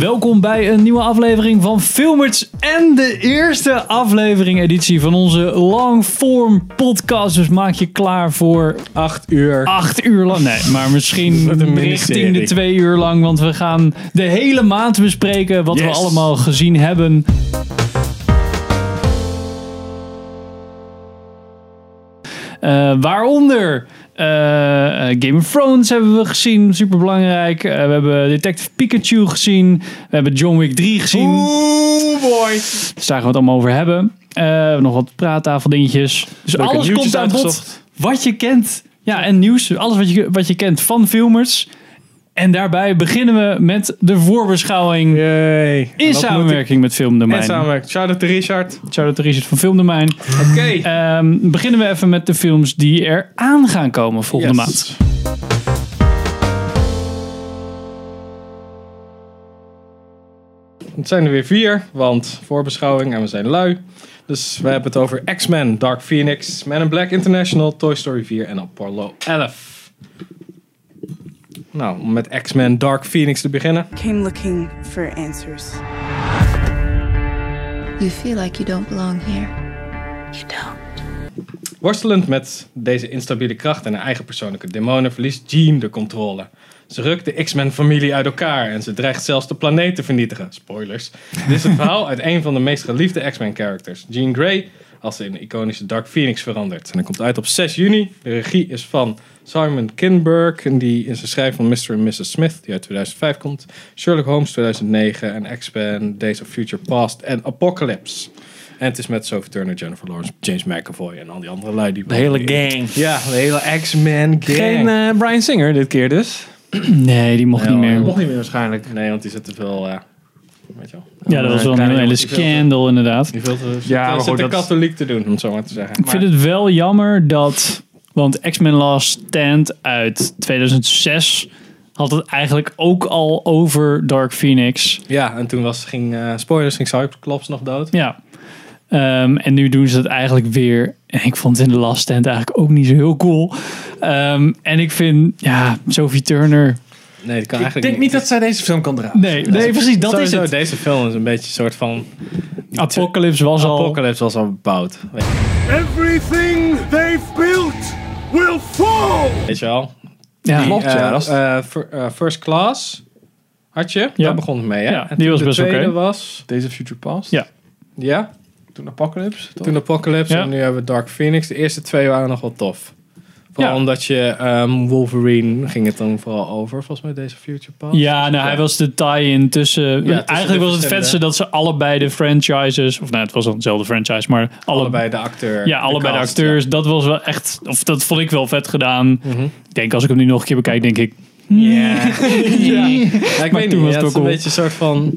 Welkom bij een nieuwe aflevering van Filmers en de eerste aflevering editie van onze longform podcast. Dus maak je klaar voor Acht uur. acht uur lang. Nee, maar Wat misschien een richting de miniserie. twee uur lang. Want we gaan de hele maand bespreken wat we Yes. allemaal gezien hebben. Eh, waaronder eh, eh, Game of Thrones hebben we gezien, superbelangrijk. Eh, we hebben Detective Pikachu gezien. We hebben John Wick 3 gezien. Oeh, boy. Dus daar gaan we het allemaal over hebben. Eh, nog wat praattafeldingetjes. Dus Leuke alles nieuwtjes komt aan bod. uitgezocht. Wat je kent. Ja, en nieuws. Alles wat je, wat je kent van filmers. En daarbij beginnen we met de voorbeschouwing. Yay. In samenwerking met En Filmdomein. samenwerking. Shout-out to Richard. Shout-out to Richard van Filmdomein. Oké. Ehm, beginnen we even met de films die er aan gaan komen volgende Yes. maand. Het zijn er weer vier, want voorbeschouwing en we zijn lui. Dus we hebben het over X-Men, Dark Phoenix, Man in Black International, Toy Story 4 en Apollo 11. Nou, om met X-Men Dark Phoenix te beginnen. came looking for answers. You feel like you don't belong here. You don't. Worstelend met deze instabiele kracht en haar eigen persoonlijke demonen verliest Jean de controle. Ze rukt de X-Men-familie uit elkaar en ze dreigt zelfs de planeet te vernietigen. Spoilers. Dit is het verhaal uit een van de meest geliefde X-Men-characters, Jean Grey, als ze in de iconische Dark Phoenix verandert. En dat komt uit op 6 juni. De regie is van Simon Kinberg, en die is de schrijver van Mr. en Mrs. Smith, die uit 2005 komt. Sherlock Holmes 2009 en X-Men, Days of Future Past en Apocalypse. En het is met Sophie Turner, Jennifer Lawrence, James McAvoy en al die andere lui. Die De hele gang. Ja, de hele X-Men gang. Geen eh, Brian Singer dit keer dus. Nee, die mocht Nee, niet hoor. meer. Mocht niet meer waarschijnlijk. Nee, want die zit te veel... eh, weet je wel. Ja, dat was wel een Kleine hele jongens, scandal inderdaad. Die veel te, Ja, maar zit goed, te dat is- katholiek te doen, om het zo maar te zeggen. Ik vind het wel jammer dat. Want X-Men Last Stand uit 2006 had het eigenlijk ook al over Dark Phoenix. Ja, en toen was, ging... eh, spoilers, ging Cyclops nog dood. Ja. Ehm, en nu doen ze dat eigenlijk weer. En ik vond het in de Last Stand eigenlijk ook niet zo heel cool. Ehm, en ik vind, ja, Sophie Turner. Nee, dat kan Ik eigenlijk denk niet dat zij deze film kan draaien. Nee, nee precies, dat is Sowieso, het. Deze film is een beetje een soort van... Apocalypse was al. Apocalypse was al bebouwd. Weet je- Everything they've built will fall! Weet je wel? Ja. Die, Klopt, ja, eh, dat is- eh, fir- eh, First Class had je. Ja. Daar begon het mee, hè? Ja, En die was de best oké. tweede was... Deze Future Past. Ja. Ja, Toen Apocalypse. toch? Toen Apocalypse Ja. en nu hebben we Dark Phoenix. De eerste twee waren nog wel tof. Vooral Ja. omdat je ehm, Wolverine ging het dan vooral over. Volgens mij deze Future Past. Ja, nou, hij was de tie-in tussen. tussen eigenlijk de was het verschillende- vetste dat ze allebei de franchises. Of nou, het was dan dezelfde franchise, maar allebei. Allebei de acteur. Ja, allebei de, cast, acteurs. Dat was wel echt. Of dat vond ik wel vet gedaan. Mhm. Ik denk, als ik hem nu nog een keer bekijk, denk ik. Ja. Ja, ik weet toen niet. was ja, het het ook is een cool. beetje een soort van...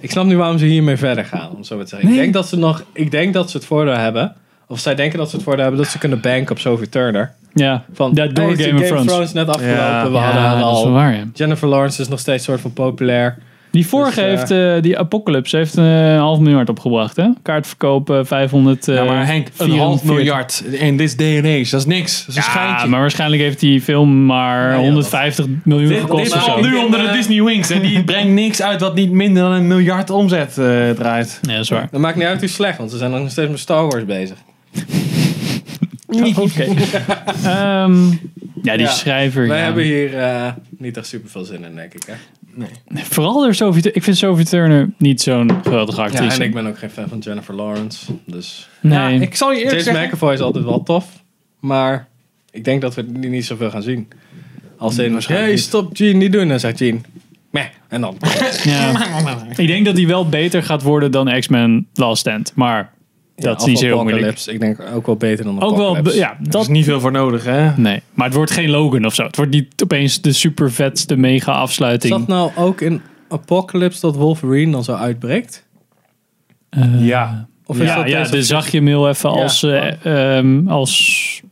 Ik snap nu waarom ze hiermee verder gaan. Om zo maar te zeggen. Ik, denk dat ze nog, ik denk dat ze het voordeel hebben. Of zij denken dat ze het voordeel hebben dat ze kunnen banken op Sophie Turner. Ja, Van, Ja, door hey, is de Game of Thrones. net afgelopen. Ja. we hadden ja, haar dat is wel al. waar. Ja. Jennifer Lawrence is nog steeds soort van populair. Die vorige Dus, eh, heeft, eh, die Apocalypse, heeft eh, een half miljard opgebracht, hè? Kaartverkoop eh, 500... eh, ja, maar Henk, een 44. half miljard in this day and age. Dat is niks. Dat is een Ja, schijntje. maar waarschijnlijk heeft die film maar ja, 150 miljoen Dit- gekost dit of zo. valt nu onder de Disney Wings. En die brengt niks uit wat niet minder dan een miljard omzet eh, draait. Ja, dat is waar. Dat maakt niet uit hoe slecht, want ze zijn nog steeds met Star Wars bezig. Oh, Oké. Ehm, ja, die Ja. schrijver. Wij ja. hebben hier eh, niet echt super veel zin in, denk ik. Hè? Vooral door Sophie Turner. Ik vind Sophie Turner niet zo'n geweldige Ja, actrice. en ik ben ook geen fan van Jennifer Lawrence. Dus Nee. Ja, ik zal je eerlijk James zeggen. McAvoy is altijd wel tof, maar ik denk dat we die niet zoveel gaan zien. Als in, waarschijnlijk hey, niet. stop Gene, niet doen. Dan zegt Gene, meh, en dan. Ja. ik denk dat die wel beter gaat worden dan X-Men Last Stand. Maar dat is niet zo heel moeilijk. Apocalypse, Ik denk ook wel beter dan Ook wel, Apocalypse. ja, Daar dat is niet veel voor nodig, hè? Nee, maar het wordt geen Logan of zo. Het wordt niet opeens de super vetste mega Is dat afsluiting. nou ook in Apocalypse dat Wolverine dan zo uitbreekt? Ja. Of nou- is ja, dat ja, dus- deze- de zag je mail even Ja. als, eh, ehm, als...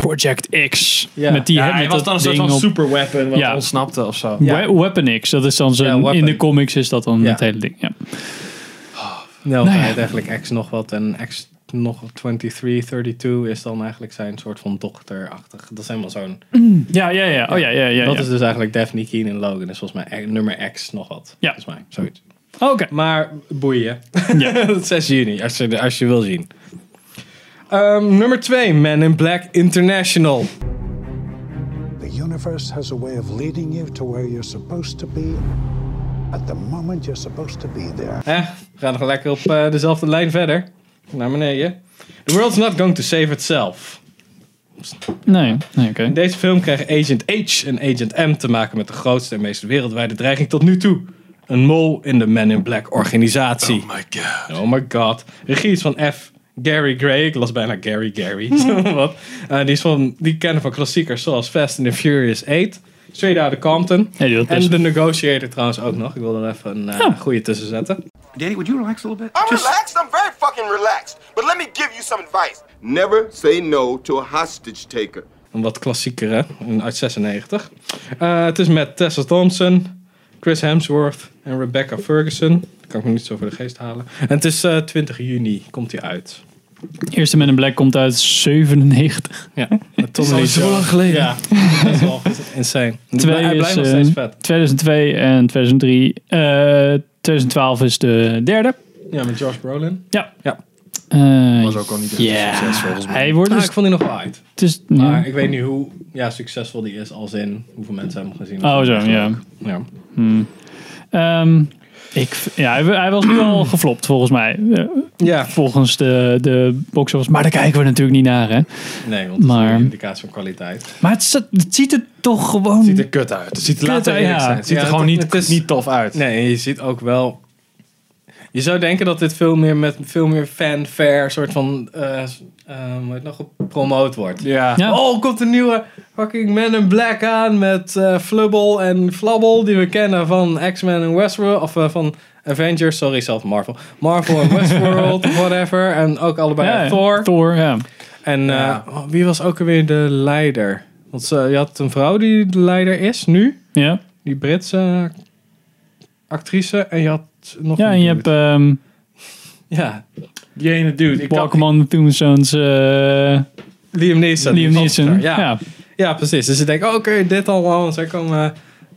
Project X. Ja. Met die Ja, met hij was dat dan een soort ding van op- superweapon wat Ja. ontsnapte of zo. We- Weapon X, dat is dan Ja, zijn... weapon. in de comics is dat dan Ja. het hele ding. Ja. Nou, Nou ja. hij heet eigenlijk X nog wat en X nog 23, 32 is dan eigenlijk zijn soort van dochterachtig. Dat is helemaal zo'n... Ja, ja, ja. Oh ja, ja, ja. dat ja. is dus eigenlijk Daphne Keen in Logan. Is volgens mij e- nummer X nog wat. Ja. Volgens mij, zoiets. Oké. Maar boeien. Ja. 6 juni, als je, als je wil zien. Ehm, nummer 2, Men in Black International. The universe has a way of leading you to where you're supposed to be at the moment you're supposed to be there. Hè? We gaan nog lekker op eh, dezelfde lijn verder. Naar beneden. The world's not going to save itself. Nee, nee oké. In deze film krijgen Agent H en Agent M te maken met de grootste en meest wereldwijde dreiging tot nu toe. Een mol in de Men in Black organisatie. Oh my god. Oh my god. Regie is van F. Gary Gray. Ik las bijna Gary Gary. Wat? Eh, die, is van, die kennen van klassiekers zoals Fast and the Furious 8. Straight Outta Compton. Ja, die wil en tussen. The Negotiator trouwens ook nog. Ik wil er even een eh, Oh. goede tussen zetten. Danny, would you relax a little bit? I'm relaxed. I'm very fucking relaxed. But let me give you some advice. Never say no to a hostage taker. Een wat klassieker, hè? Een Uit 96. Eh, het is met Tessa Thompson, Chris Hemsworth en Rebecca Ferguson. Dat kan ik me niet zo voor de geest halen. En het is eh, 20 juni, komt hij uit. Eerste Man in Black komt uit 97. Ja, met Tommy Lee Jones. geleden. eh, Ja, dat is wel insane. Twee hij is, blijft nog eh, steeds vet. 2002 en 2003. eh 2012 is de derde. Ja, met Josh Brolin. Ja. Ja. Eh, Was ook al niet echt ja. een succes volgens mij. Hij wordt Ah, dus... ik vond die nog wel uit. het is- ja. Maar ik weet niet hoe ja, succesvol die is, als in hoeveel mensen hebben hem gezien. Oh zo, ja. ja. Ehm, ik, v- ja hij, hij was nu al geflopt volgens mij. Eh, Ja, Volgens de, de box-office. Maar daar kijken we natuurlijk niet naar hè. nee, want het is Maar- een indicatie van kwaliteit. Maar het, zat- het ziet er toch gewoon... ziet er kut uit. Het ziet, Kut laten we uit, eerlijk ja. zijn. Het ziet Ja, er gewoon het- niet, het is- niet tof uit. Nee, en je ziet ook wel. Je zou denken dat dit veel meer met veel meer fanfare soort van eh eh, hoe heet het nog gepromoot wordt. Ja. Ja. Oh, komt een nieuwe fucking Man in Black aan met eh Flubble en Flubble die we kennen van X-Men en Westworld of eh, van Avengers, sorry zelf Marvel, Marvel en Westworld, whatever en ook allebei ja, Thor. Thor, ja. En eh, Ja. oh, wie was ook alweer de leider? Want ze- je had een vrouw die de leider is nu. Ja, Die Britse actrice. En je had nog ja een en je hebt dude. ehm Ja, Die ene dude. Ik kan, Walkman, Tombstones, eh Liam Neeson. Liam Die Neeson. popster, Ja. Ja. precies. Dus je denkt, oké, dit allemaal. want Zij, komen, eh,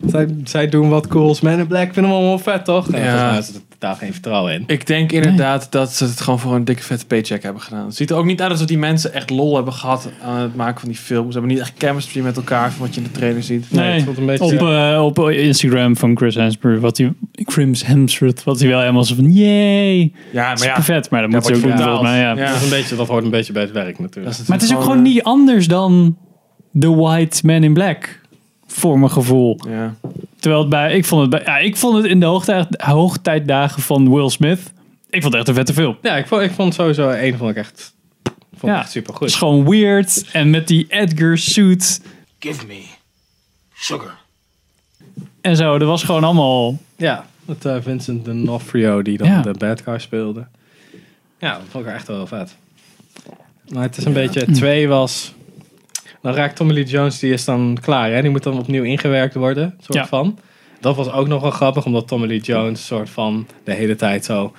zij, zij doen wat cools. Man in Black vinden hem allemaal vet, toch? En Ja. volgens mij is er totaal geen vertrouwen in. ik denk inderdaad dat ze het gewoon voor een dikke vette paycheck hebben gedaan. Het ziet er ook niet uit alsof die mensen echt lol hebben gehad aan het maken van die film. Ze hebben niet echt chemistry met elkaar van wat je in de trailer ziet. Nee, het voelt een beetje- op, eh, op Instagram van Chris Hemsworth, wat hij, Chris Hemsworth, wat hij wel helemaal zo van, yay, Ja, maar ja. perfect, maar dat moet ze wat ook je doen betaalt. volgens mij, ja. Ja. Dat, is een beetje, dat hoort een beetje bij het werk dat natuurlijk. Maar het is ook eh, gewoon niet anders dan The White Man in Black, voor mijn gevoel. eh, Ja. Terwijl het bij, ik vond het, bij, ja, ik vond het in de hoogtij, hoogtijdagen van Will Smith, ik vond het echt een vette film. Ja, ik vond, ik vond sowieso één vond ik echt, vond ik Ja. echt Het is supergoed. gewoon weird, en met die Edgar suit, Give me sugar. en zo. Dat was gewoon allemaal. Ja, met eh, Vincent D'Onofrio die dan Ja. de bad guy speelde. Ja, dat vond ik echt wel heel vet. Maar het is een beetje, twee was... Dan raakt Tommy Lee Jones, die is dan klaar. Hè? Die moet dan opnieuw ingewerkt worden, soort Ja. van. Dat was ook nog wel grappig, omdat Tommy Lee Jones soort van de hele tijd zo...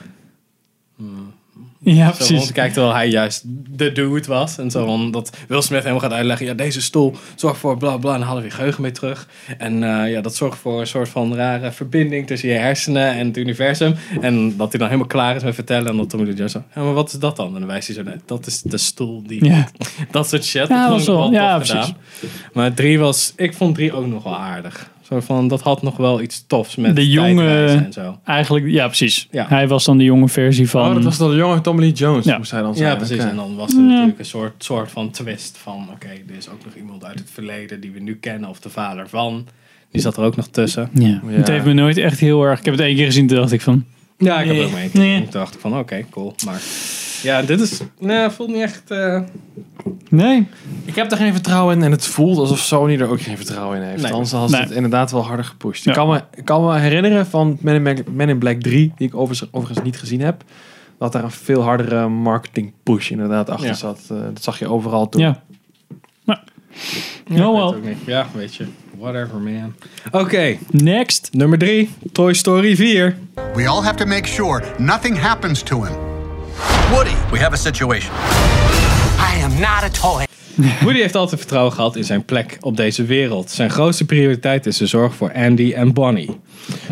Ja, zo precies. rondkijkt terwijl hij juist de dude was. En zo, want dat Will Smith helemaal gaat uitleggen... Ja, deze stoel zorgt voor bla bla, en dan halen we je geheugen mee terug. En eh, ja, dat zorgt voor een soort van rare verbinding tussen je hersenen en het universum. En dat hij dan helemaal klaar is met vertellen. En dan Tommy Lee Jones zo, ja, maar wat is dat dan? En dan wijst hij zo, nee, dat is de stoel die... Ja. Dat soort shit. Ja, dat was vond ik wel- wel ja, tof precies. gedaan. Maar drie was, ik vond drie ook nog wel aardig. Zo van, dat had nog wel iets tofs met De jonge- tijdreizen en zo. Eigenlijk, ja, precies. Ja. Hij was dan de jonge versie van. Oh, dat was dan de jonge Tommy Lee Jones, Ja. moest hij dan zijn. Ja, precies. Oké. En dan was er natuurlijk een soort, soort van twist van... Oké, er is ook nog iemand uit het verleden die we nu kennen. Of de vader van. Die zat er ook nog tussen. Ja. Ja. Het heeft me nooit echt heel erg. Ik heb het één keer gezien, toen dacht ik van. Ja, ik Nee. heb ook mee. keer. Nee. Toen dacht ik van, oké, cool. Maar ja, dit is... Nee, voelt niet echt... eh, Nee. Ik heb er geen vertrouwen in en het voelt alsof Sony er ook geen vertrouwen in heeft. Nee. Anders had ze Nee. het inderdaad wel harder gepusht. Ja. Ik, kan me, ik kan me herinneren van Men in, Black- Men in Black 3, die ik overigens, overigens niet gezien heb, dat daar een veel hardere marketing push inderdaad achter Ja. zat. Eh, dat zag je overal toen. Ja. Maar. ik Nou weet het wel. ook niet. Ja, weet je. Whatever, man. Oké, Next. nummer drie. Toy Story 4. We all have to make sure nothing happens to him. Woody, we have a situation. I am not a toy. Woody heeft altijd vertrouwen gehad in zijn plek op deze wereld. Zijn grootste prioriteit is de zorg voor Andy en Bonnie.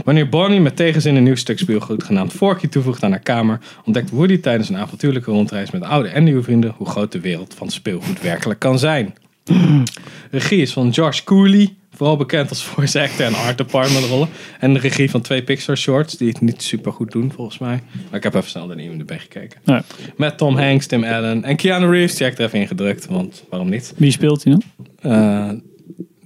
Wanneer Bonnie met tegenzin een nieuw stuk speelgoed genaamd Forky toevoegt aan haar kamer, ontdekt Woody tijdens een avontuurlijke rondreis met oude en nieuwe vrienden hoe groot de wereld van speelgoed werkelijk kan zijn. Regie is van Josh Cooley, vooral bekend als voice actor en art department rollen. En de regie van twee Pixar shorts, die het niet super goed doen volgens mij. Maar ik heb even snel de IMDb gekeken. Nou, Met Tom Hanks, Tim Allen en Keanu Reeves, die heb ik er even in gedrukt, want waarom niet? wie speelt hij dan? eh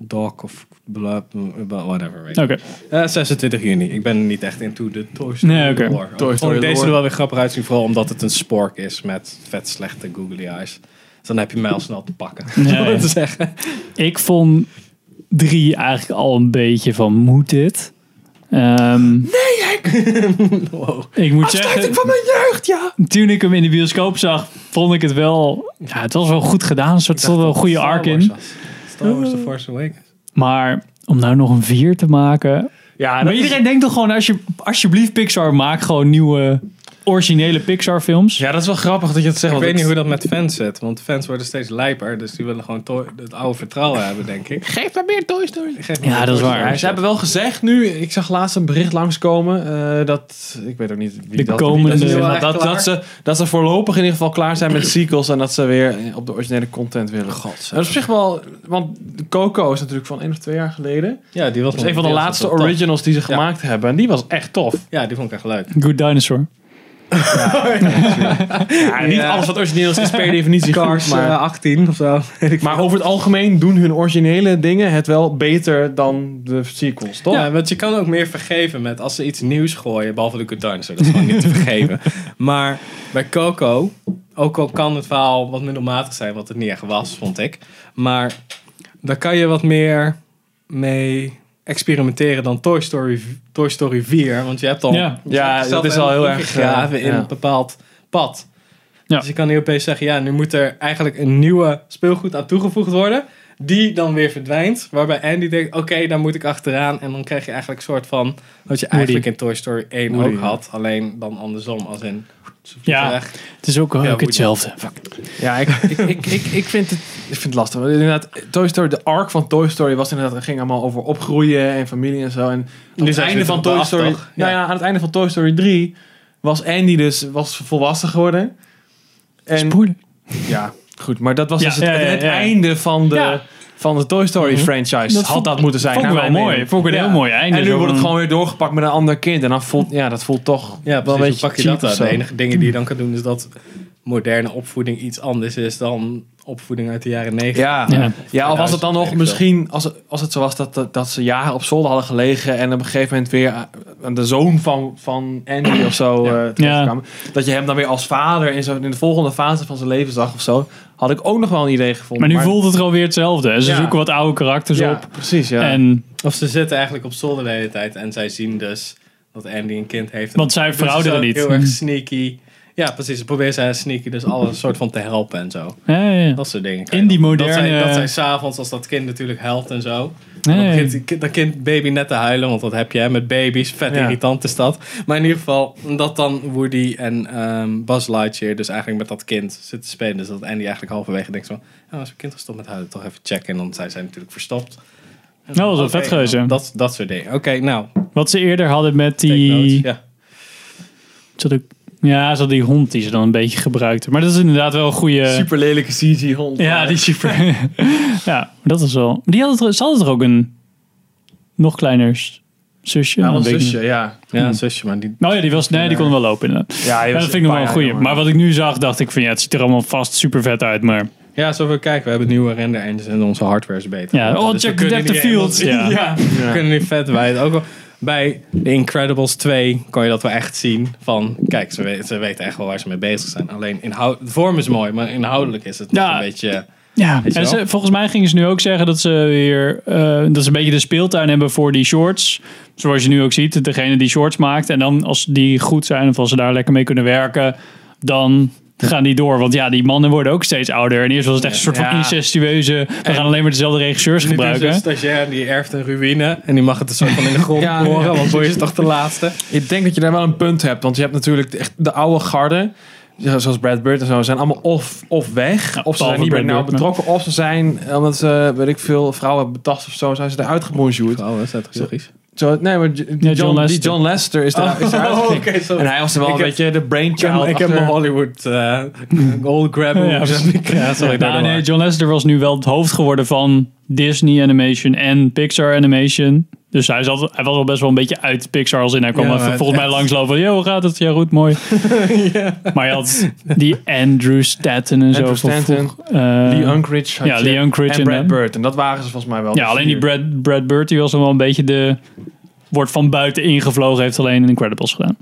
Dog of blah, blah, whatever. weet ik. Oké. Eh, 26 juni. Ik ben niet echt into de Toy Story Nee, oké. lore. Toy Story Vond ik deze lore. er wel weer grappig uitzien. Vooral omdat het een spork is met vet slechte googly eyes. Dus dan heb je mij al snel te pakken. om Ja, ja. te zeggen. Ik vond drie eigenlijk al een beetje van moet dit? Ehm, Ik moet zeggen, Van mijn jeugd, ja! toen ik hem in de bioscoop zag, vond ik het wel... Ja, het was wel goed gedaan. Er zat wel een goede arc in. Star Wars The Force Awakens. Maar om nou nog een vier te maken... Ja, Maar iedereen denkt toch gewoon, als je, alsjeblieft Pixar, maak gewoon nieuwe originele Pixar films. ja, dat is wel grappig dat je het zegt. Ik want weet het- niet hoe dat met fans zit. Want fans worden steeds lijper. Dus die willen gewoon to- het oude vertrouwen hebben, denk ik. Geef maar meer Toy Story. Ja, dat is waar. Ja, ze hebben wel gezegd nu, ik zag laatst een bericht langskomen, eh, dat, ik weet ook niet wie De dat komende- wie dat is, Zijn we maar echt dat, klaar? dat, ze, dat ze voorlopig in ieder geval klaar zijn met sequels en dat ze weer eh, op de originele content willen. God, dat is op zich wel, want Coco is natuurlijk van één of twee jaar geleden. Ja, die was Dat is een van de laatste originals die ze gemaakt hebben en die was echt tof. Ja, die vond ik echt leuk. Good Dinosaur. Ja, niet alles wat origineel is is per definitie Cars goed, maar... eh, 18 of zo. Weet ik maar over het algemeen doen hun originele dingen het wel beter dan de sequels, toch? Ja, want je kan ook meer vergeven met als ze iets nieuws gooien, behalve de Good Dinosaur, dat is gewoon niet te vergeven. Maar bij Coco, ook al kan het verhaal wat middelmatig zijn, wat het niet echt was, vond ik. Maar daar kan je wat meer mee experimenteren dan Toy Story, Toy Story 4, want je hebt al Ja. Ja, zelf dat is al heel helemaal erg, ingegraven eh, in ja. een bepaald pad. Ja. Dus je kan niet opeens zeggen, ja, nu moet er eigenlijk een nieuwe speelgoed aan toegevoegd worden. Die dan weer verdwijnt. Waarbij Andy denkt, oké, daar moet ik achteraan. En dan krijg je eigenlijk een soort van... Wat je eigenlijk in Toy Story 1 ook had. Alleen dan andersom. Als in, ze vliegen Ja. weg. Het is ook, Ja, ook goed. hetzelfde. Fuck. Ja, ik, ik, ik, ik, ik, vind het, ik vind het lastig. Want Inderdaad, Toy Story, de arc van Toy Story was inderdaad, het ging allemaal over opgroeien en familie en zo. En aan zijn het ze einde terug van Toy op de Story, aftocht, ja. nou ja, aan het einde van Toy Story 3 was Andy dus was volwassen geworden. En Spoiler. ja, goed, maar dat was Ja, dus het, ja, ja, het ja. einde van de, Ja. Mhm. van de Toy Story franchise. Dat had vond- dat moeten zijn. vond ik naar wel mijn mooi. mening. Vond ik een heel mooi einde. En nu Zo'n- wordt het gewoon weer doorgepakt met een ander kind. En dan voelt, ja, dat voelt toch Ja, wel precies. een Hoe beetje pak je cheap dat of uit? zo. De enige dingen die je dan kan doen is dat moderne opvoeding iets anders is dan opvoeding uit de jaren 90. Ja. Ja. Ja. of was het dan nog Weet ik misschien, als, het- als het zo was dat, dat, dat ze jaren op zolder hadden gelegen en op een gegeven moment weer aan de zoon van, van Andy of zo eh, terugkwamen. Dat je hem dan weer als vader in, zo, in de volgende fase van zijn leven zag of zo. Had ik ook nog wel een idee gevonden. Maar nu voelt het er alweer hetzelfde. En ze Ja. zoeken wat oude karakters ja, op. Precies, ja. En, Of ze zitten eigenlijk op zolder de hele tijd en zij zien dus dat Andy een kind heeft. want zij Dus ze verouderen zijn niet. Heel erg sneaky. Ja, precies. Ze proberen zij sneaky dus alle soort van te helpen en zo. Ja, ja, ja. Dat soort dingen. In die Dat moderne- zij- Dat zij s'avonds, als dat kind natuurlijk helpt en zo. Nee, Dan nee. begint die kind- dat kind baby net te huilen, want dat heb je hè, met baby's. Vet Ja. irritant is dat. Maar in ieder geval, dat dan Woody en ehm Buzz Lightyear dus eigenlijk met dat kind zitten te spelen. Dus dat Andy eigenlijk halverwege denkt van, nou, als mijn kind gestopt met huilen, toch even checken. En dan zijn zij natuurlijk verstopt. Nou, dat was wel Oké, vet geweest. hè. Dat, dat soort dingen. Oké, nou, Wat ze eerder hadden met take notes. die... Ja. Zat ook- ja, zat die hond die ze dan een beetje gebruikte. Maar dat is inderdaad wel een goede... super lelijke CG-hond. Ja, die super. ja, dat was wel... Maar die had het, ze hadden er ook een nog kleiner s- zusje. Ja, Dat een weet ik zusje, ja. Ja, zusje, maar die... niet. Oh ja, die, was, nee, die kon wel lopen inderdaad. Ja, die Ja, was dat een vind ik nog wel paar een jaar goeie. jonger. Maar wat ik nu zag, dacht ik van ja, het ziet er allemaal vast super vet uit. Maar Ja, zo we kijken. We hebben nieuwe render engines en onze hardware is beter. ja, oh, Dus we check kunnen Deck the niet Field. helemaal- Ja. Ja, we kunnen nu vet wijd. Ook al bij The Incredibles 2 kon je dat wel echt zien. Van, kijk, ze, we- ze weten echt wel waar ze mee bezig zijn. Alleen inhoud, de vorm is mooi, maar inhoudelijk is het nog Ja. een beetje... Ja, Weet je en wel? ze, volgens mij gingen ze nu ook zeggen dat ze weer eh, dat ze een beetje de speeltuin hebben voor die shorts. Zoals je nu ook ziet, degene die shorts maakt. En dan als die goed zijn of als ze daar lekker mee kunnen werken, dan gaan die door. Want ja, die mannen worden ook steeds ouder. En eerst was het echt een soort van Ja. incestueuze. We gaan alleen maar dezelfde regisseurs Nu dus is gebruiken. een stagiair die erft een ruïne. En die mag het een soort van in de grond Ja. boren. Want boy is toch de laatste. Ik denk dat je daar wel een punt hebt. Want je hebt natuurlijk echt de oude garde. ja, zoals Brad Bird en zo, zijn allemaal of, of weg, of ze zijn behalve niet meer Brad nauw Bird, maar- betrokken, of ze zijn, eh, omdat ze, weet ik veel, vrouwen betast of zo, zijn ze eruit gebonjourd. Oh, dat is toch logisch. Zo, nee, maar J- John, John die Lester. Oh. John Lester is, daar is eruit Oh, gegaan. oké, sorry. En hij was er wel Ik een heb- beetje de brainchild Ja, ik heb achter- mijn Hollywood eh old grab. Ja, moves. precies. ja, sorry. Nou, daardoor. nee, John Lester was nu wel het hoofd geworden van Disney Animation en Pixar Animation. Dus hij, zat, hij was al best wel een beetje uit Pixar als in. Hij kwam Ja, even maar volgens mij langslopen. Yo, hoe gaat het? Ja, goed, mooi. Maar je had die Andrew Stanton en Andrew zo. van Stanton, vroeg. Eh, Lee Unkrich had ja, je, Lee Unkrich en en Brad hem. Bird. En dat waren ze volgens mij wel. ja, de alleen die vier. Brad, Brad Bird, die was dan wel een beetje de... Wordt van buiten ingevlogen, heeft alleen in Incredibles gedaan.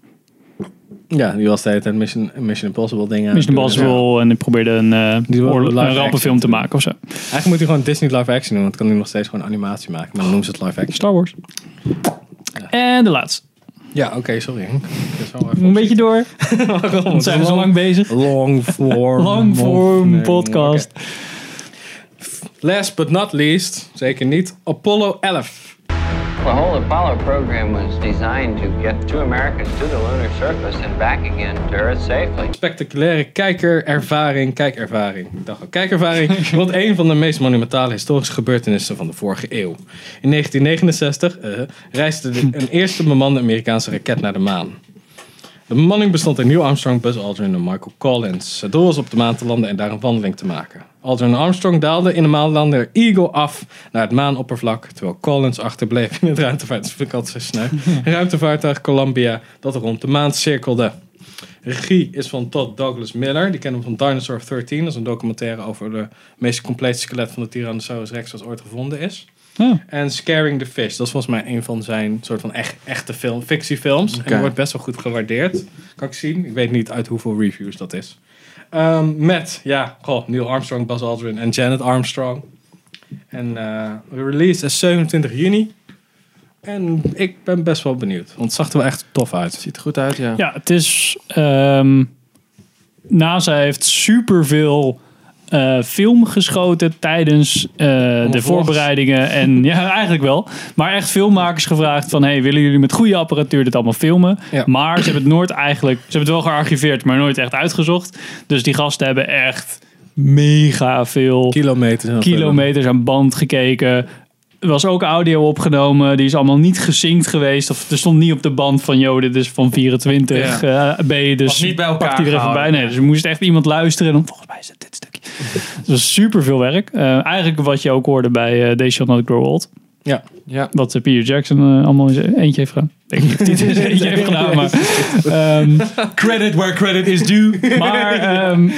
Ja, die was de hele tijd Mission, Mission Impossible dingen. aan het Mission doen en zo. Impossible en ik probeerde een, eh Die wil oorlog- live een action rampenfilm te maken of zo. Eigenlijk moet hij gewoon Disney live action doen, want kan hij nog steeds gewoon animatie maken. Maar dan noemen ze het live action. Star Wars. En de laatste. Ja, oké, sorry. Ik heb zo even- Een beetje door. Waarom? Dan zijn we zo lang bezig. Long form. Lang form Nee, podcast. oké. Last but not least, zeker niet, Apollo 11. The whole Apollo program was designed to get two Americans to the lunar surface and back again to Earth safely. Spectaculaire kijkerervaring, kijkervaring. Ik dacht al, kijkervaring, want een van de meest monumentale historische gebeurtenissen van de vorige eeuw. In 1969 eh, reisde de- een eerste bemande Amerikaanse raket naar de maan. De bemanning bestond uit Neil Armstrong, Buzz Aldrin en Michael Collins. Het doel was op de maan te landen en daar een wandeling te maken. Aldrin en Armstrong daalden in de maanlander Eagle af naar het maanoppervlak, terwijl Collins achterbleef in het ruimtevaart- ik had het zo snel. ruimtevaartuig Columbia dat rond de maan cirkelde. Regie is van Todd Douglas Miller. Die kennen we van Dinosaur of 13. Dat is een documentaire over de meest complete skelet van de Tyrannosaurus Rex wat ooit gevonden is. Ja. En Scaring the Fish. Dat is volgens mij een van zijn soort van echt, echte film, fictiefilms. En Oké. die wordt best wel goed gewaardeerd. Kan ik zien. Ik weet niet uit hoeveel reviews dat is. Ehm, met, ja, goh, Neil Armstrong, Buzz Aldrin en Janet Armstrong. En eh release is 27 juni. En ik ben best wel benieuwd. Want het zag er wel echt tof uit. Ziet er goed uit, ja. Ja, het is... ehm, NASA heeft superveel eh film geschoten tijdens eh, de vlogs. voorbereidingen. En ja, eigenlijk wel. Maar echt filmmakers gevraagd van... Hey, willen jullie met goede apparatuur dit allemaal filmen? Ja. Maar ze hebben het nooit eigenlijk... Ze hebben het wel gearchiveerd, maar nooit echt uitgezocht. Dus die gasten hebben echt mega veel... Kilometers. aan film. kilometers aan band gekeken. Er was ook audio opgenomen. Die is allemaal niet gesynct geweest. Of er stond niet op de band van, joh, dit is van 24 eh, B. Dus Was niet bij elkaar pakt die er even bij. gehouden. Nee, dus er moest echt iemand luisteren. En dan, volgens mij is het dit stukje. Het was super veel werk. Eh, eigenlijk wat je ook hoorde bij eh They Shall Not Grow Old. Ja. ja. Wat eh, Peter Jackson eh, allemaal in zijn eentje heeft gedaan. Ik weet niet of hij het in zijn eentje heeft gedaan, maar... ehm, Credit where credit is due. maar ehm,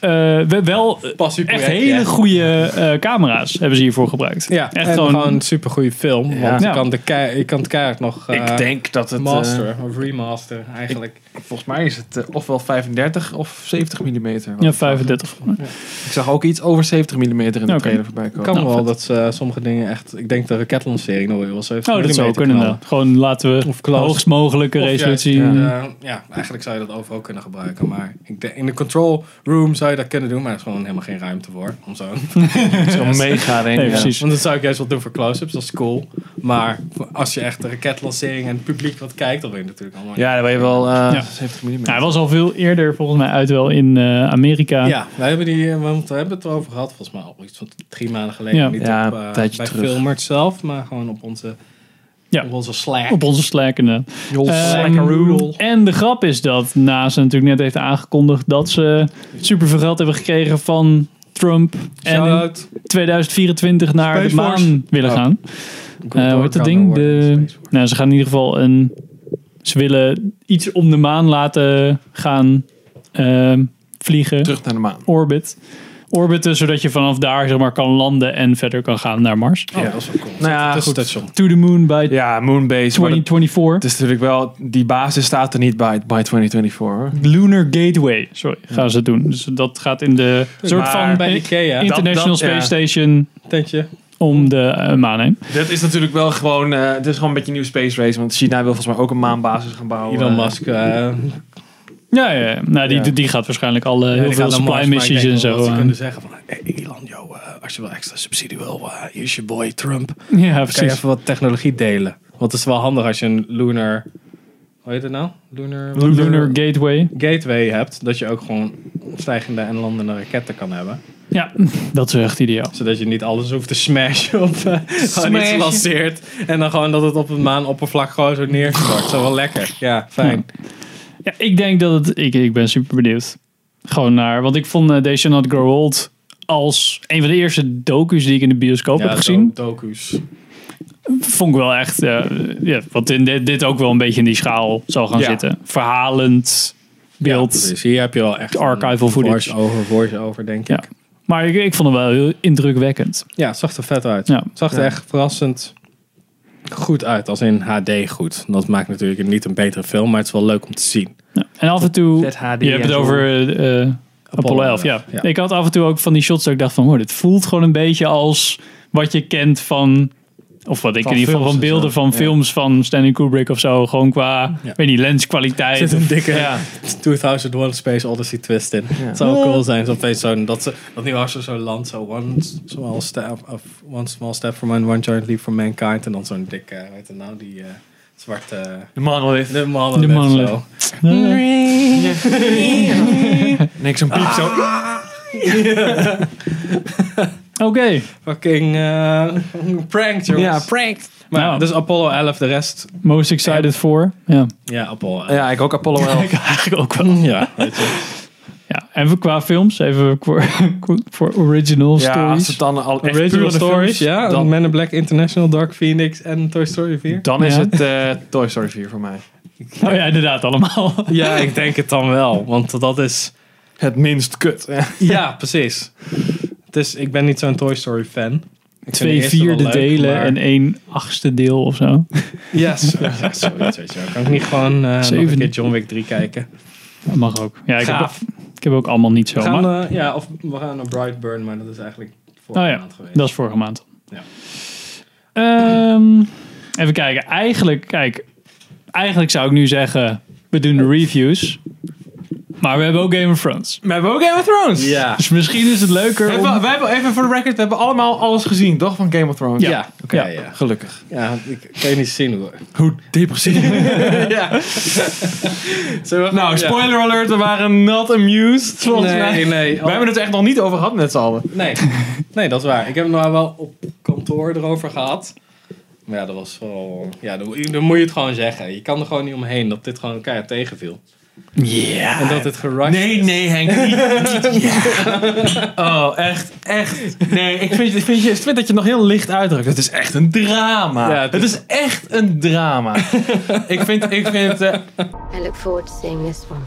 eh, we- wel Pas super echt hele goede eh, camera's hebben ze hiervoor gebruikt. Ja, echt en gewoon, gewoon, een supergoeie film. Want je, Ja. kan de kei- je kan het keihard nog eh, ik denk dat het... eh, master of remaster eigenlijk. volgens mij is het eh, ofwel 35 of 70 mm. ja, 35. Ik zag ook iets over 70 mm in de Oké. trailer voorbij komen. kan nou, wel vet. dat ze eh, sommige dingen echt... Ik denk de raketlancering nog wel zo Oh, dat zou kunnen. dan. Gewoon laten we Of de close. hoogst mogelijke resolutie. Ja, eh, ja, eigenlijk zou je dat overal kunnen gebruiken. Maar ik denk, in de control room zou je dat kunnen doen. Maar er is gewoon helemaal geen ruimte voor. Om zo. Zo'n mega ding. Nee, ja. precies. Want dat zou ik juist wel doen voor close-ups. Dat is cool. Maar als je echt de raketlancering en het publiek wat kijkt... Dan wil je natuurlijk allemaal... Ja, dan ben je wel eh, Ja. 70 mm. Nou, hij was al veel eerder volgens mij uit wel in eh, Amerika. Ja, wij hebben die, eh, want we hebben het erover gehad, volgens mij al iets van drie maanden geleden. Ja. Niet Ja, op, een eh, tijdje bij terug. Filmert zelf, maar gewoon op onze, Ja. op onze Slack. Op onze Slack. en, eh, Jol, Ehm, en de grap is dat NASA natuurlijk net heeft aangekondigd dat ze superveel geld hebben gekregen van Trump. En in Shout-out. 2024 naar Space de maan Force. willen Oh. gaan. Eh, hoe heet dat ding? De, nou, ze gaan in ieder geval een. Ze willen iets om de maan laten gaan ehm, vliegen. Terug naar de maan. Orbit. Orbiten, zodat je vanaf daar zeg maar, kan landen en verder kan gaan naar Mars. ja, dat is wel cool. Nou ja, goed. Tussenstation. To the moon by Ja, Moonbase. maar dat- 2024. Het is natuurlijk wel... Die basis staat er niet bij, bij 2024. hoor. Lunar Gateway, sorry, gaan ze doen. Dus dat gaat in de soort van Maar Bij Ikea. dat- International dat- ja. Space Station tentje. om de eh, maan heen. Dit is natuurlijk wel gewoon... eh het is gewoon een beetje een nieuw space race. Want China wil volgens mij ook een maanbasis gaan bouwen. Elon Musk. eh, Ja, ja, ja. Nou, die, Ja. die gaat waarschijnlijk al eh, ja, heel die veel gaat naar Mars, supply maar ik missies denk en zo. eh. wel Dat ze aan. kunnen zeggen van, hey, Elon, yo, eh, als je wel extra subsidie wil, eh, hier is je boy Trump. Ja, Kan je precies. even wat technologie delen? Want het is wel handig als je een lunar hoe heet het nou? Lunar, Lunar Gateway. Gateway hebt. Dat je ook gewoon stijgende en landende raketten kan hebben. Ja, dat is echt ideaal. Zodat je niet alles hoeft te smashen op eh, gewoon iets Smashen. lanceert. En dan gewoon dat het op het maanoppervlak gewoon zo neerstort. Zo wel lekker. Ja, Hm. fijn. Ja, ik denk dat het... Ik, ik ben super benieuwd. Gewoon naar... Want ik vond eh They Shall Not Grow Old als een van de eerste docu's die ik in de bioscoop Ja, heb gezien. do- Docus. Vond ik wel echt... eh, ja, wat in dit, dit ook wel een beetje in die schaal zal gaan Ja. zitten. Verhalend beeld. Dus hier heb je wel echt Archival footage. over, voice over denk ik. Ja. Maar ik, ik vond het wel heel indrukwekkend. Ja, het zag er vet uit. Ja. Het zag er echt verrassend goed uit. Als in HD goed. Dat maakt natuurlijk niet een betere film, maar het is wel leuk om te zien. En af en toe... ZHD je hebt het en zo. over eh, eh, Apollo 11, ja. ja. Ik had af en toe ook van die shots dat ik dacht van... Hoor, dit voelt gewoon een beetje als wat je kent van... Of wat ik Van in ieder geval van films en beelden zo, van ja. films van Stanley Kubrick of zo. Gewoon qua, Ja. weet niet, lenskwaliteit. Er zit een dikke Ja. 2001 Space Odyssey twist in. Het zou wel cool zijn, zo opeens zo'n, dat, ze, dat Neil Armstrong zo landt, zo one small, step of one small step for man, one giant leap for mankind. En dan zo'n dikke, weet heet het nou, die eh, zwarte... Eh, De monolith. De mannen De met monolith. zo. Mm, Niks een piep zo. Oké. Fucking eh, pranked, jongens. Ja, pranked. Maar Nou. dus Apollo 11, de rest. Most excited for. Ja. Ja, Apollo 11. Ja, ik ook Apollo 11. Eigenlijk ook wel. Ja, weet je. Ja. En qua films, even voor, voor original Ja, als stories. het dan al echt Original pure Stories, Dus ja. Dan, Men in Black International, Dark Phoenix en Toy Story 4. dan is Ja. het eh, Toy Story 4 voor mij. Oh ja, inderdaad, allemaal. Ja, ik denk het dan wel, want dat is... Het minst kut. Ja. Ja, precies. Het is, ik ben niet zo'n Toy Story fan. Ik vind de Twee eerste wel vierde leuk, delen maar- en één achtste deel of zo. Ja, zo- ja, zoiets weet je wel. Kan ik niet gewoon eh nog een Zeven. keer John Wick 3 kijken? Dat mag ook. Ja, ik, heb, Gaaf. ik heb ook allemaal niet zo. We maar- gaan, eh, ja, of we gaan naar Brightburn, maar dat is eigenlijk vorige Oh ja, maand geweest. dat is vorige maand. Ja. Ehm, even kijken. Eigenlijk, kijk, eigenlijk zou ik nu zeggen, we doen de reviews. Maar we hebben ook Game of Thrones. We hebben ook Game of Thrones. Ja. Dus misschien is het leuker om... Even, wij hebben, even voor de record, we hebben allemaal alles gezien, toch? Van Game of Thrones. Ja. Ja, oké. Ja. ja. Ja. Gelukkig. ik kan je niet zien hoor. Hoe depressief. Zullen we- nou, Ja. spoiler alert, we waren not amused, volgens Nee, mij. nee. oh, We hebben het er echt nog niet over gehad met z'n allen. Nee. nee, dat is waar. Ik heb het nou wel op kantoor erover gehad. Maar ja, dat was wel... Ja, dan, dan moet je het gewoon zeggen. Je kan er gewoon niet omheen dat dit gewoon elkaar tegenviel. Ja. En dat het gerushed Nee, is. nee, Henk. niet- niet- ja. Oh, echt, echt. Nee, ik vind, ik, vind je, ik vind dat je het nog heel licht uitdrukt. Het is echt een drama. Ja, het, het is... echt een drama. ik vind, ik vind eh, I look forward to seeing this one.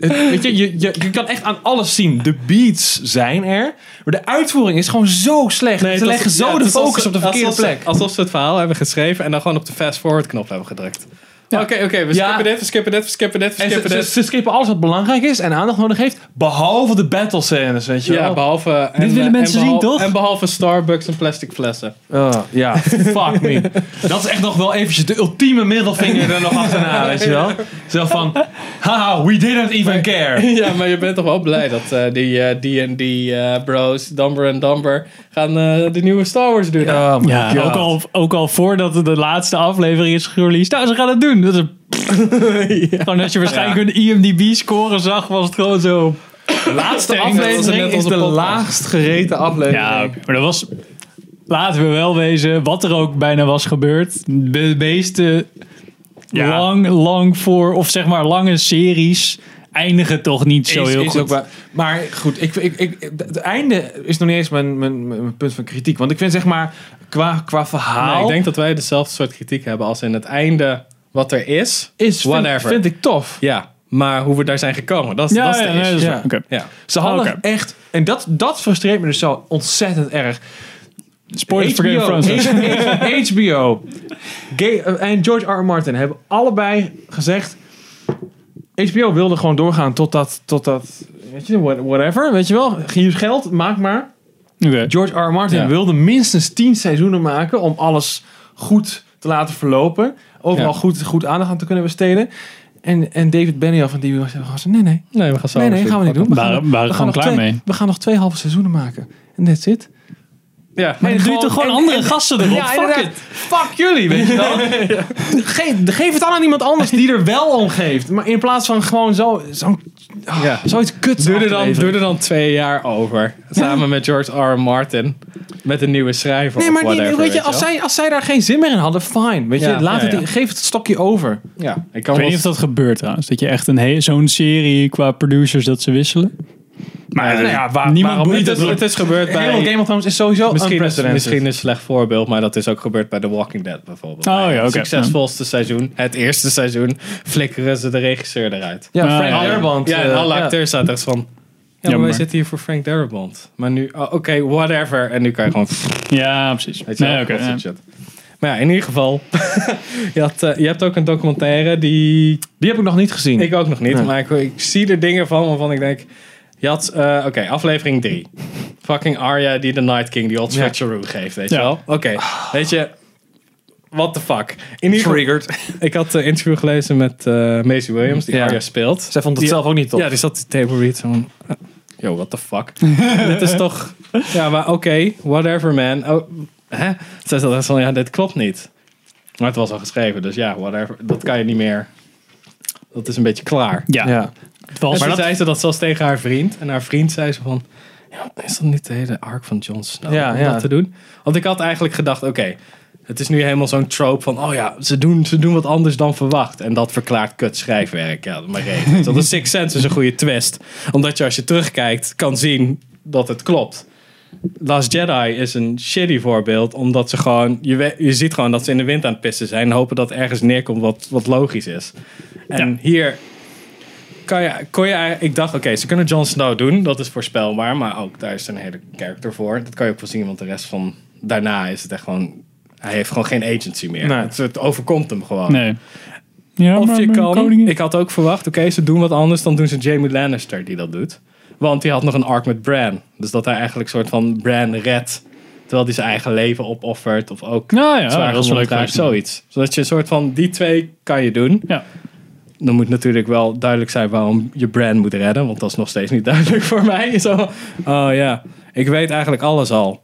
het, weet je, je, je, je kan echt aan alles zien. De beats zijn er, maar de uitvoering is gewoon zo slecht. Ze het was- leggen zo ja, de het was Oh, focus op de alsof- verkeerde alsof ze- plek. Alsof ze het verhaal hebben geschreven en dan gewoon op de fast-forward knop hebben gedrukt. Oké, oké, we Ja. skippen dit, we skippen dit, we skippen dit, we En skippen ze, ze, dit. ze skippen alles wat belangrijk is en aandacht nodig heeft, behalve de battle scènes, weet je Ja, wel. behalve... en, willen eh, mensen en zien, behal- toch? En behalve Starbucks en plastic flessen. Oh, ja, fuck me. Dat is echt nog wel eventjes de ultieme middelvinger er nog achterna, weet je wel? Zo van, haha, we didn't even care. Ja, maar je bent toch wel blij dat eh, die eh, D&D eh, bros, Dumber en Dumber, gaan eh, de nieuwe Star Wars doen. Oh my Ja, god. ook al, ook al voordat de laatste aflevering is gereleased. Nou, ze gaan het doen. Dat is een- Gewoon als je waarschijnlijk hun IMDb-score zag, was het gewoon zo... laatste denk dat was net aflevering is onze de podcast. laagst gereten aflevering. Ja, maar dat was... Laten we wel wezen, wat er ook bijna was gebeurd. De meeste Ja. lang, lang voor... Of zeg maar lange series eindigen toch niet zo Is- heel is goed. ook waar. maar goed, ik, ik, ik, het einde is nog niet eens mijn, mijn, mijn punt van kritiek. Want ik vind zeg maar, qua, qua verhaal Nee, ik denk dat wij dezelfde soort kritiek hebben als in het einde wat er is. is, vind, whatever. vind ik tof. Ja, maar hoe we daar zijn gekomen, dat is, ja, dat is ja, de nee, issue. dat is Ja. waar. Oké. ja. Ze hadden Oké. echt, en dat, dat frustreert me dus zo ontzettend erg. Spoilers voor Game of Thrones. dus. hè? HBO Ga- eh, en George R. R. Martin hebben allebei gezegd. HBO wilde gewoon doorgaan totdat, totdat weet je, what- whatever, weet je wel. Hier is geld, maak maar. Oké. George R. R. Martin Ja. wilde minstens 10 seizoenen maken om alles goed te laten verlopen. Overal Ja. goed, goed aandacht aan te kunnen besteden. En, en David Benioff en die was gewoon zo, nee, nee, Nee, we gaan zo nee, nee, over gaan we niet doen. Waren- gaan, waren we gewoon nog klaar twee- mee. We gaan nog twee halve seizoenen maken. En that's it. Ja. Maar dan doe je gewoon- toch gewoon en- andere en- gasten erop? Fuck inderdaad. it. Fuck jullie, weet je wel. Ge- geef het aan aan iemand anders die er wel om geeft. Maar in plaats van gewoon zo, zo, ah, Ja. zoiets kuts Doe af te er, dan, leveren. doe er dan twee jaar over. Samen met George R. R. Martin. Met een nieuwe schrijver. Nee, maar of die- whatever, weet je, wel. als zij, als zij daar geen zin meer in hadden, fine. Weet je, Ja, laat ja, het, ja. geef het stokje over. Ja, ik kan Ik weet wel niet of dat gebeurt trouwens. Dat je echt een he- zo'n serie qua producers dat ze wisselen. Maar nou ja, waar- niemand waarom boeit niet? het. Het is, het is gebeurd Heel bij... Game of Thrones is sowieso Misschien, is- unprecedented. misschien een slecht voorbeeld, maar dat is ook gebeurd bij The Walking Dead bijvoorbeeld. Oh, Bij ja, het oké. Succesvolste seizoen, het eerste seizoen, flikkeren ze de regisseur eruit. Ja, Frank Ja, ja. Darabont. Ah, ja, en eh, alle ja. acteurs zaten echt van... Ja, maar Jammer. wij zitten hier voor Frank Darabont. Maar nu, oh, oké, whatever. En nu kan je gewoon... Ja, precies. Weet je wel, Nee, oké, dat ja. soort shit. Maar ja, in ieder geval. je, had, eh, je hebt ook een documentaire die... Die heb ik nog niet gezien. Ik ook nog niet, Nee. maar ik, ik zie er dingen van waarvan ik denk... Je had, eh, oké, aflevering 3. Fucking Arya die de Night King die old Ja. switcheroo geeft, weet je Ja. wel? Oké, weet je... What the fuck? In ieder geval, Triggered. ik had een interview gelezen met eh Maisie Williams, die Ja. Arya speelt. Zij vond het Die- zelf ook niet top. Ja, dus- die zat die table read zo van... eh, Yo, what the fuck? dit is toch... Ja, maar oké, whatever man. Oh, hè? Zij zat echt van, ja, dit klopt niet. Maar het was al geschreven, dus ja, whatever. Dat kan je niet meer... Dat is een beetje klaar. Ja, ja. het was- Maar maar toen dat- zei ze dat zelfs tegen haar vriend. En haar vriend zei ze van... Ja, is dat niet de hele arc van Jon Snow Ja, om ja. dat te doen? Want ik had eigenlijk gedacht, oké... het is nu helemaal zo'n trope van... Oh ja, ze doen, ze doen wat anders dan verwacht. En dat verklaart kut schrijfwerk. Ja, maar reden. dat is Six Sense is een goede twist. Omdat je als je terugkijkt kan zien dat het klopt. Last Jedi is een shitty voorbeeld. Omdat ze gewoon... Je, we- je ziet gewoon dat ze in de wind aan het pissen zijn. En hopen dat ergens neerkomt wat, wat logisch is. En hier kan je, kon je, eigenlijk- ik dacht, oké, ze kunnen Jon Snow doen. Dat is voorspelbaar. Maar ook daar is een hele character voor. Dat kan je ook wel zien, want de rest van... Daarna is het echt gewoon... Hij heeft gewoon geen agency meer. Nee. Het, het overkomt hem gewoon. nee. Ja, Of maar je mijn kan... eh, koningin- Ik had ook verwacht, oké, ze doen wat anders. Dan doen ze Jamie Lannister die dat doet. Want die had nog een arc met Bran. Dus dat hij eigenlijk soort van Bran redt. Terwijl hij zijn eigen leven opoffert. Of ook Nou ja, zwaar dat is wel gewond leuk. raakt. geweest. Zoiets. Zodat je een soort van... Die twee kan je doen Ja. dan moet natuurlijk wel duidelijk zijn waarom je brand moet redden. Want dat is nog steeds niet duidelijk voor mij. Zo, oh ja, ik weet eigenlijk alles al.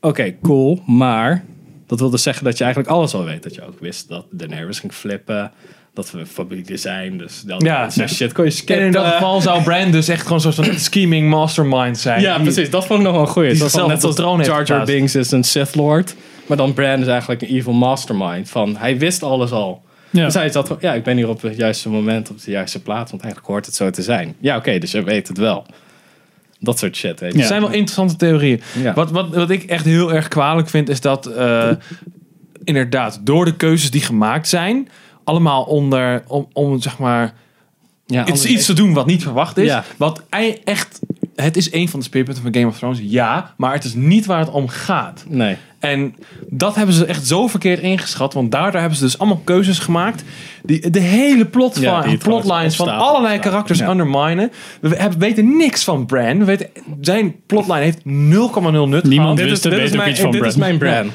Oké, cool, maar dat wil dus zeggen dat je eigenlijk alles al weet. Dat je ook wist dat Daenerys ging flippen. Dat we een familie zijn, dus dat Ja. dat soort shit kon je En scannen. in dat geval zou Brand dus echt gewoon zo'n soort scheming mastermind zijn. Ja, Die- precies. Dat vond ik nog wel een goeie. die Dat zichzelf van, net op de zoals troon heeft Jar Jar geplaatst. Binks is een Sith Lord. Maar dan Bran is eigenlijk een evil mastermind. Van, hij wist alles al. Ja. Dus hij zat gewoon, ja, ik ben hier op het juiste moment, op de juiste plaats. Want eigenlijk hoort het zo te zijn. Ja, oké, dus je weet het wel. Dat soort shit, weet je. Ja. Het zijn wel interessante theorieën. Ja. Wat, wat, wat ik echt heel erg kwalijk vind, is dat eh, inderdaad door de keuzes die gemaakt zijn, allemaal onder, om, om zeg maar, Ja, iets, anders- iets te doen wat niet verwacht is. Ja. Wat ei- echt, het is een van de speerpunten van Game of Thrones, ja, maar het is niet waar het om gaat. Nee. En dat hebben ze echt zo verkeerd ingeschat. Want daardoor hebben ze dus allemaal keuzes gemaakt. Die de hele plot Ja, van, die het gewoon plotlines opstapelen, van allerlei opstapelen. karakters Ja. underminen. We we hebben, weten niks van Bran. We weten, zijn plotline heeft 0,0 Niemand nut. gehad. Dit is, wist er dit is beter ook mijn, iets van dit is Bran. mijn Bran.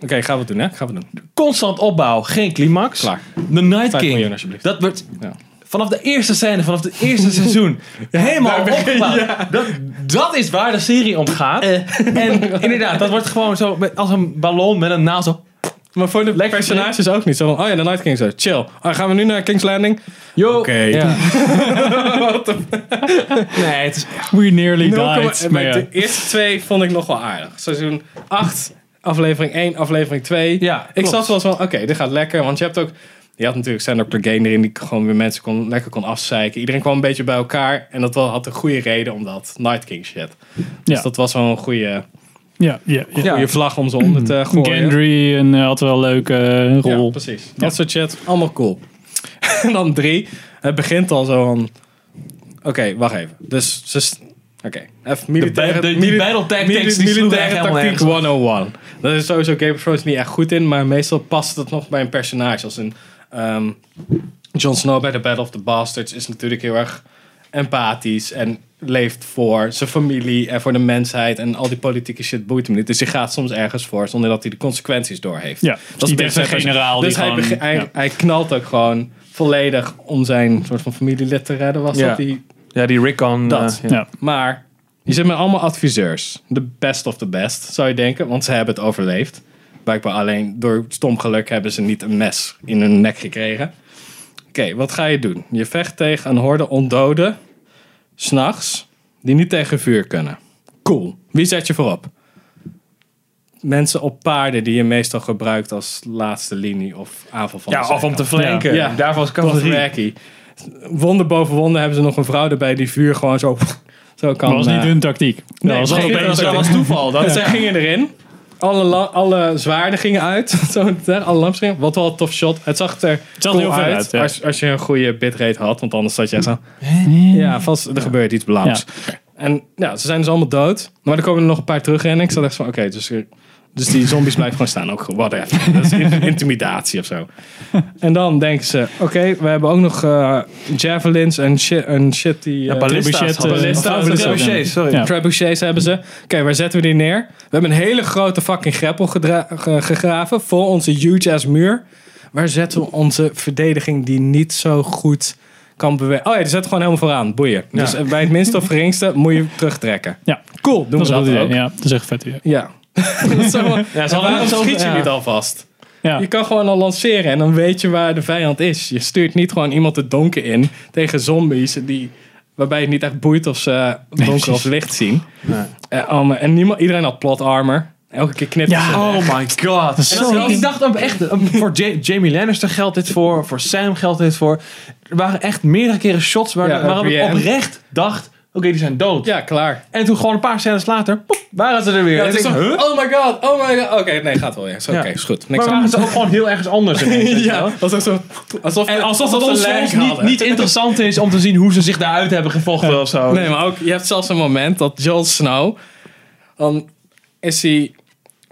Oké, gaan we het doen, hè? Gaan we het doen. Constant opbouw, geen climax. Klaar. The Night Vijf miljoen, King. alsjeblieft. Dat wordt Ja. vanaf de eerste scène, vanaf het eerste seizoen. Helemaal opgebouwd. Dat, dat is waar de serie om gaat. En inderdaad, dat wordt gewoon zo met- als een ballon met een naal zo. Maar voor de Lekker personages ook niet. Zo van, oh ja, de Night King zo, chill. Ah, gaan we nu naar King's Landing? Yo. Oké. Ja. nee, het is We nearly Nul komma- died. Maar ja. De eerste twee vond ik nog wel aardig. Seizoen 8, aflevering 1, aflevering 2. Ja, ik klopt. zat wel eens van, oké, dit gaat lekker. Want je hebt ook... Je had natuurlijk Sander Clegane erin die gewoon weer mensen kon, lekker kon afzeiken. Iedereen kwam een beetje bij elkaar. En dat wel, had een goede reden om dat. Night King shit. Dus Ja. dat was wel een goede, Ja, ja, ja. Ja. goede vlag om ze onder te gooien. Gendry en, eh, had wel een leuke eh, rol. Ja, precies. Dat Ja. soort shit. Allemaal cool. en dan drie. Het begint al zo van... Oké, wacht even. Dus ze... s- Oké, even militaire... de- die mili- battle tactics, mili- die sloegen echt militaire helemaal tactiek nergens op. 101. Daar is sowieso Game of Thrones niet echt goed in, maar meestal past het nog bij een personage. Als een... ehm, Jon Snow bij The Battle of the Bastards is natuurlijk heel erg empathisch en leeft voor zijn familie en voor de mensheid en al die politieke shit boeit hem niet. Dus hij gaat soms ergens voor zonder dat hij de consequenties door heeft. Ja, die een beste generaal Dus die hij, gewoon- bege- hij, ja. hij knalt ook gewoon volledig om zijn soort van familielid te redden was Ja. dat die Ja, die Rickon. dat. eh, ja. Ja. Maar Je zit met allemaal adviseurs. De best of the best, zou je denken, want ze hebben het overleefd. Blijkbaar alleen door stom geluk hebben ze niet een mes in hun nek gekregen. Oké, wat ga je doen? Je vecht tegen een horde ondoden, s'nachts, die niet tegen vuur kunnen. Cool. Wie zet je voorop? Mensen op paarden die je meestal gebruikt als laatste linie of aanval van Ja, de of om zijkant. te flanken. Ja. Daarvoor is cavalerie. Dothraki. Wonder boven wonder hebben ze nog een vrouw erbij die vuur gewoon zo, zo kan. Dat was niet eh, hun tactiek. Dat Nee, was dat opeens was- zo. dat was toeval. Dat Zij gingen erin. Alle, la- alle zwaarden gingen uit. Zo, hè, alle lamps gingen. Wat wel een tof shot. Het zag er zag cool heel vet uit. uit, ja. als, als je een goede bitrate had. Want anders zat je echt zo... Ja, vast, er gebeurt iets blauws. En ja, ze zijn dus allemaal dood. Maar er komen er nog een paar terug en ik zat echt van... Oké, dus, er- dus die zombies blijven gewoon staan. Ook whatever. Dat is in- intimidatie of zo. En dan denken ze... Oké, we hebben ook nog eh, javelins en shit, en shit die... eh, ballista's trebuchet, hadden ze. ballista's, Of trebuchets, trebuchets, sorry. Ja. Trebuchets hebben ze. Oké, waar zetten we die neer? We hebben een hele grote fucking greppel gedra- ge- gegraven voor onze huge ass muur. Waar zetten we onze verdediging die niet zo goed kan bewegen? Oh ja, die zet gewoon helemaal vooraan. Boeien. Dus eh, bij het minste of geringste moet je terugtrekken. Ja, Cool, doen dat is we een dat, goed idee. ook. Ja. Ja, dat is echt vet idee. Dat is allemaal- en waarom het over- schiet je ja. niet alvast? Ja. Je kan gewoon al lanceren en dan weet je waar de vijand is. Je stuurt niet gewoon iemand het donker in tegen zombies die, waarbij het niet echt boeit of ze donker of licht zien. Eh, allemaal- en niemand, iedereen had plot armor. Elke keer knipt Ja. ze. Oh my god. En dat- zo- Ik dacht ook echt, eh, voor Ja- Jamie Lannister geldt dit voor, voor Sam geldt dit voor. Er waren echt meerdere keren shots waar, Ja, waarop ik Brienne. oprecht dacht, oké, die zijn dood. Ja, klaar. En toen gewoon een paar scènes later, pop, waren ze er weer. Ja, En het is ik toch, dacht, huh? Oh my god, oh my god. Oké, nee, gaat wel. Ja. Zo, Oké, is goed. Niks Maar aan waren ze ook gewoon heel ergens anders ineens, weet je wel? Ja, alsof, zo, alsof, En alsof het ze ons lijk soms niet, hadden. niet interessant is om te zien hoe ze zich daaruit hebben gevochten of zo. Nee, maar ook, je hebt zelfs een moment dat Jon Snow, dan is hij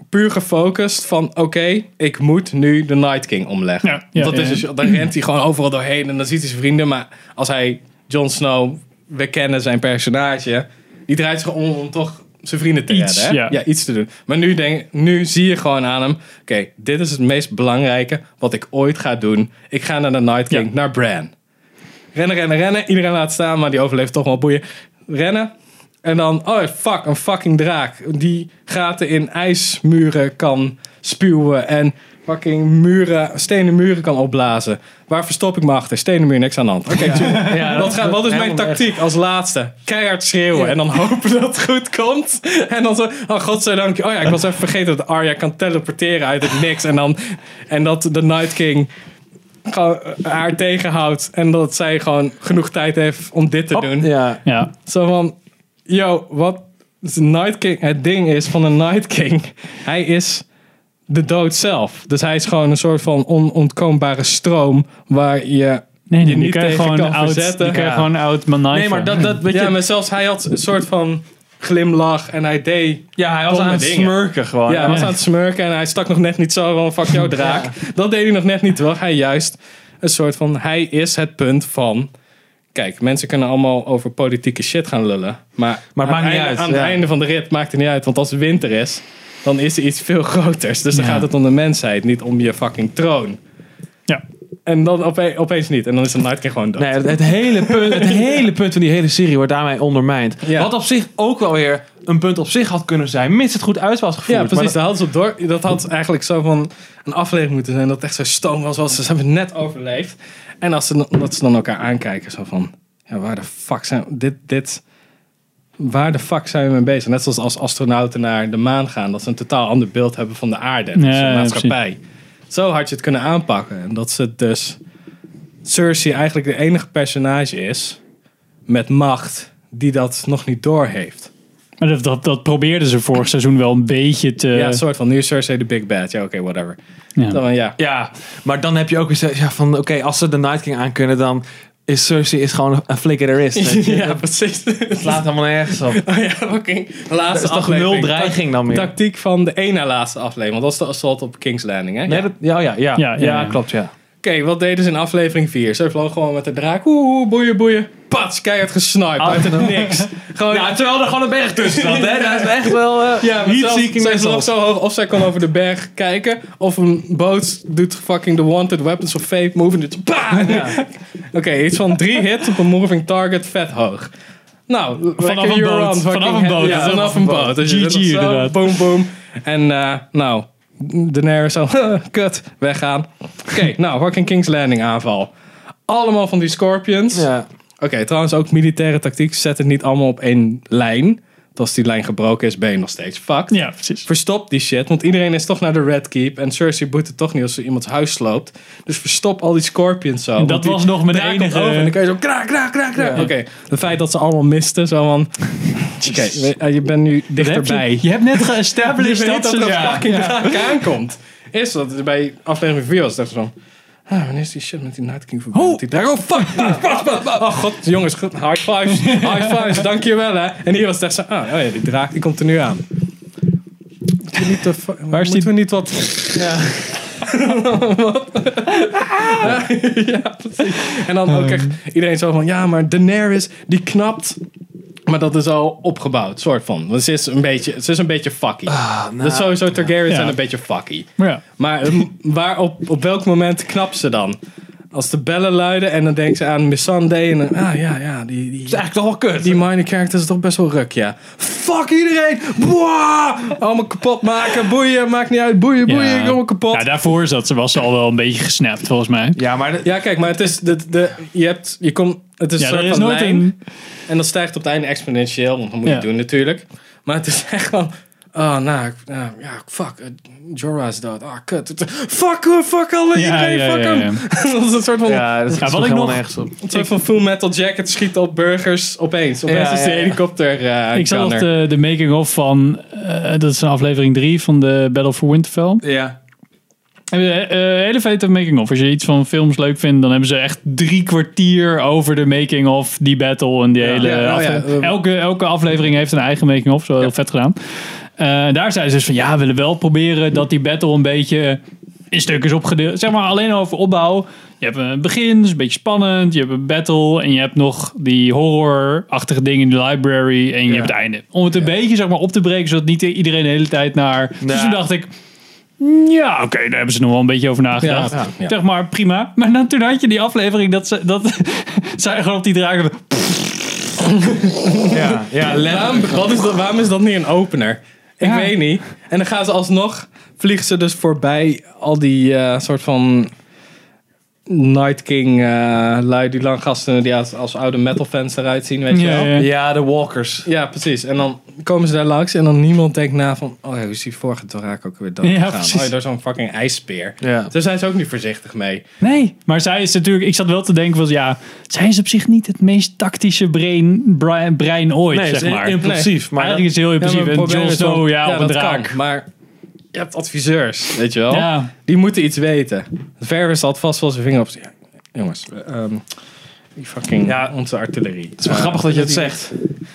puur gefocust van, oké, ik moet nu de Night King omleggen. Ja, ja, dat ja, is ja. dus- dan rent hij gewoon overal doorheen en dan ziet hij zijn vrienden, maar als hij Jon Snow, we kennen zijn personage, die draait zich om om toch zijn vrienden te Iets, redden. hè? ja. ja, iets te doen. Maar nu, denk, nu zie je gewoon aan hem, oké, dit is het meest belangrijke wat ik ooit ga doen. Ik ga naar de Night King, Ja. naar Bran. Rennen, rennen, rennen. Iedereen laat staan, maar die overleeft toch wel boeien. Rennen. En dan, oh fuck, een fucking draak. Die gaten in ijsmuren kan spuwen. En fucking muren, stenen muren kan opblazen. Waar verstop ik me achter? Stenen muur, niks aan de hand. Oké, dus chill. wat, ga- wat is mijn tactiek als laatste? Keihard schreeuwen en dan hopen dat het goed komt. En dan zo, oh godzijdank. Oh ja, ik was even vergeten dat Arya kan teleporteren uit het niks. En, dan, en dat de Night King gewoon haar tegenhoudt. En dat zij gewoon genoeg tijd heeft om dit te doen. Oh, Ja. Ja. Zo van, yo, wat is de Night King? Het ding is van de Night King. Hij is de dood zelf. Dus hij is gewoon een soort van onontkoombare stroom waar je Nee, je nee, die niet kan je tegen gewoon kan oud, verzetten. die kan je Ja. gewoon oud maniacal. Nee, maar dat, dat weet ja, je... maar zelfs hij had een soort van glimlach en hij deed... Ja, hij was domme aan het dingen. smurken gewoon. Ja, hij was aan het smurken en hij stak nog net niet zo van fuck jou draak. Dat deed hij nog net niet, terwijl hij juist een soort van... Hij is het punt van... Kijk, mensen kunnen allemaal over politieke shit gaan lullen. Maar, Maar het aan maakt niet einde- uit, Aan ja. het einde van de rit maakt het niet uit. Want als het winter is, dan is er iets veel groters. Dus dan Ja. gaat het om de mensheid, niet om je fucking troon. Ja. En dan ope- opeens niet. En dan is de Night King gewoon dood. Nee, het, het hele punt, het hele punt van die hele serie wordt daarmee ondermijnd. Ja. Wat op zich ook wel weer een punt op zich had kunnen zijn, mits het goed uit was gevoerd. Ja, precies. Maar dat- Dat had, ze op door, dat had eigenlijk zo van een aflevering moeten zijn. Dat het echt zo stoom was. was ze hebben het net overleefd. En als ze, dan- dat ze dan elkaar aankijken. Zo van, ja, waar de fuck zijn dit, dit... Waar de fuck zijn we mee bezig? Net zoals als astronauten naar de maan gaan. Dat ze een totaal ander beeld hebben van de aarde. en Ja, onze ja, maatschappij. zo had je het kunnen aanpakken. En dat ze dus... Cersei eigenlijk de enige personage is... Met macht die dat nog niet doorheeft. Maar dat, dat, dat probeerden ze vorig seizoen wel een beetje te... ja, een soort van, nu is Cersei de big bad. Ja, oké, whatever. Ja. Dan, ja. Eh, ja, maar dan heb je ook weer zoiets, ja, van, oké, als ze de Night King aankunnen, dan is Cersei is gewoon een flikker er is. weet je. Ja, precies. Het slaat helemaal nergens op. Oh ja, fucking Dat laatste is toch aflevering. nul dreiging dan meer? Tactiek van de ene laatste aflevering. Want dat is de assault op King's Landing, hè? Nee, Ja. dat, ja, ja, ja, Ja, ja, ja. klopt, ja. Oké, wat deden ze in aflevering 4? Ze vlogen gewoon met de draak. Oeh, oeh, boeien, boeien. Pats, keihard gesniped. Ah, Uit het niks. Gewoon, ja, terwijl er gewoon een berg tussen zat, hè. Dat is echt wel... eh, maar heat zelfs- seeking zij missiles. vloog zo hoog. Of zij kon over de berg kijken. Of een boot doet fucking de wanted weapons of fate move. En dit- bah! Oké, iets van drie hits op een moving target vet hoog. Nou, Vanaf lekker, een you're boot. on fucking Vanaf een boot. hell. Dat Ja, is vanaf een boot. Dus je GG doet dat zo, inderdaad. Boom, boom. En eh, nou, Daenerys zo, kut, weggaan. Oké, nou, fucking King's Landing aanval. Allemaal van die Scorpions. Ja. Oké, trouwens ook militaire tactiek. Zet het niet allemaal op één lijn. Want als die lijn gebroken is, ben je nog steeds fucked. Ja, precies. Verstop die shit, want iedereen is toch naar de Red Keep. En Cersei boet het toch niet als ze iemands huis sloopt. Dus verstop al die scorpions zo. want dat die was nog mijn draak komt enige- Over en dan kan je zo kraak, kraak, kraak, kraak. Oké, het feit dat ze allemaal misten, zo van... Oké, we- eh, je bent nu dichterbij. Je, je hebt net Je geestablished weet dat dat ze... er een Ja, fucking draak aankomt. Is dat het bij aflevering 4 was, dacht ik van... Ah, wanneer is die shit met die Night King voorbij? Met Die draak, oh fuck! fuck, fuck, fuck, fuck. Oh god, jongens, goed, high fives, high fives, dankjewel hè. En hier was het echt zo, ah, oh ja, die draak, die komt er nu aan. Moeten we niet, te fu- is die- moeten we niet wat... Ja. Wat? ja, precies. En dan ook echt iedereen zo van, ja, maar Daenerys, die knapt. Maar dat is al opgebouwd, soort van. Want ze is een beetje, ze is een beetje fucky. Dat is sowieso Targaryen zijn Ja. een beetje fucky. ja. Maar ehm, waar, op, op welk moment knapt ze dan? Als de bellen luiden en dan denkt ze aan Missandei en dan, ah ja, ja, die, die, is eigenlijk toch wel kut. die minor character is toch best wel ruk, ja. Fuck iedereen! Boah! Allemaal kapot maken, boeien, maakt niet uit, boeien, boeien, ik Ja. ben allemaal kapot. Ja, daarvoor zat ze, was ze al wel een beetje gesnapt, volgens mij. Ja, maar de- Ja, kijk, maar het is. De, de, je hebt. Je komt. Het is Ja, een soort er is van nooit lijn. een- En dat stijgt op het einde exponentieel, want dat moet Ja. je doen natuurlijk. Maar het is echt van. Oh, nou, ik- nou, ja, fuck. eh, Jorah is dood. Ah, kut. Fuck, eh, fuck Ja, alle iedereen, ja, fuck ja, hem. dat is een soort van, ja, dat is wat nog ik helemaal nog- nergens op. een soort van full metal jacket schiet op burgers opeens. Opeens Ja, is de ja, ja. helikopter eh Ik zat nog gunner. de, de making-of van... eh, dat is een aflevering 3 van de Battle for Winterfell. Ja. Hebben ze, eh, hele vette making-of. Als je iets van films leuk vindt, dan hebben ze echt drie kwartier over de making-of, die battle en die hele... Ja, oh ja, aflevering. eh, elke, elke aflevering heeft een eigen making-of, zo heel vet gedaan. Eh, daar zijn ze dus van, ja, we willen wel proberen dat die battle een beetje in stuk is opgedeeld. Zeg maar alleen over opbouw. Je hebt een begin, dus een beetje spannend. Je hebt een battle en je hebt nog die horrorachtige dingen in de library. En je hebt het einde. Om het een beetje zeg maar, op te breken, zodat niet iedereen de hele tijd naar... Dus Nou. toen dacht ik, ja, oké, daar hebben ze nog wel een beetje over nagedacht. Ja, ja. Zeg maar, prima. Maar dan, toen had je die aflevering dat, ze, dat zij gewoon op die draken... Ja, ja, Waarom, wat is dat, waarom is dat niet een opener? Ik Ja. weet niet. En dan gaan ze alsnog, vliegen ze dus voorbij al die eh, soort van Night King eh, lui, die lang gasten die als, als oude metal fans eruit zien, weet je Ja, wel. ja. Ja. ja, de walkers. precies. En dan komen ze daar langs en dan niemand denkt na van, oh ja, hoe is die vorige Dorak ook weer dood Ja, gegaan? precies. Oh ja, door zo'n fucking ijsspeer. Ja. Daar zijn ze ook niet voorzichtig mee. Nee. Maar zij is natuurlijk... Ik zat wel te denken van, ja... Zij is op zich niet het meest tactische brein, brein, brein ooit, Nee, ze zeg is maar. impulsief. Maar Eigenlijk is het heel Ja, maar impulsief. en proberen Jon is wel- Snow, ja, op een dat draak. kan, maar je hebt adviseurs, weet je wel. Ja. Die moeten iets weten. Verwers had vast wel zijn vinger op. Ja, jongens, ehm, die fucking Ja. onze artillerie. Het is wel grappig dat je het zegt.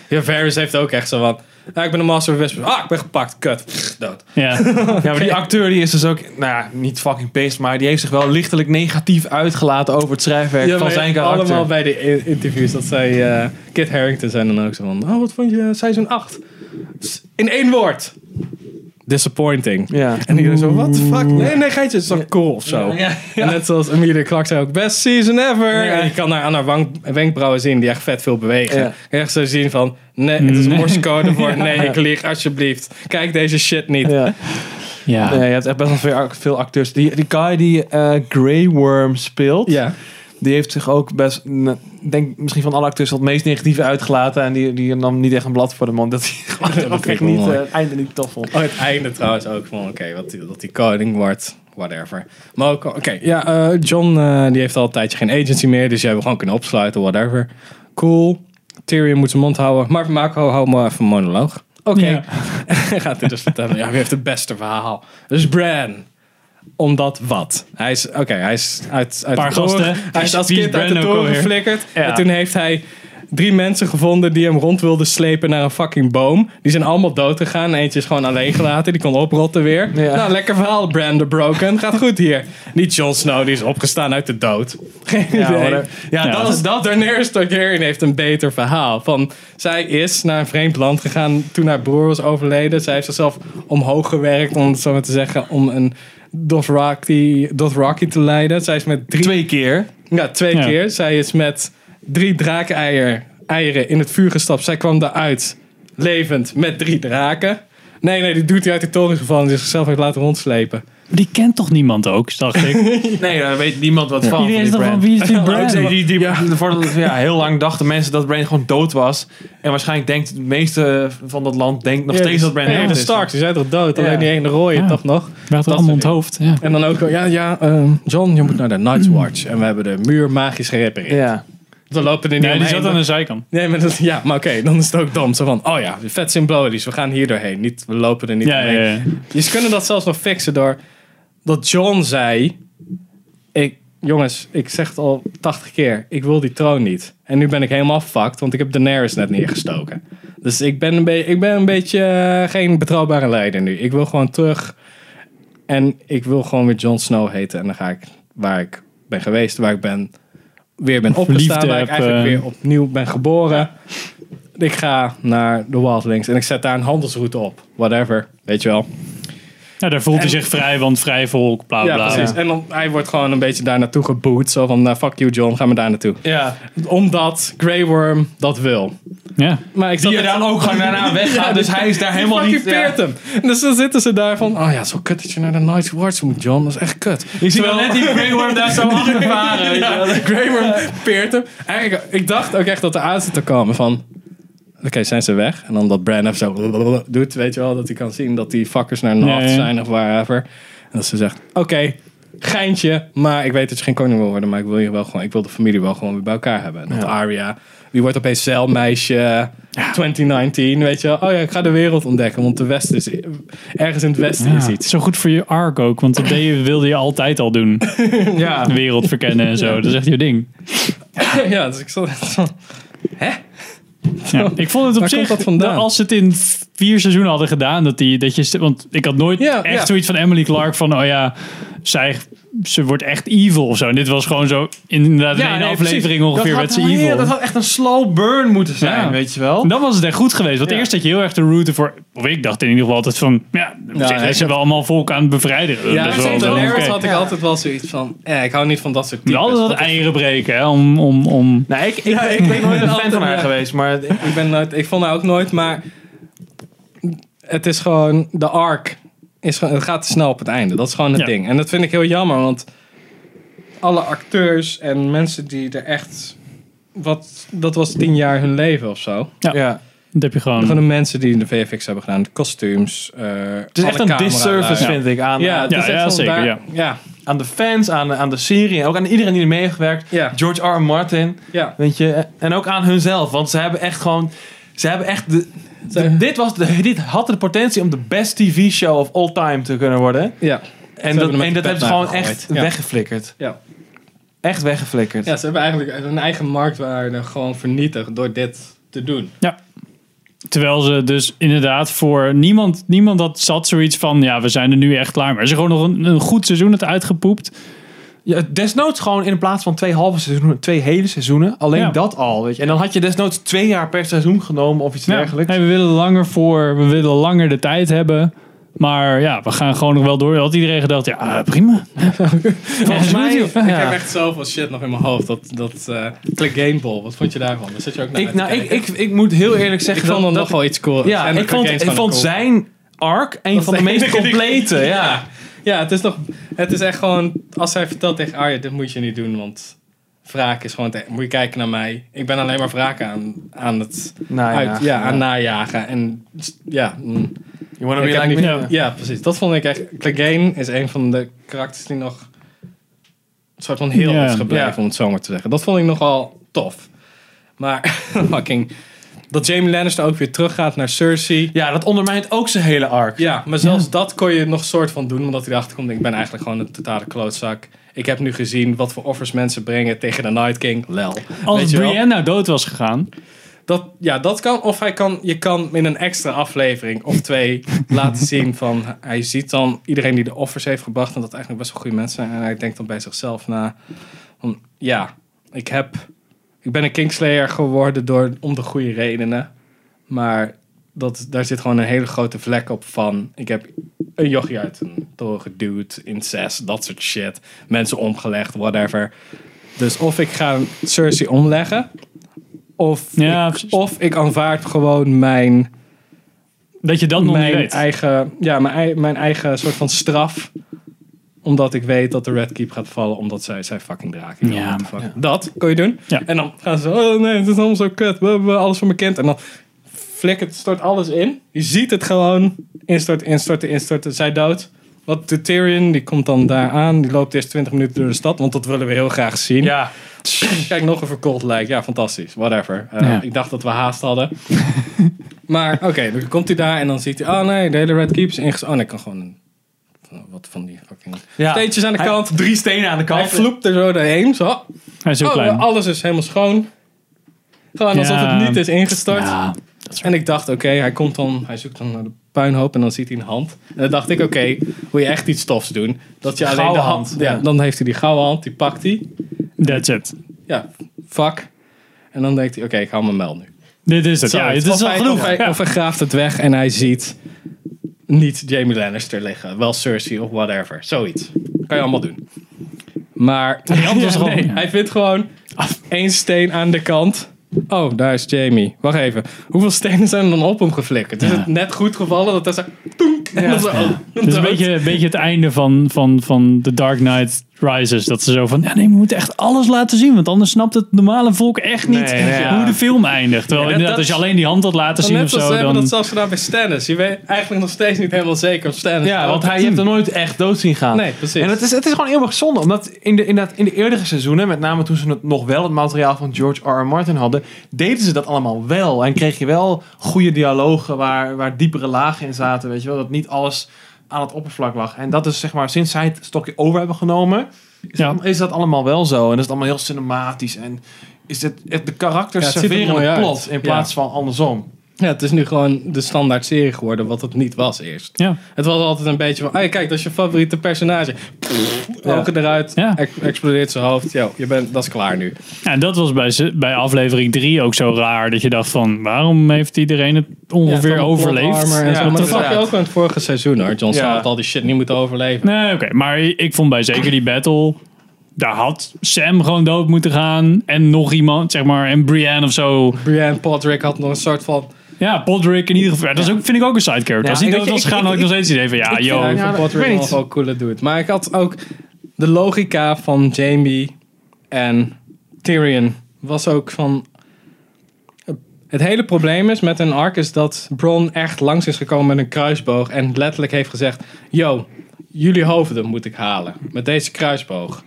Ja, Varys heeft ook echt zo van. Ja, ik ben een master of Westbrook. Ah, ik ben gepakt. Kut. Pff, Dood. Ja. Ja, maar die acteur die is dus ook, nou ja, niet fucking pissed, maar die heeft zich wel lichtelijk negatief uitgelaten over het schrijfwerk van zijn karakter. Allemaal bij de i- interviews dat zij eh, Kit Harington zijn dan ook zo van. Oh, wat vond je seizoen 8? In één woord. Disappointing. Ja. En iedereen zo, what the fuck? Nee, nee, geitje, het is toch cool of zo. En Net zoals Amelia Clark zei ook, best season ever. Ja. En je kan haar aan haar wang- wenkbrauwen zien, die echt vet veel bewegen. Ja. Echt zo zien van, nee, het is morsecode voor, nee, ik lieg, alsjeblieft. Kijk deze shit niet. Ja. ja. Nee, je hebt echt best wel veel, act- veel acteurs. Die, die guy die eh Grey Worm speelt, Ja. die heeft zich ook best, n- denk misschien van alle acteurs, wel het meest negatief uitgelaten. En die, die nam niet echt een blad voor de mond. Dat hij vind gewoon ook ik echt wel niet, mooi. eh, het einde niet tof vond. Oh, het einde trouwens ook van, oké, wat die- dat die koning wordt, whatever. Maar ook, oké, ja, eh, John eh, die heeft al een tijdje geen agency meer, dus jij wil gewoon kunnen opsluiten, whatever. Cool. Tyrion moet zijn mond houden, maar Marco, hou maar even een monoloog. Oké. Ja. Hij gaat dit dus vertellen. Ja, wie heeft het beste verhaal? Dus Bran. Omdat wat? Hij is, oké, hij is uit, uit Paar de toren- gasten. Hij is als Wie is kind uit de Bran ook toren alweer? geflikkerd. Ja. En toen heeft hij drie mensen gevonden die hem rond wilden slepen naar een fucking boom. Die zijn allemaal dood gegaan. Eentje is gewoon alleen gelaten. Die kon oprotten weer. Ja. Nou, lekker verhaal, Bran the Broken. Gaat goed hier. Niet Jon Snow, die is opgestaan uit de dood. Geen Ja, idee. whatever. Ja, Ja. dat is dat. Daenerys Targaryen heeft een beter verhaal. Van, zij is naar een vreemd land gegaan toen haar broer was overleden. Zij heeft zichzelf omhoog gewerkt, om het zo maar te zeggen, om een Dothraki, Dothraki te leiden. Zij is met drie... Twee keer. Ja, twee Ja. keer. Zij is met drie draakeier eieren in het vuur gestapt. Zij kwam daaruit levend met drie draken. Nee, nee, die doet hij uit de toren is gevallen en die zichzelf heeft laten rondslepen. Die kent toch niemand ook, dacht ik. Nee, daar weet niemand wat van. Iedereen is van die toch van brand. wie is die Ook brand? die- die- die- voor- ja, heel lang dachten mensen dat Brand gewoon dood was. En waarschijnlijk denkt het meeste van dat land denkt nog steeds dat Brand Nee, dood de is. Starks, die zijn toch dood? Ja. Alleen die ene rode, Ja. toch nog? Werd Dat allemaal soort onthoofd. Ja. En dan ook, ja, ja, ehm, John, je moet naar de Night's Hmm. Watch. En we hebben de muur magisch gerepareerd. Ja. Dan lopen er niet Nee, die omheen, zat aan de zijkant. Nee, maar dat, ja, maar oké, dan is het ook dom. Zo van, oh ja, vet symbolisch, we gaan hier doorheen. Niet, we lopen er niet Ja, omheen. ja, ja. Je kunnen dat zelfs nog fixen door dat John zei: ik, Jongens, ik zeg het al 80 keer, ik wil die troon niet. En nu ben ik helemaal fucked, want ik heb Daenerys net neergestoken. Dus ik ben een, be- ik ben een beetje eh, geen betrouwbare leider nu. Ik wil gewoon terug. En ik wil gewoon weer Jon Snow heten. En dan ga ik waar ik ben geweest, waar ik ben, weer ben opgestaan. Verliefd Waar ik heb, eigenlijk eh. weer opnieuw ben geboren. Ik ga naar de Wildlings en ik zet daar een handelsroute op. Whatever, weet je wel. Ja, daar voelt hij zich vrij, want vrij volk, bla Ja, bla. precies. En dan, hij wordt gewoon een beetje daar naartoe geboet. Zo van, nou, fuck you John, ga maar daar naartoe. Ja. Omdat Grey Worm dat wil. Ja. Maar ik Die zat er echt- dan ook gewoon daarna weggaat. dus hij is daar helemaal fucking niet... ja. peert hem. Dus dan zitten ze daar van, oh ja, zo kut dat je naar de Night's Watch moet, John. Dat is echt kut. Ik zie wel net die Grey Worm daar zo achter varen. weet je wel. Grey Worm peert hem. Eigenlijk, ik dacht ook echt dat er aan zit te komen van... Oké, zijn ze weg? En dan dat Bran even zo doet, weet je wel. Dat hij kan zien dat die fuckers naar North Ja, ja. zijn of wherever. En dat ze zegt, oké, geintje. Maar ik weet dat je geen koning wil worden. Maar ik wil, je wel gewoon, ik wil de familie wel gewoon weer bij elkaar hebben. En dat Arya, die wordt opeens zeilmeisje 2019, weet je wel. Oh ja, ik ga de wereld ontdekken. Want de West is, ergens in het Westen is Ja. iets. Zo goed voor je arc ook, want dat deed je- wilde je altijd al doen. Ja. De wereld verkennen en zo, dat is echt je ding. ja, dus ik zat echt zo... Ja, ik vond het op Waar zich, komt dat vandaan? als ze het in vier seizoenen hadden gedaan, dat, die, dat je, st- want ik had nooit Ja, echt ja. zoiets van Emily Clark van, oh ja, zij, ze wordt echt evil of zo. En dit was gewoon zo, inderdaad, in één nee, aflevering precies. ongeveer Dat werd ze had- evil. ja, dat had echt een slow burn moeten zijn, Ja. weet je wel. En dan was het echt goed geweest. Want Ja. eerst dat je heel erg de route voor, of ik dacht in ieder geval altijd van, ja, op zich nee, is ze wel allemaal volk aan het bevrijden. Ja, dat maar is wel zo'n wel Daenerys oké. had ik altijd wel zoiets van... Eh, ik hou niet van dat soort Je types. had altijd wat Dat is- eieren breken, hè, om, om, om... Nou, ik, ik, ik ben nooit een fan van haar Ja. geweest, maar... ik, ben nooit, ik vond haar ook nooit, maar... Het is gewoon... De arc is gewoon... Het gaat te snel op het einde. Dat is gewoon het Ja. ding. En dat vind ik heel jammer, want... Alle acteurs en mensen die er echt... Wat, dat was tien jaar hun leven of zo. Ja. Dat heb je gewoon... Gewoon de mensen die de VFX hebben gedaan. De kostuums. eh, Het is alle echt een cameralui. disservice, vind ik, aan, Ja, aan- het is Ja, echt ja, van zeker, daar- ja. ja. aan de fans, aan, aan de serie en ook aan iedereen die er mee heeft gewerkt. Ja. George R. R. Martin, ja. weet je. En ook aan hunzelf, want ze hebben echt gewoon... Ze hebben echt... De, de- dit, was de, dit had de potentie om de best tv-show of all time te kunnen worden. ja. En Ze dat, hebben hem en met dat de hebben ze pet gewoon nagegooid. echt Ja. weggeflikkerd. Ja. Echt weggeflikkerd. Ja, ze hebben eigenlijk hun eigen marktwaarde gewoon vernietigd door dit te doen. Ja. Terwijl ze dus inderdaad voor niemand, niemand dat zat zoiets van, ja, we zijn er nu echt klaar. Maar ze hebben gewoon nog een, een goed seizoen het uitgepoept. Ja, desnoods gewoon in plaats van twee halve seizoenen, twee hele seizoenen. Alleen Ja. dat al. Weet je. En dan had je desnoods twee jaar per seizoen genomen of iets Ja. dergelijks. Hey, we willen langer voor, we willen langer de tijd hebben. Maar ja, we gaan gewoon nog wel door. Had iedereen gedacht, ja, ah, prima. Volgens Ja, mij, dat ik moet je- ja. heb echt zoveel shit nog in mijn hoofd. Dat, dat eh Click Game Ball, wat vond je daarvan? Daar zit je ook naar Ik, uit te nou, ik, kijken. ik, ik moet heel eerlijk zeggen. Ik vond dat- hem dat nog wel iets cool. Ja, ik vond, ik vond zijn arc een is van de de meest enige die- complete. Ja. Ja. ja, het is nog... Het is echt gewoon... Als hij vertelt tegen Arya, dit moet je niet doen, want... Wraak is gewoon... te- moet je kijken naar mij. Ik ben alleen maar wraak aan, aan het... Najagen, uit, ja, aan Nou Ah, ja. najagen. En ja... mm. You wanna Ik be heb like niet- me? ja, precies. Dat vond ik echt. Clegane is een van de karakters die nog een soort van heel Ja. is gebleven, Ja. om het zo maar te zeggen. Dat vond ik nogal tof. Maar fucking dat Jamie Lannister ook weer teruggaat naar Cersei. Ja, dat ondermijnt ook zijn hele arc. Ja, maar zelfs dat kon je nog soort van doen, omdat hij erachter komt: ik ben eigenlijk gewoon een totale klootzak. Ik heb nu gezien wat voor offers mensen brengen tegen de Night King. Lel. Als Weet je wel? Brienne nou dood was gegaan. Dat, ja, dat kan. Of hij kan, je kan in een extra aflevering of twee laten zien van... Hij ziet dan iedereen die de offers heeft gebracht... en dat eigenlijk best wel goede mensen zijn. En hij denkt dan bij zichzelf na... Van, ja, ik, heb, ik ben een Kingslayer geworden door, om de goede redenen. Maar dat, daar zit gewoon een hele grote vlek op van... Ik heb een jochie uit een toren geduwd, incest, dat soort shit. Mensen omgelegd, whatever. Dus of ik ga Cersei omleggen... Of, Ja, ik, precies. of ik aanvaard gewoon mijn, Dat je dat nog niet mijn, weet. eigen, ja, mijn, ei- mijn eigen soort van straf. Omdat ik weet dat de Red Keep gaat vallen. Omdat zij zijn fucking draak. Ja, Dat kun je doen. Ja. En dan gaan ze. Oh nee, het is allemaal zo kut. We hebben alles voor me kent. En dan flikkert, stort alles in. Je ziet het gewoon. Instorten, instorten, instorten. Zij dood. Wat de Tyrion, die komt dan daar aan. Die loopt eerst 20 minuten door de stad. Want dat willen we heel graag zien. Ja. Kijk, nog een verkold lijk. Ja, fantastisch. Whatever. Uh, Ja. Ik dacht dat we haast hadden. maar oké, dan komt hij daar en dan ziet hij... Oh nee, de hele Red Keep is inges... Oh nee, ik kan gewoon... Een, van- wat van die fucking... Ja. Steentjes aan de Hij- kant. Drie stenen aan de Hij kant. vloept er zo doorheen. Zo. Hij is heel Oh, klein. alles is helemaal schoon. Gewoon alsof Ja. het niet is ingestort. Ja, En ik dacht, oké, hij komt dan... Hij zoekt dan naar de puinhoop en dan ziet hij een hand. En dan dacht ik, oké, wil je echt iets tofs doen? Dat je alleen de Gouden hand... hand, Ja, ja. dan heeft hij die gouden hand, die pakt hij that's it. ja, fuck. En dan denkt hij, oké, ik hou mijn mel nu. Dit is het. Zo, ja, dit of is al hij- genoeg. Of hij, Ja. of hij graaft het weg en hij ziet niet Jamie Lannister liggen. Wel Cersei of whatever. Zoiets. Kan je allemaal doen. Maar hand was er al. nee, hij vindt gewoon één steen aan de kant. Oh, daar is Jamie. Wacht even. Hoeveel stenen zijn er dan op hem geflikkerd? Is Ja. het net goed gevallen dat hij zo... toenk, en dan zo oh, Dit is een dood. beetje, een beetje het einde van, van, van The Dark Knight Rises. Dat ze zo van, ja nee, we moeten echt alles laten zien. Want anders snapt het normale volk echt niet Nee, nee, ja. hoe de film eindigt. Terwijl Ja, dat- inderdaad, als je dat- alleen die hand had laten zien of Net als ze zo, hebben dan... dat zelfs gedaan bij Stannis. Je weet eigenlijk nog steeds niet helemaal zeker of Stannis... Ja, dood want is. hij, je hebt hem nooit echt dood zien gaan. Nee, precies. En het is, het is gewoon eeuwig zonde. Omdat in de, in, dat, in de eerdere seizoenen, met name toen ze het nog wel het materiaal van George R. R. Martin hadden, deden ze dat allemaal wel. En kreeg je wel goede dialogen waar, waar diepere lagen in zaten. Weet je wel, dat niet alles aan het oppervlak lag. En dat is zeg maar, sinds zij het stokje over hebben genomen, is, Ja. is dat allemaal wel zo. En is het allemaal heel cinematisch. En is het, het- de karakters Ja, het ziet er serveren mooi het uit. plot in Ja. plaats van andersom. Ja, het is nu gewoon de standaard serie geworden, wat het niet was eerst. Ja. Het was altijd een beetje van, hey, kijk, dat is je favoriete personage. Pff, Ogen eruit, Ja. ex- explodeert zijn hoofd. Yo, je bent, dat is klaar nu. Ja, en dat was bij, ze- bij aflevering 3 ook zo raar. Dat je dacht van, waarom heeft iedereen het ongeveer Ja, van plot overleefd? armor en Ja, zo. Maar dat inderdaad. zag je ook in het vorige seizoen, hoor. John Snow Ja. had al die shit niet moeten overleven. Nee, oké. Maar ik vond bij zeker die battle... Daar had Sam gewoon dood moeten gaan. En nog iemand, zeg maar. En Brienne of zo. Brienne Podrick had nog een soort van... Ja, Podrick in ieder geval. Ja, dat is ook, vind ik ook een side character. Ja, Als die ik- dood was ik- gegaan, ik- had ik nog steeds het idee van... Ja, Ja, yo. ik ja, vind dat- ik Podrick weet nog niet. wel cooler doet. Maar ik had ook de logica van Jamie en Tyrion was ook van... Het hele probleem is met een arc is dat Bron echt langs is gekomen met een kruisboog en letterlijk heeft gezegd... Yo, jullie hoofden moet ik halen met deze kruisboog.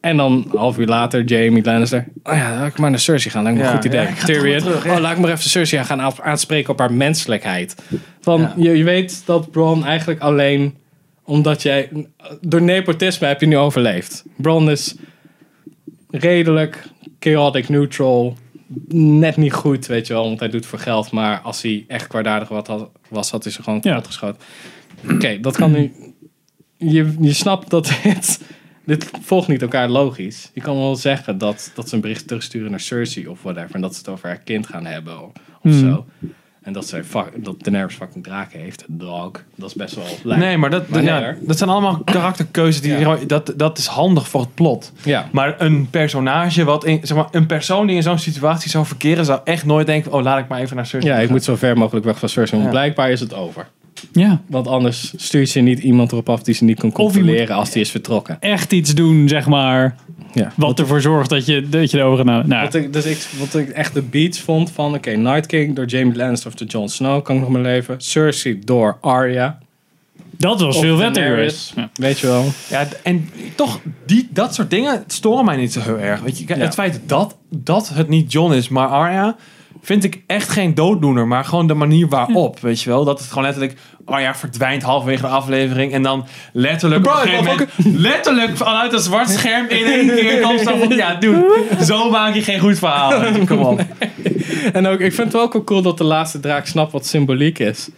En dan een half uur later, Jamie Lannister. Oh ja, laat ik maar naar Cersei gaan. Lijkt me een Ja, goed idee. ja, ik ga toch Tyrion. wel terug, ja. oh, laat ik maar even Cersei gaan aans- aanspreken op haar menselijkheid. Van, Ja. je, je weet dat Bron eigenlijk alleen omdat jij... Door nepotisme heb je nu overleefd. Bron is redelijk chaotic neutral. Net niet goed, weet je wel. Want hij doet voor geld. Maar als hij echt kwaadaardig wat had, was, had hij ze gewoon Ja. kapot geschoten. Oké, dat kan nu... Je, je snapt dat dit... Dit volgt niet elkaar logisch. Je kan wel zeggen dat, dat ze een bericht terugsturen naar Cersei of whatever. En dat ze het over haar kind gaan hebben of Hmm. zo. En dat, zij fuck, dat Daenerys fucking draken heeft. Dog. Dat is best wel... lijp. Nee, maar dat, Maar ja, nee, hoor. dat zijn allemaal karakterkeuzes die Ja. gewoon- dat, dat is handig voor het plot. Ja. Maar een personage wat in, zeg maar, een persoon die in zo'n situatie zou verkeren, zou echt nooit denken: oh, laat ik maar even naar Cersei. Ja, gaan. ik moet zo ver mogelijk weg van Cersei. Want Ja. blijkbaar is het over. Ja, Want anders stuurt ze niet iemand erop af die ze niet kan je moet- controleren als die is vertrokken. echt iets doen, zeg maar. Ja. Wat ervoor zorgt dat je, dat je erover gaat... Nou, nou, Wat ik, dus ik, wat ik echt de beats vond van... Oké, Night King door Jamie Lannister of door Jon Snow kan ik nog mijn leven. Cersei door Arya. dat was Of veel Daenerys. vetter. Ja. Weet je wel. Ja, d- en toch, die, dat soort dingen storen mij niet zo heel erg. Weet je, kijk, Ja. Het feit dat, dat het niet John is, maar Arya, vind ik echt geen dooddoener. Maar gewoon de manier waarop, Hm. weet je wel. Dat het gewoon letterlijk, Arya verdwijnt halverwege de aflevering. En dan letterlijk, op een gegeven moment, letterlijk vanuit een zwart scherm in één keer komt. zo van, ja, dude, zo maak je geen goed verhaal. Weet je, Kom op. En ook, ik vind het wel ook wel cool dat de laatste draak snapt wat symboliek is.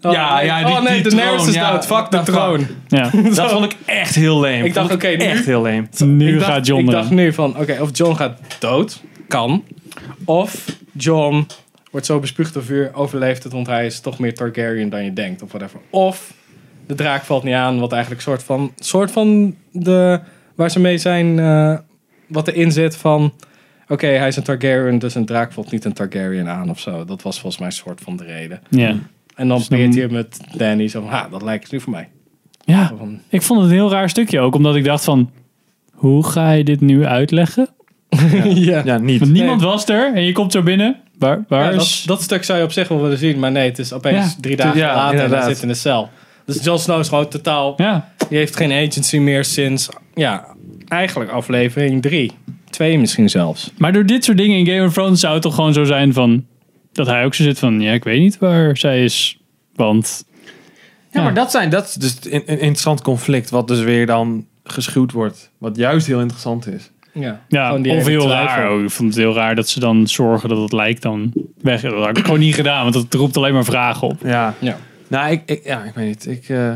Oh, Ja, nee, ja, die- oh nee, die de Daenerys troon, is ja. dood. Fuck de Dat- troon. Ja. Dat vond ik echt heel lame. Ik dacht, Vond oké, nu- echt heel lame. Nu ik dacht, gaat John eh, Ik eraan. dacht nu van, oké, of John gaat dood. Kan. Of John wordt zo bespuugd door vuur, overleeft het, want hij is toch meer Targaryen dan je denkt, of whatever. Of de draak valt niet aan, wat eigenlijk soort van, soort van de, waar ze mee zijn, eh, wat erin zit van, oké, hij is een Targaryen, dus een draak valt niet een Targaryen aan of zo. Dat was volgens mij een soort van de reden. Ja. En dan Dus dan- probeert hij met Danny zo van, ha, dat lijkt nu voor mij. ja, Van- ik vond het een heel raar stukje ook, omdat ik dacht van, hoe ga je dit nu uitleggen? ja. Ja, niet. Want niemand was er en je komt zo binnen. Waar, waar Ja, dat, is... dat stuk zou je op zich wel willen zien, maar nee, het is opeens Ja. drie dagen Ja, later en hij inderdaad. zit in de cel. Dus Jon Snow is gewoon totaal, ja. die heeft geen agency meer sinds, ja, eigenlijk aflevering drie. Twee misschien zelfs. Maar door dit soort dingen in Game of Thrones zou het toch gewoon zo zijn van... Dat hij ook zo zit van, ja, ik weet niet waar zij is. Want, Ja, maar dat, zijn, dat is dus een, een interessant conflict, wat dus weer dan geschuwd wordt. Wat juist heel interessant is. Ja, ja, Gewoon die of hele heel twijfel. raar. ook. Ik vond het heel raar dat ze dan zorgen dat het lijkt dan weg. Dat had ik gewoon niet gedaan, want dat roept alleen maar vragen op. Ja. Ja. Nou, ik, ik, ja, ik weet niet. Ik, eh,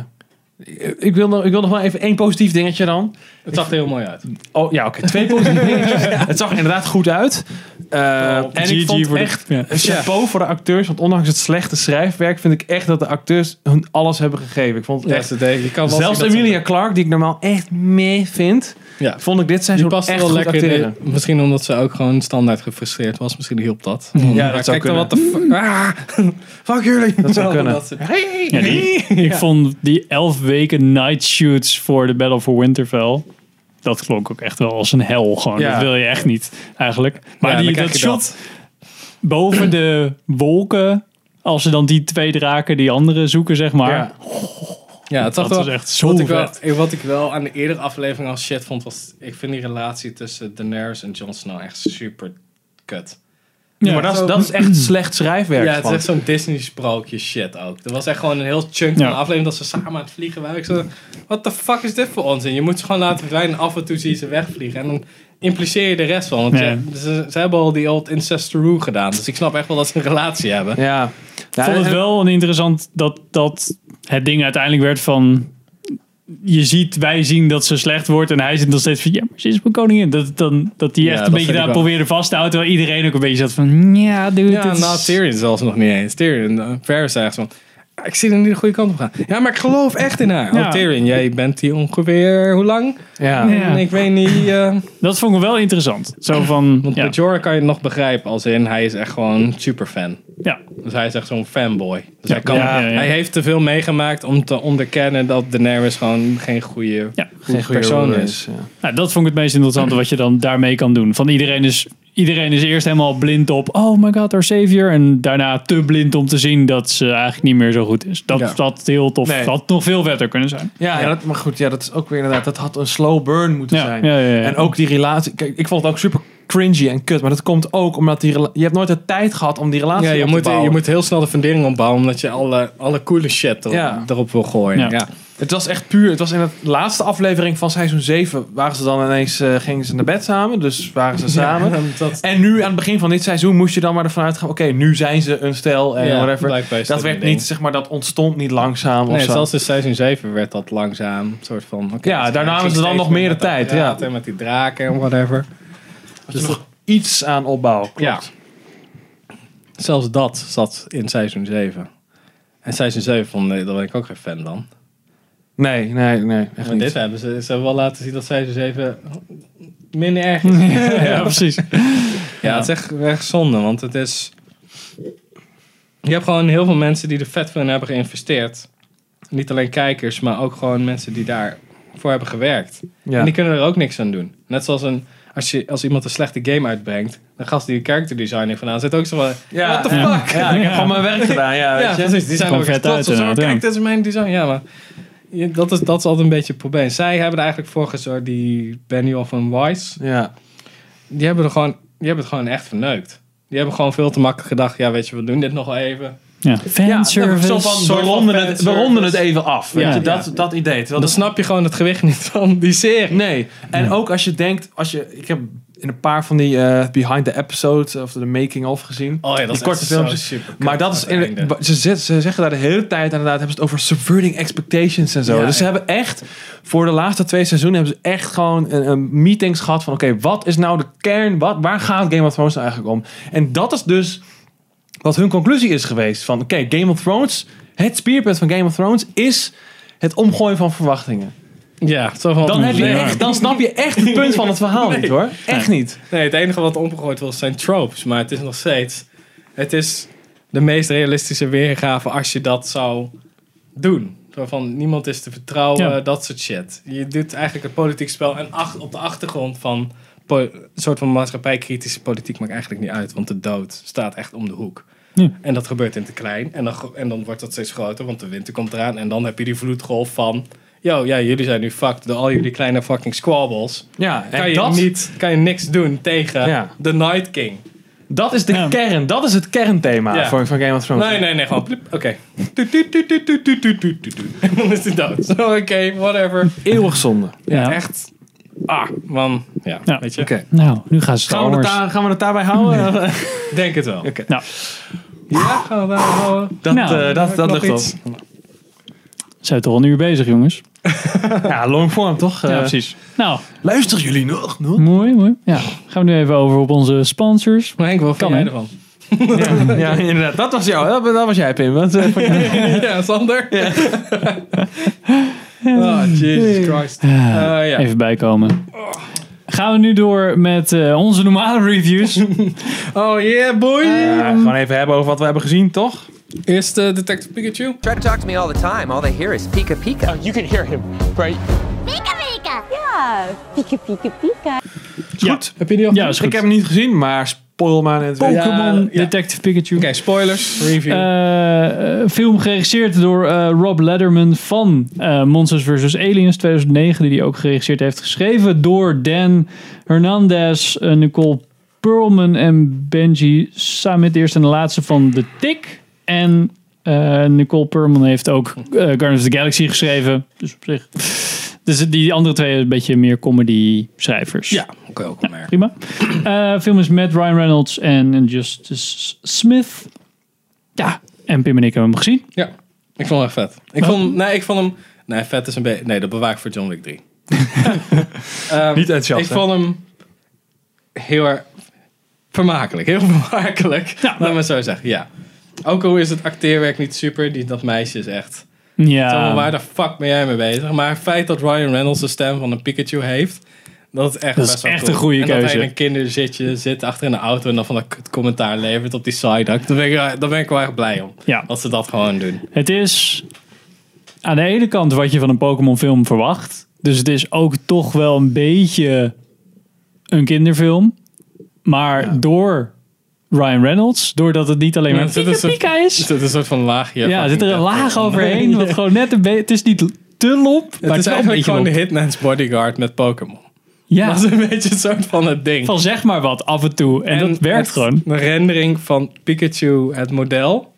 ik, ik wil nog, ik wil nog wel even één positief dingetje dan. Het zag er heel mooi uit. Oh ja, oké. Twee positieve dingetjes. Het zag er inderdaad goed uit. Eh, en GG ik vond voor de- echt ja. een chapeau voor de acteurs. Want ondanks het slechte schrijfwerk vind ik echt dat de acteurs hun alles hebben gegeven. Ik vond het echt... Echt, je kan wel Zelfs zien dat ze- Emilia Clarke, die ik normaal echt mee vind, Ja. vond ik dit zijn Die zo past echt wel goed lekker in. acteren. Misschien omdat ze ook gewoon standaard gefrustreerd was. Misschien hielp dat. Ja, dat dan zou kunnen. wat de fuck. Ah, fuck jullie. Dat zou kunnen. Dat ze- Ja, die, Ik vond die elf weken night shoots voor de Battle for Winterfell... Dat klonk ook echt wel als een hel gewoon. Ja. Dat wil je echt niet, eigenlijk. Maar Ja, dan die, krijg dat je dat. shot boven de wolken... Als ze dan die twee draken die anderen zoeken, zeg maar... Ja. Ja, het zag Dat er wel- is echt zo wat ik, wel, vet. eh, wat ik wel aan de eerdere aflevering als shit vond, was... Ik vind die relatie tussen Daenerys en Jon Snow echt super kut. Ja, maar dat, is- dat is echt slecht schrijfwerk. Ja, het is van. echt zo'n Disney-sprookje shit ook. Er was echt gewoon een heel chunk van Ja. de aflevering dat ze samen aan het vliegen waren. Ik zo, what the fuck is dit voor onzin? Je moet ze gewoon laten verdwijnen. Af en toe zie je ze wegvliegen. En dan impliceer je de rest van. Want Ja. je- ze, ze hebben al die old incesteroo gedaan. Dus ik snap echt wel dat ze een relatie hebben. Ja. Ik vond het wel een interessant dat, dat het ding uiteindelijk werd van... Je ziet, wij zien dat ze slecht wordt en hij zit nog steeds van... Ja, maar ze is mijn koningin. Dat, dan, dat die Ja, echt dat een beetje vind ik daar wel. probeerde vast te houden. Terwijl iedereen ook een beetje zat van... Ja, dude, Ja, dit is- nou, Tyrion zelfs nog niet eens. Tyrion, uh, Varys zegt van... "Ah, Ik zie er niet de goede kant op gaan. Ja, maar ik geloof echt in haar. Ja. Oh, Tyrion, jij bent hier ongeveer hoe lang? Ja. Nee. En Ik weet niet. eh, Dat vond ik wel interessant. Zo van... want Ja, met Jorah kan je het nog begrijpen. Als in, hij is echt gewoon superfan. ja. Dus hij is echt zo'n fanboy. Dus hij, kan, ja, ja, ja. hij heeft te veel meegemaakt om te onderkennen dat Daenerys gewoon geen goede, Ja. goede persoon is. Nou, dat vond ik het meest interessante wat je dan daarmee kan doen. Van iedereen is, iedereen is eerst helemaal blind op... Oh my god, our savior. En daarna te blind om te zien dat ze eigenlijk niet meer zo goed is. Dat Ja. had heel tof. Nee. Dat had nog veel vetter kunnen zijn. Ja, ja, dat, maar goed, ja, dat is ook weer inderdaad. Dat had een slow burn moeten Ja, zijn. ja, ja, ja. En ook die relatie. Kijk, ik vond het ook super cringy en kut. Maar dat komt ook omdat die rela- je hebt nooit de tijd gehad om die relatie Ja, je op moet, te bouwen. je moet heel snel de fundering opbouwen omdat je alle, alle coole shit er- Ja. erop wil gooien. Ja. Ja. Het was echt puur. Het was in de laatste aflevering van seizoen 7 waren ze dan ineens eh, gingen ze naar bed samen. Dus waren ze samen. dat, En nu aan het begin van dit seizoen moest je dan maar ervan uitgaan. Oké, nu zijn ze een stel en ja, whatever. blijkbaar is Dat een werd ding. niet, zeg maar, dat ontstond niet langzaam of Nee, zo. zelfs in seizoen 7 werd dat langzaam. Een soort van. oké, Ja, dus daar hij namen ging ze dan steeds nog meer de met dat tijd, apparaat ja. En met die draken en whatever. dus nog iets aan opbouw. Klopt. Ja. Zelfs dat zat in seizoen 7. En seizoen 7 vond, nee, daar ben ik ook geen fan van. Nee, nee, nee. Echt Maar niet. dit hebben ze, ze hebben wel laten zien dat seizoen 7 minder erg is. Ja, precies. Ja, het is echt, echt zonde, want het is... Je hebt gewoon heel veel mensen die er vet van hebben geïnvesteerd. Niet alleen kijkers, maar ook gewoon mensen die daarvoor hebben gewerkt. Ja. En die kunnen er ook niks aan doen. Net zoals een, als, je, als iemand een slechte game uitbrengt, een gast die een character design heeft gedaan, zit ook zo van... Ja, what the ja. fuck? Ja, ik heb gewoon mijn werk gedaan. Ja, Ja, weet je. precies. Die zijn Komt ook vet echt trots uit, op zo. inderdaad, ja. Kijk, dit is mijn design. Ja, maar je- dat is, dat is altijd een beetje het probleem. Zij hebben er eigenlijk voor gezorgd, die Benioff en Wise, Ja. die hebben, er gewoon, die hebben het gewoon echt verneukt. Die hebben gewoon veel te makkelijk gedacht, ja weet je, we doen dit nog wel even. Ja. Ja, nou, Fanservice. zo van, we Soort van ronden, het, we fanservice. ronden het even af. Weet Ja, je, ja. dat, dat idee. Terwijl Dan dat- snap je gewoon het gewicht niet van die serie. nee. En ook als je denkt, als je, ik heb in een paar van die eh, behind the episodes of de making of gezien. Oh ja, dat die korte filmpjes. super. Maar dat is in- ze, zet- ze zeggen daar de hele tijd inderdaad hebben ze het over subverting expectations en zo. Ja, dus ze ja. hebben echt voor de laatste twee seizoenen hebben ze echt gewoon een, een meetings gehad van oké, wat is nou de kern? Wat, waar gaat Game of Thrones nou eigenlijk om? En dat is dus wat hun conclusie is geweest van oké, Game of Thrones, het speerpunt van Game of Thrones is het omgooien van verwachtingen. Ja, zo van... Dan, heb je Nee. echt, dan snap je echt het punt van het verhaal niet hoor. Echt niet. Nee, het enige wat omgegooid was zijn tropes. Maar het is nog steeds... Het is de meest realistische weergave als je dat zou doen. Zo van niemand is te vertrouwen, Ja. dat soort shit. Je doet eigenlijk het politiek spel. En ach- op de achtergrond van po- een soort van maatschappijkritische politiek maakt eigenlijk niet uit. Want de dood staat echt om de hoek. Ja. En dat gebeurt in te klein. En dan, gro- en dan wordt dat steeds groter, want de winter komt eraan. En dan heb je die vloedgolf van... Yo, ja, jullie zijn nu fucked door al jullie kleine fucking squabbles Ja, en kan je, dat, niet, kan je niks doen tegen Ja. The Night King. dat is de Ja. kern. Dat is het kernthema Ja. voor, van Game of Thrones. Nee, nee, nee, gewoon plip. Oké. Toet, toet, toet, toet, toet, toet, toet, toet, toet. En dan is hij dood. Zo, Oké, whatever. Eeuwig zonde. Ja. Echt. Ah, man. Ja, Ja. weet je. Oké. Nou, nu gaan ze Star Gaan we, het Wars. daar, gaan we het daarbij houden? Denk het wel. Nou, Ja, gaan we daar houden. Dat, Nou, eh, dat, dat nog lucht iets? op. zijn we toch al een uur bezig, jongens? Ja, long form toch? Ja, Eh, precies. Nou, Luisteren jullie nog? nog? mooi, mooi. Ja, gaan we nu even over op onze sponsors. Maar Henk, wat Kan, vind jij hè? ervan? Ja, inderdaad. Dat was, jou, dat, dat was jij, Pim. Wat, eh, vond jij- Ja, Sander. Oh, Jesus Christ. Eh, ja. Even bijkomen. Gaan we nu door met eh, onze normale reviews. Oh yeah, boy. Ja, gewoon even hebben over wat we hebben gezien, toch? Eerst eh, Detective Pikachu. Try to talk to me all the time. All they hear is Pika Pika. Pika Pika! Yeah! Pika Pika Pika! Goed. Heb je die al Ja, is Ik goed. heb hem niet gezien, maar spoil maar net weer. Pokémon ja. Detective Pikachu. Oké, spoilers. Review. Eh, eh, film geregisseerd door eh, Rob Letterman van eh, Monsters vs. Aliens 2009, die hij ook geregisseerd heeft. Geschreven door Dan Hernandez, eh, Nicole Perlman en Benji Samit, de eerste en de laatste van The Tick. En eh, Nicole Perlman heeft ook eh, Guardians of the Galaxy geschreven. Dus op zich. Dus die andere twee een beetje meer comedy-schrijvers. ja, oké, ook een merk. Prima. Eh, film is met Ryan Reynolds en Justice Smith. Ja, en Pim en ik hebben hem gezien. Ja, ik vond hem echt vet. Ik Waarom? vond, nee, ik vond hem... Nee, vet is een beetje... Nee, dat bewaak ik voor John Wick 3. Ehm, Niet enthousiast, Ik hè? vond hem heel erg vermakelijk. Heel vermakelijk. Laat me zo zeggen, ja. Ook al is het acteerwerk niet super, die, dat meisje is echt... Tom, Ja, waar de fuck ben jij mee bezig? Maar het feit dat Ryan Reynolds de stem van een Pikachu heeft... Dat is echt, Dat is best wel echt cool. een goede En dat hij keuze. in een kinderzitje zit achter in de auto... en dan van dat kut commentaar levert op die side. Dan ben ik, dan ben ik wel echt blij om. Ja. Dat ze dat gewoon doen. het is aan de ene kant wat je van een Pokémon film verwacht. Dus het is ook toch wel een beetje een kinderfilm. Maar door Ryan Reynolds, doordat het niet alleen maar Ja, het is Pika een- Pika Er is. zit een soort van laagje. Ja, er zit er een laag overheen. Wat gewoon net een beetje... Het is niet te lop, maar Het is wel een eigenlijk beetje gewoon de lop. Hitman's Bodyguard met Pokémon. Ja, Dat is een beetje een soort van het ding. van zeg maar wat af en toe. En, dat werkt het- gewoon. De rendering van Pikachu, het model,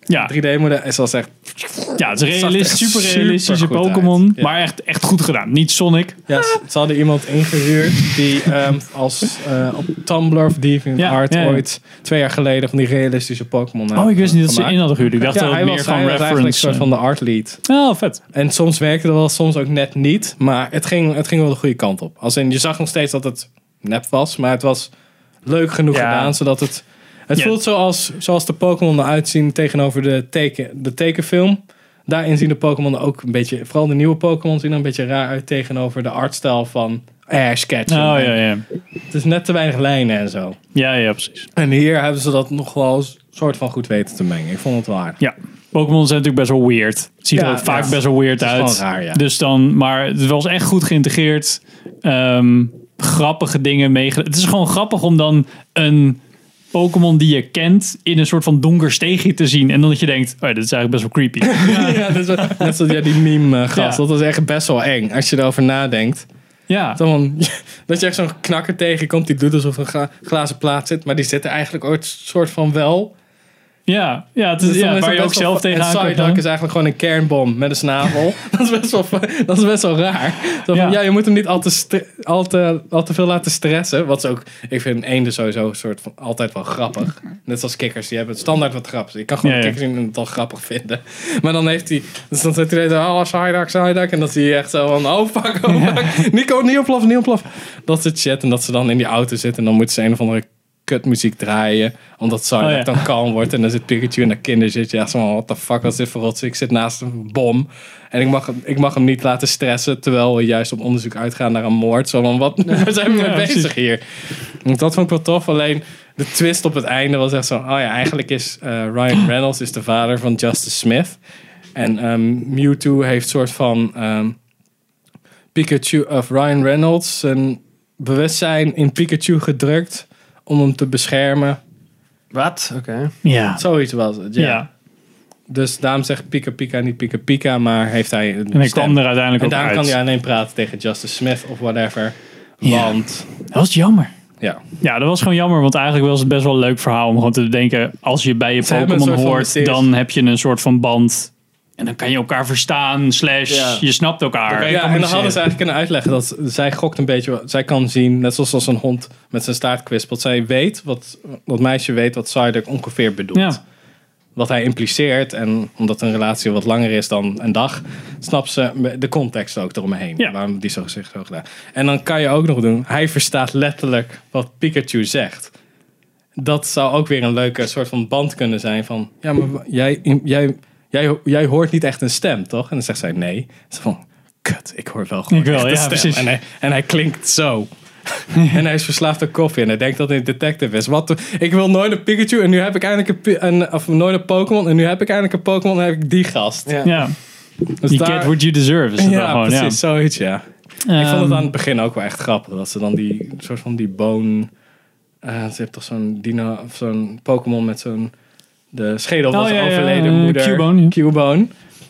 Ja. 3D-model, is al echt... Ja, het is een zag er realist, echt super realistische supergoed Pokémon. uit. Ja. Maar echt, echt goed gedaan. Niet Sonic. Ja, ze, ze hadden iemand ingehuurd die ehm, als eh, op Tumblr of DeviantArt Ja, ja, ja. ooit twee jaar geleden van die realistische Pokémon hadden Oh, ik wist niet dat ze gemaakt. in hadden gehuurd. Ik dacht Ja, dat hij het meer was, hij gewoon was eigenlijk een reference. eh. soort van de art lead. Oh, vet. En soms werkte dat wel, soms ook net niet. Maar het ging, het ging wel de goede kant op. Als in, je zag nog steeds dat het nep was. Maar het was leuk genoeg Ja. gedaan, zodat het... Het Ja. voelt zoals, zoals de Pokémon eruit zien tegenover de, teken, de tekenfilm. Daarin zien de Pokémon er ook een beetje... Vooral de nieuwe Pokémon zien er een beetje raar uit tegenover de artstijl van Ash Oh, Ketchum. ja, ja. Het is net te weinig lijnen en zo. Ja, ja, precies. En hier hebben ze dat nog wel een soort van goed weten te mengen. Ik vond het wel aardig. Ja. Pokémon zijn natuurlijk best wel weird. Het ziet Ja, er ook vaak ja. best wel weird Het is uit. gewoon raar, ja. Dus dan, maar het was echt goed geïntegreerd. Ehm, grappige dingen meege. Het is gewoon grappig om dan een Pokémon die je kent in een soort van donker steegje te zien. En dan dat je denkt, oh, ja, dit is eigenlijk best wel creepy. Ja, dat is wel- net zoals ja, die meme-gast. Ja. Dat was echt best wel eng. Als je erover nadenkt. ja. Dan van- dat je echt zo'n knakker tegenkomt. Die doet alsof er een gla- glazen plaat zit. Maar die zit er eigenlijk ooit soort van wel. Dus Ja, ja, het is, dan ja het waar je best ook wel- zelf tegenaan En kan gaan. Psyduck is eigenlijk gewoon een kernbom met een snavel. dat, is best wel, dat is best wel raar. Zo van, Ja. ja. je moet hem niet al te, stre- al, te, al te veel laten stressen. Wat ze ook... Ik vind eenden sowieso een soort van, altijd wel grappig. Net zoals kikkers. Die hebben standaard wat grappig. Ik kan gewoon Ja, ja. kikkers zien en het al grappig vinden. Maar dan heeft hij... Dus dan zit hij de hele tijd, oh, Psyduck, Psyduck. En dan zie je echt zo van, oh fuck, oh fuck. Nico, niet oploffen, niet oploffen. Dat soort shit. En dat ze dan in die auto zitten en dan moeten ze een of andere kutmuziek draaien. Omdat Psylocke Oh, ja. dan kalm wordt. En dan zit Pikachu en dat kinder zit. Je echt zo van, what the fuck, wat is dit voor rots? Ik zit naast een bom. En ik mag, hem- ik mag hem niet laten stressen. Terwijl we juist op onderzoek uitgaan naar een moord. Zo van, wat waar zijn we mee Ja, bezig precies. hier? Want dat vond ik wel tof. Alleen de twist op het einde was echt zo. Oh ja, eigenlijk is eh, Ryan Reynolds is de vader van Justice Smith. En ehm, Mewtwo heeft soort van... ehm, Pikachu of Ryan Reynolds zijn bewustzijn in Pikachu gedrukt om hem te beschermen. Wat? Oké. Ja. Zoiets was het, ja. ja. Dus daarom zegt Pika Pika niet Pika Pika, maar heeft hij een En hij stem. kwam er uiteindelijk En ook daarom uit. kan hij alleen praten tegen Justice Smith of whatever. Ja. Want, Dat was jammer. ja. Ja, dat was gewoon jammer, want eigenlijk was het best wel een leuk verhaal om gewoon te denken, als je bij je Ze hebben een Pokémon soort van hoort, mysterie. dan heb je een soort van band. En dan kan je elkaar verstaan, slash, Ja. je snapt elkaar. Ja, en dan hadden ze eigenlijk kunnen uitleggen dat zij gokt een beetje. Zij kan zien, net zoals als een hond met zijn staart kwispelt. Zij weet, wat, dat meisje weet wat Psyduck ongeveer bedoelt. Ja. wat hij impliceert. En omdat een relatie wat langer is dan een dag, snapt ze de context ook eromheen. Ja. Waarom die zo zich zo gedaan. En dan kan je ook nog doen, hij verstaat letterlijk wat Pikachu zegt. Dat zou ook weer een leuke soort van band kunnen zijn van, ja, maar wa- jij, jij, jij, jij hoort niet echt een stem, toch? En dan zegt zij nee. Ze van, kut, ik hoor wel gewoon Ik wel, echt een ja, stem. precies. En hij, en hij klinkt zo. En hij is verslaafd aan koffie en hij denkt dat hij een detective is. Wat de- ik wil nooit een Pikachu en nu heb ik eindelijk een, Pi- een of nooit een Pokémon en nu heb ik eindelijk een Pokémon en heb ik die gast. Ja. Ja, Dus you daar- get what you deserve is het dan ja, gewoon. precies, zoiets ja. Ja. ik vond Ehm, het aan het begin ook wel echt grappig dat ze dan die soort van die bone, eh, ze heeft toch zo'n dino of zo'n Pokémon met zo'n de schedel van Oh, zijn ja, ja, overleden eh, moeder. Cubone, ja. Cubone.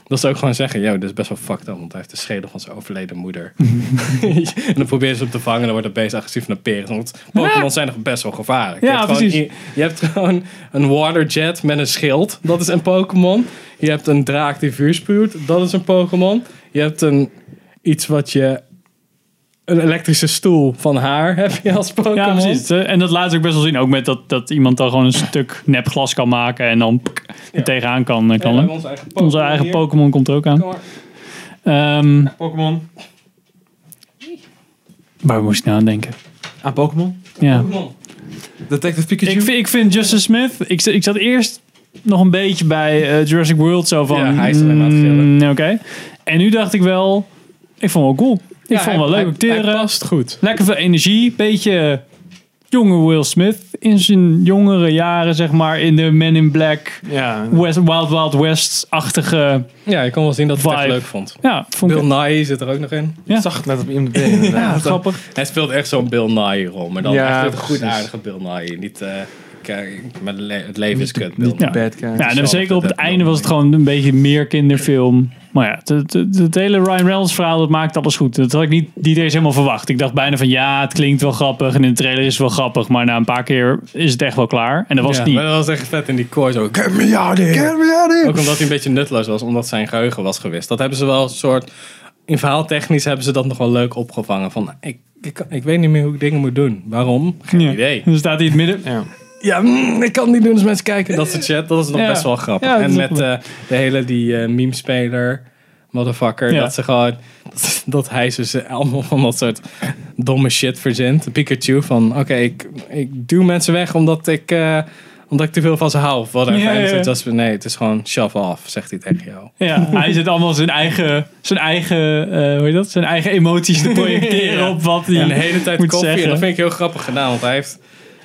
Dat ze ook gewoon zeggen, yo, dit is best wel fucked up, want hij heeft de schedel van zijn overleden moeder. en dan proberen ze hem te vangen, dan wordt het beest agressief naar peren. Want Pokémon zijn nog best wel gevaarlijk. Ja, je, hebt gewoon, precies. i- je hebt gewoon een waterjet met een schild, dat is een Pokémon. Je hebt een draak die vuur spuwt, dat is een Pokémon. Je hebt een, iets wat je... Een elektrische stoel van haar heb je als Pokémon. Ja, precies. Eh, En dat laat ze ook best wel zien. Ook met dat, dat iemand dan gewoon een stuk nep glas kan maken en dan pk, er tegenaan kan. eh, Ja, we kan hebben hè? onze eigen Pokémon Onze eigen hier. Pokémon komt er ook aan. Kom maar. Ehm Pokémon. waar moest ik nou aan denken? Aan Ah, Pokémon? Ja. Pokémon. Detective Pikachu? Ik, vind- ik vind Justice Smith. Ik, zat- ik zat eerst nog een beetje bij eh, Jurassic World zo van. Ja, hij is alleen maar aan het mm, Oké. En nu dacht ik wel. Ik vond hem wel cool. Ik Ja, vond hem hij- wel leuk hij- acteren. Hij past goed. Lekker veel energie. Beetje jonge Will Smith in zijn jongere jaren, zeg maar. In de Men in Black, ja. West, Wild Wild West-achtige. Ja, je kon wel zien dat ik het echt Vibe. leuk vond. Ja, vond ik Bill Nye zit er ook nog in. Ja. Ik zag het net op IMDb. inderdaad. ja, grappig. Hij speelt echt zo'n Bill Nye rol, maar dan Ja, echt een goed precies. aardige Bill Nye. Niet, eh, kijk, maar le- het leven is kut, Bill niet Nye. Ja. bad guy. Ja, en dan Hetzelfde, zeker op het dat einde was het wel. gewoon een beetje meer kinderfilm. Maar ja, het, het, het- het hele Ryan Reynolds verhaal, dat maakt alles goed. Dat had ik niet, niet eens helemaal verwacht. Ik dacht bijna van ja, het klinkt wel grappig en in de trailer is het wel grappig. Maar na een paar keer is het echt wel klaar. En dat was Ja, het niet. maar dat was echt vet in die koor zo. Get me out of here. Ook omdat hij een beetje nutteloos was, omdat zijn geheugen was gewist. Dat hebben ze wel een soort... In verhaaltechnisch hebben ze dat nog wel leuk opgevangen. Van, ik, ik, ik weet niet meer hoe ik dingen moet doen. Waarom? Geen Ja. idee. Dan staat hij in het midden. Ja. Ja, mm, ik kan het niet doen als mensen kijken. Dat soort chat, dat is nog Ja. best wel grappig. Ja, dat en is met ook wel- eh, de hele die eh meme-speler, motherfucker, Ja. dat ze gewoon... Dat, dat hij ze ze allemaal van dat soort domme shit verzint. Pikachu van, oké, ik, ik duw mensen weg omdat ik, eh, omdat ik te veel van ze hou. Of whatever. Ja, En ja, dan ja. zegt ze, nee, het is gewoon shove off, zegt hij tegen jou. Ja, hij zit allemaal zijn eigen, zijn eigen, eh, hoe heet dat? Zijn eigen emoties te projecteren Ja. op wat hij En de hele tijd moet koffie. En zeggen. dat vind ik heel grappig gedaan. Want hij, heeft,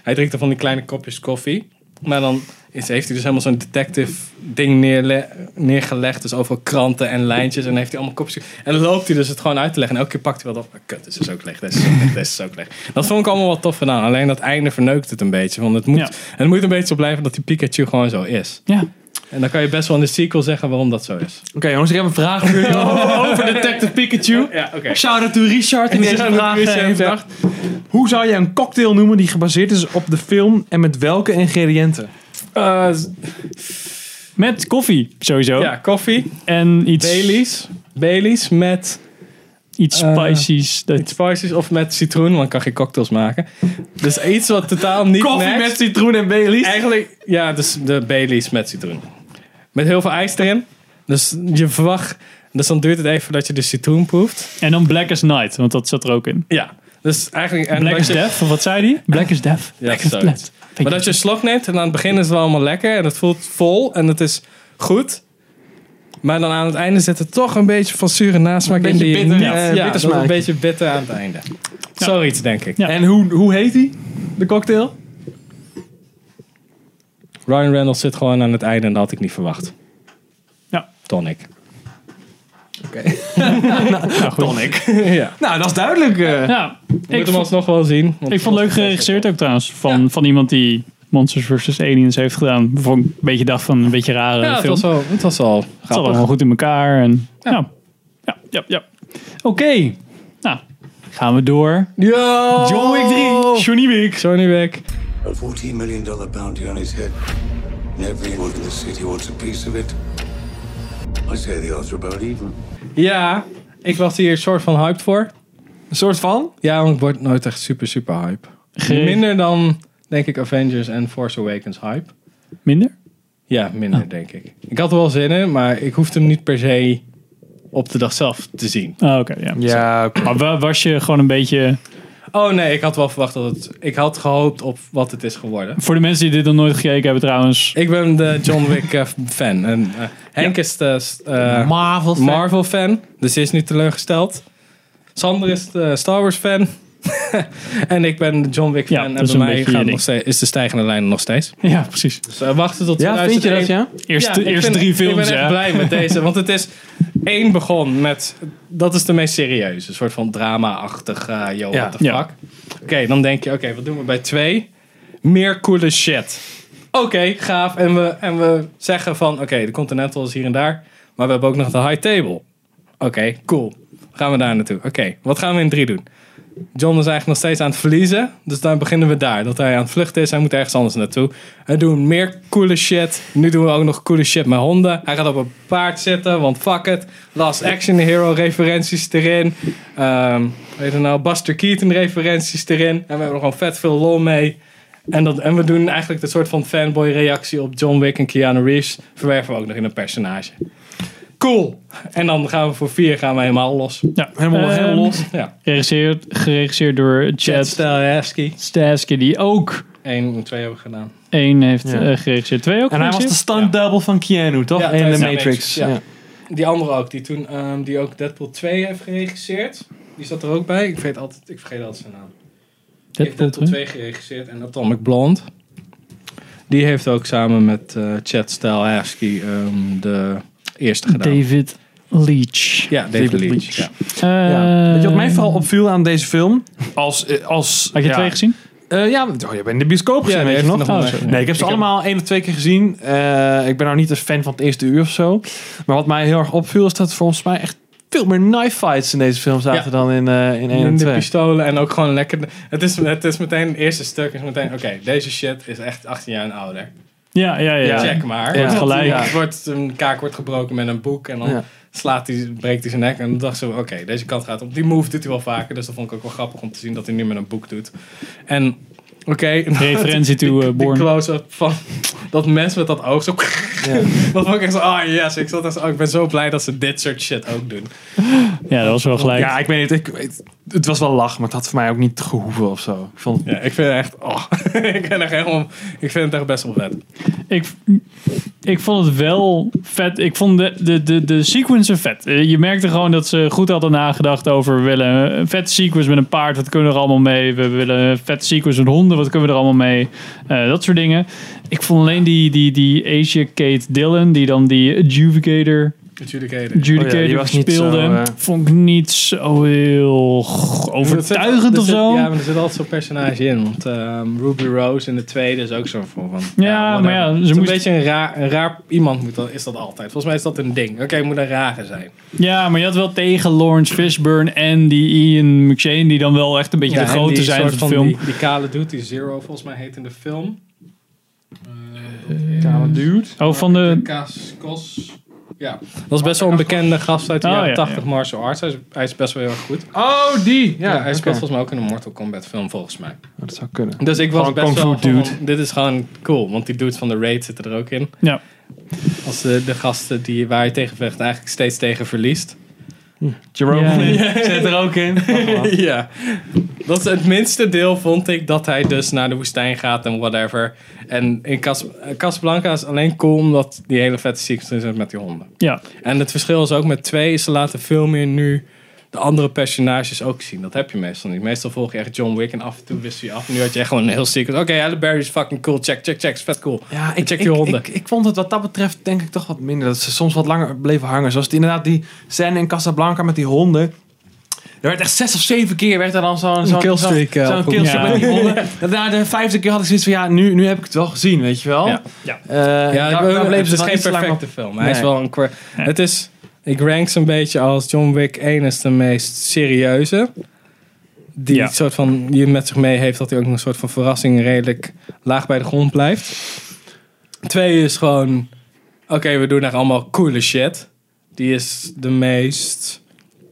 hij drinkt dan van die kleine kopjes koffie. Maar dan is, heeft hij dus helemaal zo'n detective ding neerle- neergelegd. Dus overal kranten en lijntjes. En dan heeft hij allemaal kopjes. En dan loopt hij dus het gewoon uit te leggen. En elke keer pakt hij wel op. Ah, Kut, dit is ook leeg. Dit is ook leeg. Dit is ook leeg. Dat vond ik allemaal wel tof gedaan. Alleen dat einde verneukt het een beetje. Want het moet, Ja. het moet een beetje zo blijven dat die Pikachu gewoon zo is. Ja. En dan kan je best wel in de sequel zeggen waarom dat zo is. Oké jongens, ik heb een vraag voor jullie over Detective Pikachu. Ja, oké. Shout-out to Richard die deze Shout-out to vraag eh, Richard. heeft bedacht. Hoe zou je een cocktail noemen die gebaseerd is op de film en met welke ingrediënten? Eh, Met koffie sowieso. ja, koffie. En iets, Baileys. Baileys met... iets Eh, spicy's. Dat, Met spices of met citroen, want ik kan geen cocktails maken. Dus iets wat totaal niet matcht. citroen en Baileys. Eigenlijk, ja, dus de Baileys met citroen. Met heel veel ijs erin. Dus je verwacht... Dus dan duurt het even voordat je de citroen proeft. en dan Black as Night, want dat zat er ook in. Ja. Dus eigenlijk... en Black dat is je- death, of wat zei hij? Black is death. Black is zoiets. death. Maar dat je een slok neemt en aan het begin is het wel allemaal lekker. En het voelt vol en het is goed. Maar dan aan het einde zit er toch een beetje van zure nasmaak in. beetje die je bitter, niet- eh, ja, bitter dat is een smaakje. beetje bitter aan het einde. Zoiets, denk ik. Ja. En hoe, hoe heet die, de cocktail? Ryan Reynolds zit gewoon aan het einde en dat had ik niet verwacht. Ja. Tonic. Tonic. ja. Nou, dat is duidelijk. eh. Ja, Ik ik, moet hem vond, alsnog wel zien. want- ik vond het leuk geregisseerd ook trouwens. Van, van iemand die Monsters vs. Aliens heeft gedaan. Waarvan ik een beetje dacht van een beetje rare Ja, het film. was al, eh, het was al Het zat grappig. allemaal goed in elkaar. En, ja. Ja, ja, ja. Oké. Nou, gaan we door. Yo! John Wick Oh. 3. Johnny Wick. Johnny Wick. A $14 million bounty on his head. And everyone in the city wants a piece of it. I say the odds are about even. Ja, ik was hier een soort van hyped voor. Een soort van? Ja, want ik word nooit echt super, super hype. Geen- Minder dan, denk ik, Avengers en Force Awakens hype. Minder? Ja, minder, denk ik. Ik had er wel zin in, maar ik hoefde hem niet per se op de dag zelf te zien. Ah, Oké, ja. Ja, Maar wa- was je gewoon een beetje... Oh nee, ik had wel verwacht dat het... Ik had gehoopt op wat het is geworden. Voor de mensen die dit nog nooit gekeken hebben trouwens. Ik ben de John Wick eh, fan. En, eh, Henk is de eh, Marvel. Marvel fan, dus die is niet teleurgesteld. Sander is de Star Wars fan. en ik ben de John Wick fan. Ja, en dat is bij een mij beetje gaat je ding. nog steeds, is de stijgende lijn er nog steeds. Ja, precies. Dus eh, wachten tot Ja, vind je dat, 2001. ja? Eerst, Ja, ik eerst vind- drie films, Ik ben echt hè? blij met deze, want het is één begon met... Dat is de meest serieuze, een soort van drama-achtig, eh, yo, Ja. what the fuck. Ja. Oké, dan denk je, oké, wat doen we bij twee? Meer coole shit. Oké, gaaf. En we, en we zeggen van, oké, de Continental is hier en daar, maar we hebben ook nog de High Table. Oké, cool. Gaan we daar naartoe. Oké, wat gaan we in drie doen? John is eigenlijk nog steeds aan het verliezen. Dus dan beginnen we daar. Dat hij aan het vluchten is. Hij moet ergens anders naartoe. We doen meer coole shit. Nu doen we ook nog coole shit met honden. Hij gaat op een paard zitten. Want fuck it. Last Action Hero referenties erin. Ehm weet je nou? Buster Keaton referenties erin. En we hebben er gewoon vet veel lol mee. En, dat, en we doen eigenlijk de soort van fanboy reactie op John Wick en Keanu Reeves. Verwerven we ook nog in een personage. Cool. En dan gaan we voor vier gaan we helemaal los. Ja, Helemaal, ehm, helemaal los. Ja. Geregisseerd, geregisseerd door Chad Chad Stahelski. Stahelski, die ook Eén en twee hebben we gedaan. één heeft Ja. eh, geregisseerd. Twee ook En hij was de geregisseerd? stunt double van Keanu, toch? Ja, in tijdens de de Matrix. Matrix, ja. Ja. Die andere ook, die toen ehm, die ook Deadpool 2 heeft geregisseerd. Die zat er ook bij. Ik, weet altijd, ik vergeet altijd zijn naam. Die heeft Deadpool Deadpool 2 geregisseerd en Atomic Blonde. Die heeft ook samen met eh, Chad Stahelski ehm, de eerste gedaan. David Leach. ja, David, David Leitch. Leitch. Ja. Eh, Ja. Weet je wat mij vooral opviel aan deze film? Als, eh, als, Had je ja, twee gezien? Eh, ja, oh, je bent in de bioscoop gezien, Ja, die weet je heeft nog? nog Oh, wel sorry. een- Nee, ik heb ze allemaal één of twee keer gezien. Eh, ik ben nou niet een fan van het eerste uur of zo. Maar wat mij heel erg opviel is dat volgens mij echt veel meer knife fights in deze film zaten Ja. dan in, eh in één en En de twee. pistolen en ook gewoon lekker. Het is, het is meteen, het eerste stuk is meteen, oké, deze shit is echt 18 jaar en ouder. Ja, ja, ja. Check maar. Ja. Want Gelijk. het wordt, een kaak wordt gebroken met een boek en dan Ja. slaat hij, breekt hij zijn nek. En dan dacht ze, oké, deze kant gaat op. Die move doet hij wel vaker, dus dat vond ik ook wel grappig om te zien dat hij nu met een boek doet. En oké, Referentie to eh, die, die Born. close-up van dat mens met dat oog. Zo, dat vond ik echt zo, ah yes, ik, zat echt zo, oh, ik ben zo blij dat ze dit soort shit ook doen. Ja, dat was wel gelijk. Ja, ik weet niet. Ik, het, het was wel lach, maar het had voor mij ook niet gehoeven of zo. Ik vond, Ja, ik vind het echt, oh, ik, ben echt helemaal, ik vind het echt best wel vet. ik, ik vond het wel vet. Ik vond de, de, de, de sequence vet. Eh, Je merkte gewoon dat ze goed hadden nagedacht over... we willen een vette sequence met een paard, wat kunnen we er allemaal mee? We willen een vette sequence met honden, wat kunnen we er allemaal mee? Eh, dat soort dingen. Ik vond alleen die, die, die Asia Kate Dillon, die dan die adjudicator... Adjudicator. Adjudicator Oh ja, die was niet speelde, zo, eh, vond ik niet zo heel g- overtuigend Er of zit- zo. Ja, maar er zit altijd zo'n personage in. Want ehm, Ruby Rose in de tweede is ook zo'n vorm van. Ja, maar ja, ze Ze een moest- beetje een raar, een raar iemand moet dat, is dat altijd. Volgens mij is dat een ding. Oké, je moet een rare zijn. Ja, maar je had wel tegen Lawrence Fishburne en die Ian McShane, die dan wel echt een beetje de en die grote zijn soort van de film. Die, die kale dude, die Zero volgens mij heet in de film. dude. Oh, van de. Kaskos. Ja, dat is best wel een bekende gast uit de Oh, jaren ja, 80 ja. martial arts. Hij is, hij is best wel heel erg goed. Oh, die! Ja, Ja, hij speelt oké. volgens mij ook in een Mortal Kombat film volgens mij. Dat zou kunnen. Dus ik was Gewoon best wel kung fu van, dude. dit is gewoon cool. Want die dudes van de Raid zitten er ook in. Ja. Als eh, de, de gasten die, waar je tegen vecht eigenlijk steeds tegen verliest. Jerome Ja, nee. zit er ook in. ja. Dat is het minste deel vond ik dat hij dus naar de woestijn gaat en whatever. En in Cas eh, Casablanca is alleen cool omdat die hele vette sequence is met die honden. Ja. En het verschil is ook met twee is ze laten veel meer nu de andere personages ook zien. Dat heb je meestal niet. Meestal volg je echt John Wick en af en toe wist je af. Nu had je echt gewoon een heel sequence. Oké, Halle Berry is fucking cool. Check, check, check. Is vet cool. Ja, check die honden. Ik, ik vond het wat dat betreft denk ik toch wat minder. Dat ze soms wat langer bleven hangen. Zoals die, inderdaad die scène in Casablanca met die honden. Er werd echt zes of zeven keer werd er dan zo'n zo'n- killstreak, zo'n- eh, Zo'n opgeroepen. killstreak Ja. met die honden. En Na de vijfde keer had ik zoiets van ja, nu, nu heb ik het wel gezien, weet je wel. Oh. Ja. Ja. Eh, daar- ja, daar bleven het ze is dan geen iets te lang perfecte op- film. Hij is Nee. wel een kwart. Het is, ik rank ze een beetje als John Wick 1 is de meest serieuze. Die Ja. het soort van, die het met zich mee heeft dat hij ook nog een soort van verrassing redelijk laag bij de grond blijft. Twee is gewoon, oké, we doen daar allemaal coole shit. Die is de meest,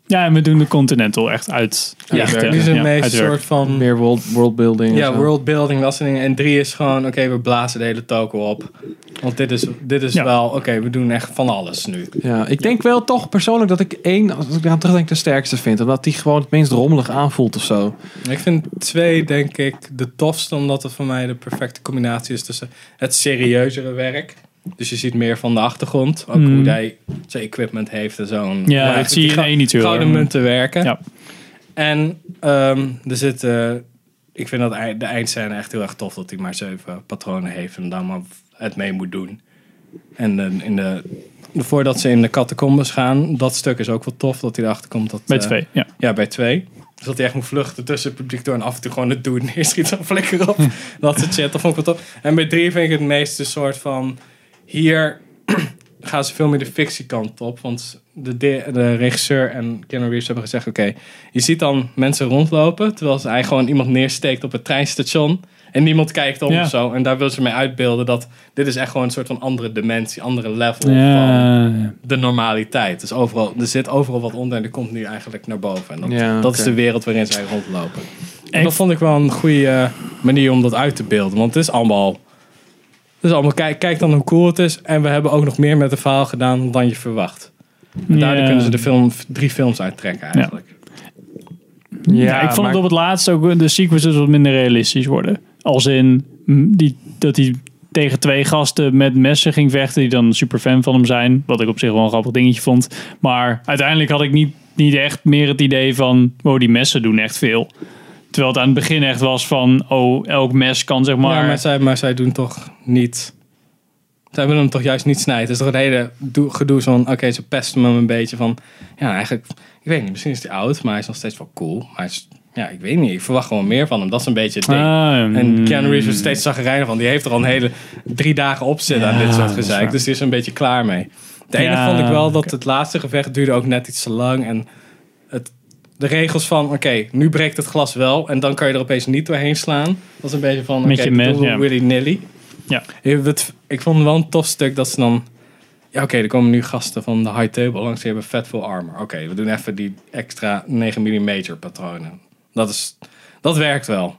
Ja, en we doen de Continental echt uit. ja, uitwerken. die is de Ja, meest uitwerken. soort van Meer world, worldbuilding. en Ja, zo. worldbuilding, dat soort dingen. En drie is gewoon, oké, we blazen de hele toko op. Want dit is, dit is Ja. wel, oké, we doen echt van alles nu. Ja, ik denk wel toch persoonlijk dat ik één, als ik aan terugdenk, de sterkste vind. Omdat die gewoon het minst rommelig aanvoelt of zo. Ik vind twee, denk ik, de tofste. Omdat het voor mij de perfecte combinatie is tussen het serieuzere werk. Dus je ziet meer van de achtergrond. Ook Mm. hoe hij zijn equipment heeft en zo'n... Ja, dat zie je in één niet heel Gouden erg. munten werken. Ja. En ehm, er zit... eh, ik vind dat ei- de eindscène echt heel erg tof. Dat hij maar zeven patronen heeft en daar maar het mee moet doen. En eh, in de... Voordat ze in de catacombes gaan, dat stuk is ook wel tof. Dat hij erachter komt dat... Bij eh, twee, ja. ja, bij twee. Dus dat hij echt moet vluchten tussen het publiek door en af en toe gewoon het doen. Hier schiet zo'n flikker op. dat soort shit. Dat vond ik wel tof. En bij drie vind ik het meeste soort van... Hier gaan ze veel meer de fictiekant op. Want de, de, de regisseur en Keanu Reeves hebben gezegd... Oké, je ziet dan mensen rondlopen... terwijl ze eigenlijk gewoon iemand neersteekt op het treinstation... En niemand kijkt om Ja. of zo. En daar wil ze mee uitbeelden dat dit is echt gewoon een soort van andere dimensie, andere level van Ja. de normaliteit. Dus overal, er zit overal wat onder en er komt nu eigenlijk naar boven. En dat, Ja, dat oké. is de wereld waarin zij rondlopen. En Ik- dat vond ik wel een goede eh, manier om dat uit te beelden. Want het is allemaal... Het is allemaal kijk, kijk dan hoe cool het is. En we hebben ook nog meer met het verhaal gedaan dan je verwacht. En daardoor Ja. kunnen ze de film, drie films uittrekken eigenlijk. Ja, ik vond het op het laatst ook de sequences wat minder realistisch worden. Als in mm, die, dat hij tegen twee gasten met messen ging vechten, die dan super fan van hem zijn. Wat ik op zich wel een grappig dingetje vond. Maar uiteindelijk had ik niet, niet echt meer het idee van, wow, die messen doen echt veel. Terwijl het aan het begin echt was van, oh, elk mes kan zeg maar... Ja, maar, zij, maar zij doen toch niet... Zij willen hem toch juist niet snijden. Het is toch het hele doe- gedoe van... Oké, ze pesten hem een beetje van... Ja, eigenlijk... Ik weet niet, misschien is hij oud, maar hij is nog steeds wel cool. Maar hij is, ja, ik weet niet. Ik verwacht gewoon meer van hem. Dat is een beetje het ding. Ah, en mm. Keanu Reeves is steeds zagrijnig van. Die heeft er al een hele drie dagen op zitten aan dit soort gezeik. Dus die is er een beetje klaar mee. Het enige Ja, vond ik wel dat het laatste gevecht duurde ook net iets te lang. En het, de regels van, oké, nu breekt het glas wel. En dan kan je er opeens niet doorheen slaan. Dat is een beetje van, Met je oké, dat mes, doen we ja. willy-nilly. Ja. Ik, het- ik vond wel een tof stuk dat ze dan... Ja, oké, er komen nu gasten van de high table langs. Die hebben vet veel armor. Oké, we doen even die extra 9 mm patronen. Dat is... Dat werkt wel.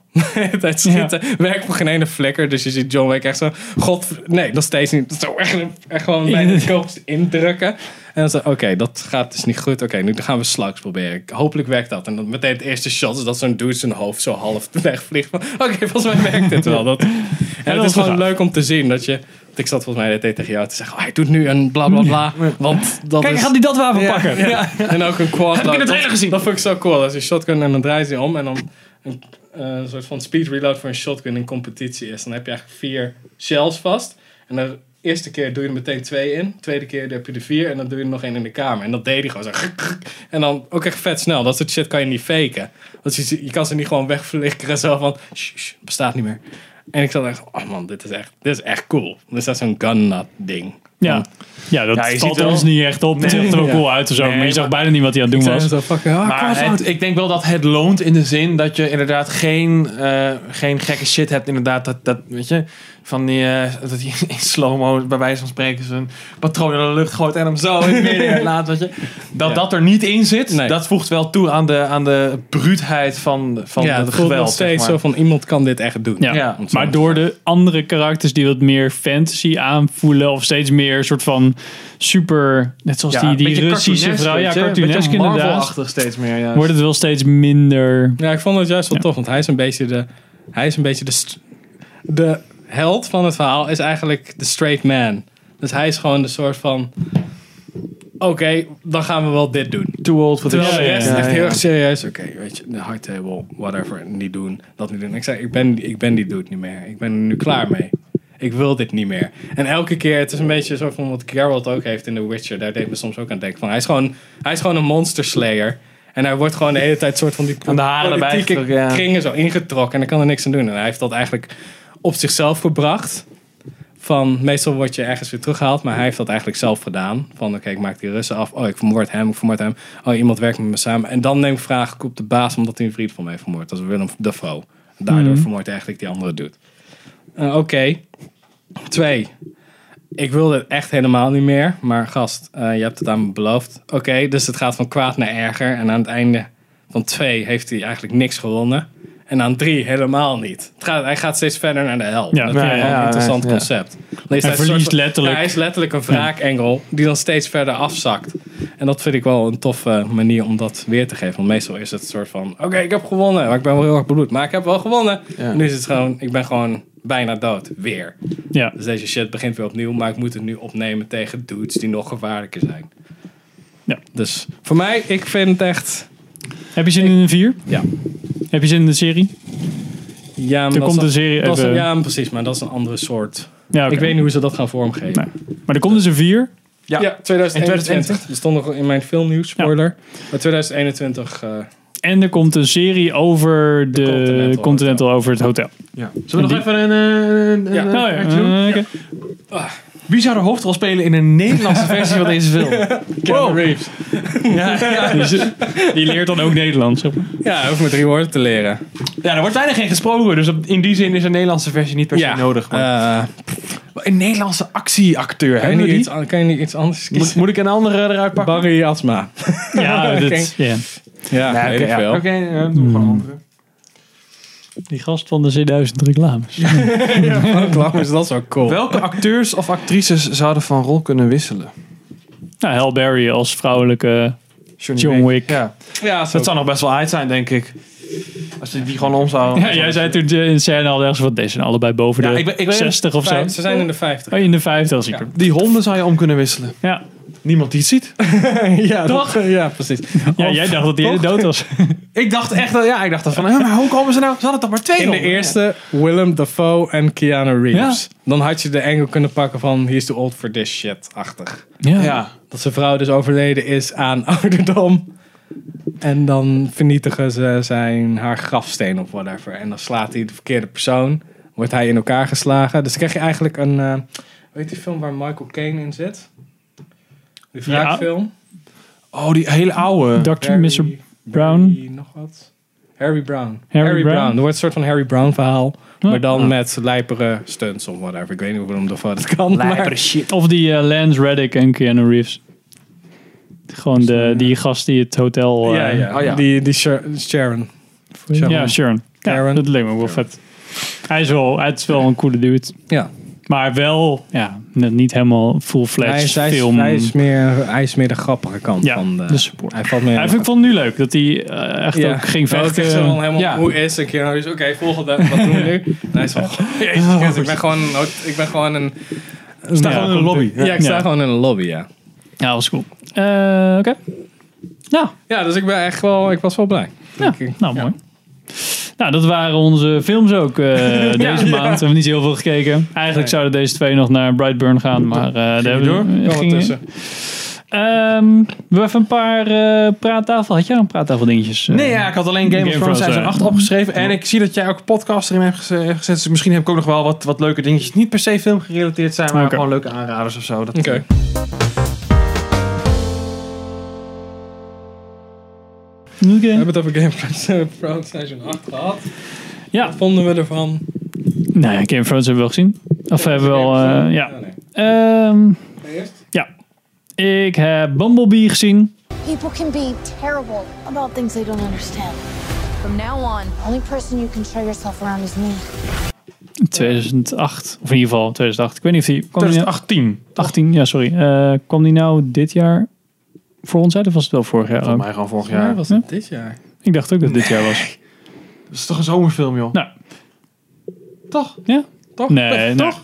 dat Ja. schieten werkt voor geen ene flikker. Dus je ziet John Wick echt zo... God, nee, nog steeds niet. Zo echt, echt gewoon bij de koopst indrukken. En dan zo, oké, dat gaat dus niet goed. Oké, nu gaan we slugs proberen. Hopelijk werkt dat. En dan meteen het eerste shot is dat zo'n dude zijn hoofd zo half wegvliegt. Van, Oké, volgens mij werkt dit wel. Dat, en dat het is was gewoon gaaf. leuk om te zien dat je... want Ik zat volgens mij de tijd tegen jou te zeggen... Oh, hij doet nu een bla bla bla. Want dat Kijk, is... gaat hij dat wapen pakken? En ook een quad load. het Dat- hele gezien? Dat vond ik zo cool. Dat is een shotgun en dan draait hij om. En dan een eh, soort van speed reload voor een shotgun in competitie is. Dan heb je eigenlijk vier shells vast. En de eerste keer doe je er meteen twee in. Tweede keer heb je er vier. En dan doe je er nog één in de kamer. En dat deed hij gewoon zo. En dan ook echt vet snel. Dat soort shit kan je niet faken. Want je, je kan ze niet gewoon wegflikkeren. Zo van, "Shh, shh, bestaat niet meer. En ik zat echt, oh man, dit is echt, dit is echt cool. Dus dat is zo'n gun nut ding. Ja. Ja, dat Ja, je valt ziet wel- ons niet echt op. het ziet er wel Ja. cool uit of zo, Nee, maar je zag maar- bijna niet wat hij aan het doen was. zo fucking, ah, Maar het- ik denk wel dat het loont in de zin dat je inderdaad geen, eh, geen gekke shit hebt. Inderdaad, dat, dat weet je, van die, eh, dat hij in slow-mo bij wijze van spreken zijn patroon in de lucht gooit en hem zo in het midden laat. Weet je. Dat Ja. dat er niet in zit, Nee. dat voegt wel toe aan de, aan de bruutheid van, van ja, het het voelt geweld. nog steeds zeg maar. zo van iemand kan dit echt doen. Ja. Ja, maar door de andere karakters die wat meer fantasy aanvoelen of steeds meer meer een soort van super, net zoals die, die Russische vrouw. Ja, cartoonesk inderdaad. Marvel-achtig steeds meer. Ja. Wordt het wel steeds minder. Ja, ik vond het juist wel tof, want hij is een beetje de. Hij is een beetje de. st- De held van het verhaal is eigenlijk de straight man. Dus hij is gewoon de soort van. Oké, dan gaan we wel dit doen. too old for Terwijl this. Ja, de rest ja, echt ja. heel erg serieus. Oké, weet je, de hardtable, whatever. Niet doen, dat niet doen. Ik zei, ik ben, ik ben die dude niet meer. Ik ben er nu klaar mee. Ik wil dit niet meer. En elke keer, het is een beetje zo van wat Geralt ook heeft in The Witcher. Daar deed me soms ook aan denken van. Hij is gewoon, hij is gewoon een monster slayer. En hij wordt gewoon de hele tijd soort van die Aan de haren erbij politieke getrokken, ja. kringen zo ingetrokken. En hij kan er niks aan doen. En hij heeft dat eigenlijk op zichzelf gebracht van meestal word je ergens weer teruggehaald, maar hij heeft dat eigenlijk zelf gedaan. Van oké, ik maak die Russen af. Oh, ik vermoord hem, ik vermoord hem. Oh, iemand werkt met me samen. En dan neem ik vraag ik op de baas omdat hij een vriend van mij heeft vermoord. Dat is Willem Dafoe. Daardoor Mhm. vermoordt eigenlijk die andere dude. Eh, oké. Twee. Ik wil dit echt helemaal niet meer. Maar gast, eh, je hebt het aan me beloofd. Oké, dus het gaat van kwaad naar erger. En aan het einde van twee heeft hij eigenlijk niks gewonnen. En aan drie helemaal niet. Het gaat, hij gaat steeds verder naar de hel. Ja. dat vind ik Ja, wel ja, een interessant ja. concept. Hij, Hij verliest letterlijk. Hij is letterlijk een wraakengel die dan steeds verder afzakt. En dat vind ik wel een toffe manier om dat weer te geven. Want meestal is het een soort van... Oké, ik heb gewonnen, maar ik ben wel heel erg bloed. Maar ik heb wel gewonnen. Ja. En nu is het gewoon... Ik ben gewoon bijna dood. Weer. Ja. Dus deze shit begint weer opnieuw, maar ik moet het nu opnemen tegen dudes die nog gevaarlijker zijn. Ja. Dus voor mij, ik vind het echt. Heb je zin in een vier? Ja. Heb je zin in de serie? Ja, maar Er komt is een serie dat is een- even- ja, maar precies, maar dat is een andere soort. Ja, oké. Ik weet niet hoe ze dat gaan vormgeven. Nee. Maar er komt dus een vier. Ja. Ja, 2021. Dat stond nog in mijn filmnieuws, spoiler. Maar 2021. eh, En er komt een serie over de, Continental Continental, over het hotel. Ja. Zullen we En nog even een... eh, een- een- Ja. een- Nou ja, een- eh, oké. Wie zou de hoofdrol spelen in een Nederlandse versie van deze film? Keanu Reeves. Die- Dus, eh, Die leert dan ook Nederlands. Zeg maar. Ja, hij hoeft maar drie woorden te leren. Ja, er wordt bijna geen gesproken, dus op- in die zin is een Nederlandse versie niet per se ja, nodig. Maar eh, een Nederlandse kan, actieacteur, je hebben niet we iets, die? an- kan je niet iets anders kiezen? Moet, moet ik een andere eruit pakken? Barry Asma. Ja, dat, ja. Ja, Ja, weet oké, ik ja. veel. Hmm. Oké, eh, doen we gewoon een andere. Die gast van de C1000 reclames. Waarom is dat zo cool? Welke acteurs of actrices zouden van rol kunnen wisselen? Nou, Halle Berry als vrouwelijke... Johnny John Wick. Ja. Ja, zo Dat zou nog best wel uit zijn, denk ik. Als je die gewoon om zou... Ja, jij zei toen eh, in scène al ergens van, deze zijn allebei boven Ja, de ik ben- ik ben- 60 of zo. Vijf- ze zijn in de 50. Oh, in de 50 als ik Ja. hem. Die honden zou je om kunnen wisselen. Ja. Niemand die het ziet. Ja, Toch? ja, precies. ja, jij dacht dat hij dood was. Ik dacht echt, dat- ja, ik dacht dat van, hè, maar hoe komen ze nou? Ze hadden toch maar twee In de honden? eerste Willem Dafoe en Keanu Reeves. Dan had je de engel kunnen pakken van he's too old for this shit-achtig. Ja. Ja. Dat zijn vrouw dus overleden is aan ouderdom. En dan vernietigen ze zijn, haar grafsteen of whatever. En dan slaat hij de verkeerde persoon. Wordt hij in elkaar geslagen. Dus dan krijg je eigenlijk een... eh, weet die film waar Michael Caine in zit? Die Ja. wraakfilm? Oh, die hele oude. Dr. Harry- Mr. Brown. Harry nog wat. Harry Brown. Harry Harry, Brown. Oh. Ah. Brown. Er wordt een soort van Harry Brown verhaal. Ja. Maar dan met lijpere stunts of whatever. Ik weet niet hoeveel de dat kan. Maar shit. Of die eh, Lance Reddick en Keanu Reeves. Gewoon de, die gast die het hotel... eh, eh, ja, ja. Oh, ja. Die, die Sher- Sharon. Ja, Sharon. Sharon. Ja, Sharon. dat leek me wel vet. Hij is wel, het is wel een coole dude. Ja. Maar wel, ja, net niet helemaal Hij is, full-fledged hij, is, film. hij, is meer, hij is meer de grappige kant Ja, van de... de support. Hij valt meer... Hij vond ik vond het nu leuk dat hij eh, echt Ja. ook ging Ja, dat vechten. is echt zo van helemaal Ja. hoe is ik hier? Dus oké, volgende. Wat doen we nu? En hij is van, jezus, Christus, ik ben gewoon een... hot- Ik ben gewoon een sta ja, gewoon in de lobby. Ja, ik sta Ja. gewoon in een lobby, ja. Ja, was cool. Eh, Oké. Nou, Ja, dus ik ben echt wel... Ik was wel blij. ja, Oké. nou mooi. Nou, dat waren onze films ook eh, deze maand. We hebben niet heel veel gekeken. Eigenlijk zouden deze twee nog naar Brightburn gaan, maar eh daar hebben we door? eh, Kan wat gingen- tussen. Ehm, we hebben een paar eh, praattafel. Had jij een praattafel dingetjes? eh? Nee, ja, ik had alleen Game, of Thrones seizoen ja. 8 opgeschreven. En ik zie dat jij ook een podcast erin hebt geze- hebt gezet. Dus misschien heb ik ook nog wel wat, wat leuke dingetjes. Niet per se film gerelateerd zijn, maar Oké. gewoon leuke aanraders of zo. Dat, Oké. We hebben het over Game Thrones, eh, Thrones Station 8 gehad. Ja. Wat vonden we ervan? Nou ja, Game of Thrones hebben we wel gezien. Of we hebben we wel, eh, ja. nee. Ehm, Eerst? ja. Ik heb Bumblebee gezien. People can be terrible about things they don't understand. From now on, only person you can show yourself around is me. Het 2008. Of in ieder geval 2008. Ik weet niet of die... Kwam die nou- 2018. 18, ja, sorry. Eh, kwam die nou dit jaar voor ons uit? Of was het wel vorig jaar? Volgens ook? mij gewoon vorig Ja, jaar. was het dit jaar. Ik dacht ook dat het dit jaar was. Dat is toch een zomerfilm, joh? Nou. Nou, Toch? Ja? Toch? Nee, nee. Toch?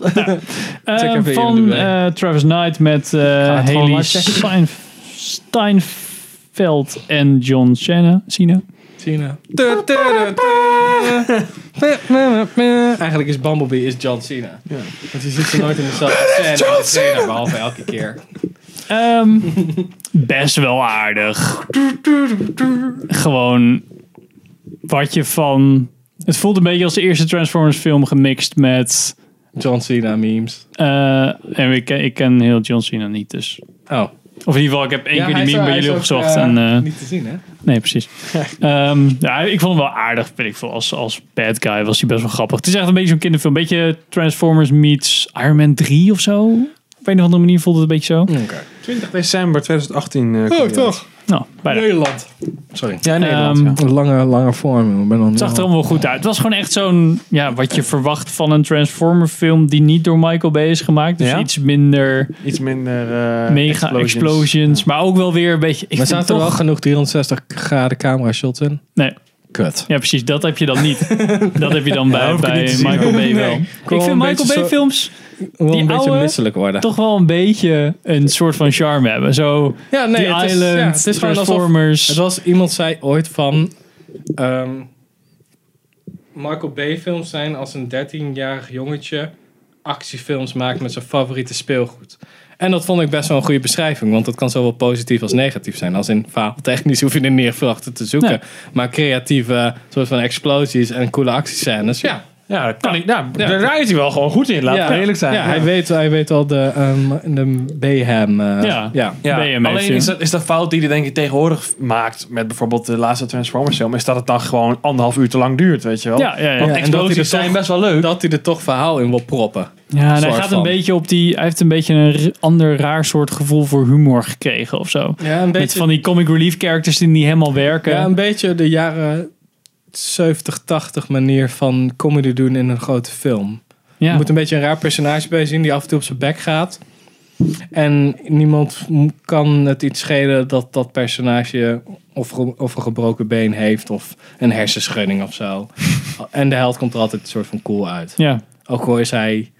Eh, Check even van IMDb. eh, Travis Knight met eh het gewoon Haley maar checken. Stein, Steinfeld en John Cena. Cena. Cena. Eigenlijk is Bumblebee is John Cena. Want je ziet ze nooit in dezelfde scène. John Cena! Behalve elke keer. Ehm, best wel aardig. Gewoon wat je van... Het voelt een beetje als de eerste Transformers film gemixt met... John Cena memes. eh, en ik, ken- ik ken heel John Cena niet, dus... Oh. Of in ieder geval, ik heb één keer die meme bij jullie opgezocht. en, eh, niet te zien, hè? Nee, precies. Ehm, ja, ik vond hem wel aardig. Weet ik veel. Als, als bad guy was hij best wel grappig. Het is echt een beetje zo'n kinderfilm. Een beetje Transformers meets Iron Man 3 of zo. Op een of andere manier voelde het een beetje zo. Oké. 20 december 2018. eh, Oh, komt die uit. toch? Nou, bijna. Nederland. Sorry. Ja, Nederland. Ehm, ja. Een lange, lange vorm. Ik ben al- Het zag er allemaal wel goed uit. Het was gewoon echt zo'n... Ja, wat je verwacht van een Transformer film... die niet door Michael Bay is gemaakt. Dus Ja? iets minder Iets minder... eh, mega explosions. Maar ook wel weer een beetje... Ik Maar vind zaten er toch... wel genoeg 360 graden camera shots in? Nee. Kut. Ja, precies. Dat heb je dan niet. dat heb je dan bij, hoef ik bij niet te zien. Michael Bay wel. Nee. Gewoon Ik vind een Michael beetje Bay zo- films... Wel een Die beetje oude- misselijk worden. toch wel een beetje een soort van charme hebben. Zo, Ja, nee, The het is- Island, ja, het is gewoon alsof- Transformers. Het was iemand zei ooit van. ehm Michael Bay films zijn als een 13-jarig jongetje actiefilms maakt met zijn favoriete speelgoed. En dat vond ik best wel een goede beschrijving, want dat kan zowel positief als negatief zijn. Als in fabeltechnisch hoef je er niet echt veel achter te zoeken. Nee. Maar creatieve soort van explosies en coole actiescènes, ja. Ja, dat kan ik. Nou, Ja. daar rijdt hij wel gewoon goed in. Laten ja, we eerlijk zijn. Ja, Hij, weet, hij weet al de, ehm de Bayham. eh, Ja. ja. Ja, Ben je een alleen beetje- is dat, is dat fout die hij denk ik tegenwoordig maakt met bijvoorbeeld de laatste Transformers film, is dat het dan gewoon anderhalf uur te lang duurt, weet je wel? Ja, ja, ja. Want Ja, en explosies dat hij er zijn toch- best wel leuk. Dat hij er toch verhaal in wil proppen. ja, en hij soort gaat een van. beetje op die. Hij heeft een beetje een r- ander raar soort gevoel voor humor gekregen of zo. Ja, een Met beetje- van die comic relief characters die niet helemaal werken. Ja, een beetje de jaren 70, 80 manier van comedy doen in een grote film. Ja. Je moet een beetje een raar personage bij zien die af en toe op zijn bek gaat. En niemand m- kan het iets schelen dat dat personage of, ge- of een gebroken been heeft of een hersenschudding of zo. En de held komt er altijd een soort van cool uit. ja. Ook al is hij,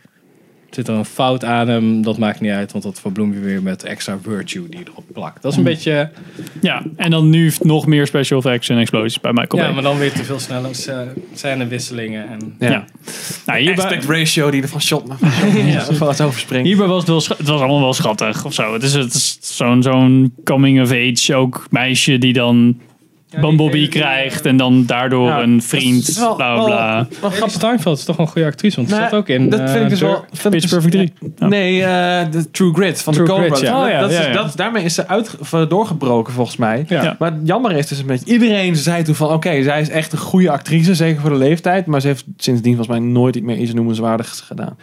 zit er een fout aan hem, dat maakt niet uit, want dat verbloem je weer met extra virtue die je erop plakt. Dat is een beetje ja, en dan nu nog meer special effects en explosies bij Michael ja, Bay. maar dan weer te veel snelle eh, scènewisselingen. En... Ja. Nou, hierbij, Aspect ratio die er van shot naar van shot ja. van het overspringt. hierbij was het wel scha- het was allemaal wel schattig of zo. Het is, het is zo'n zo'n coming of age ook meisje die dan Bumblebee hele- krijgt en dan daardoor Ja, een dat vriend, is wel- oh. bla wel- bla. Wel Haley grappig. Steinfeld is toch wel een goede actrice, want ze Nee, zat ook in. dat vind eh, ik dus wel. Dirt. vind ik Pitch dus- Perfect 3. Ja. Nee, eh, de True Grit van True de Coen Grit, Brothers. ja. Dat- Oh, ja, dat is- ja, ja. dat is- daarmee is ze uit, of, doorgebroken volgens mij. Ja. Ja. Maar het jammer is dus een beetje, iedereen zei toen van oké, zij is echt een goede actrice, zeker voor de leeftijd. Maar ze heeft sindsdien volgens mij nooit iets meer iets noemenswaardigs gedaan.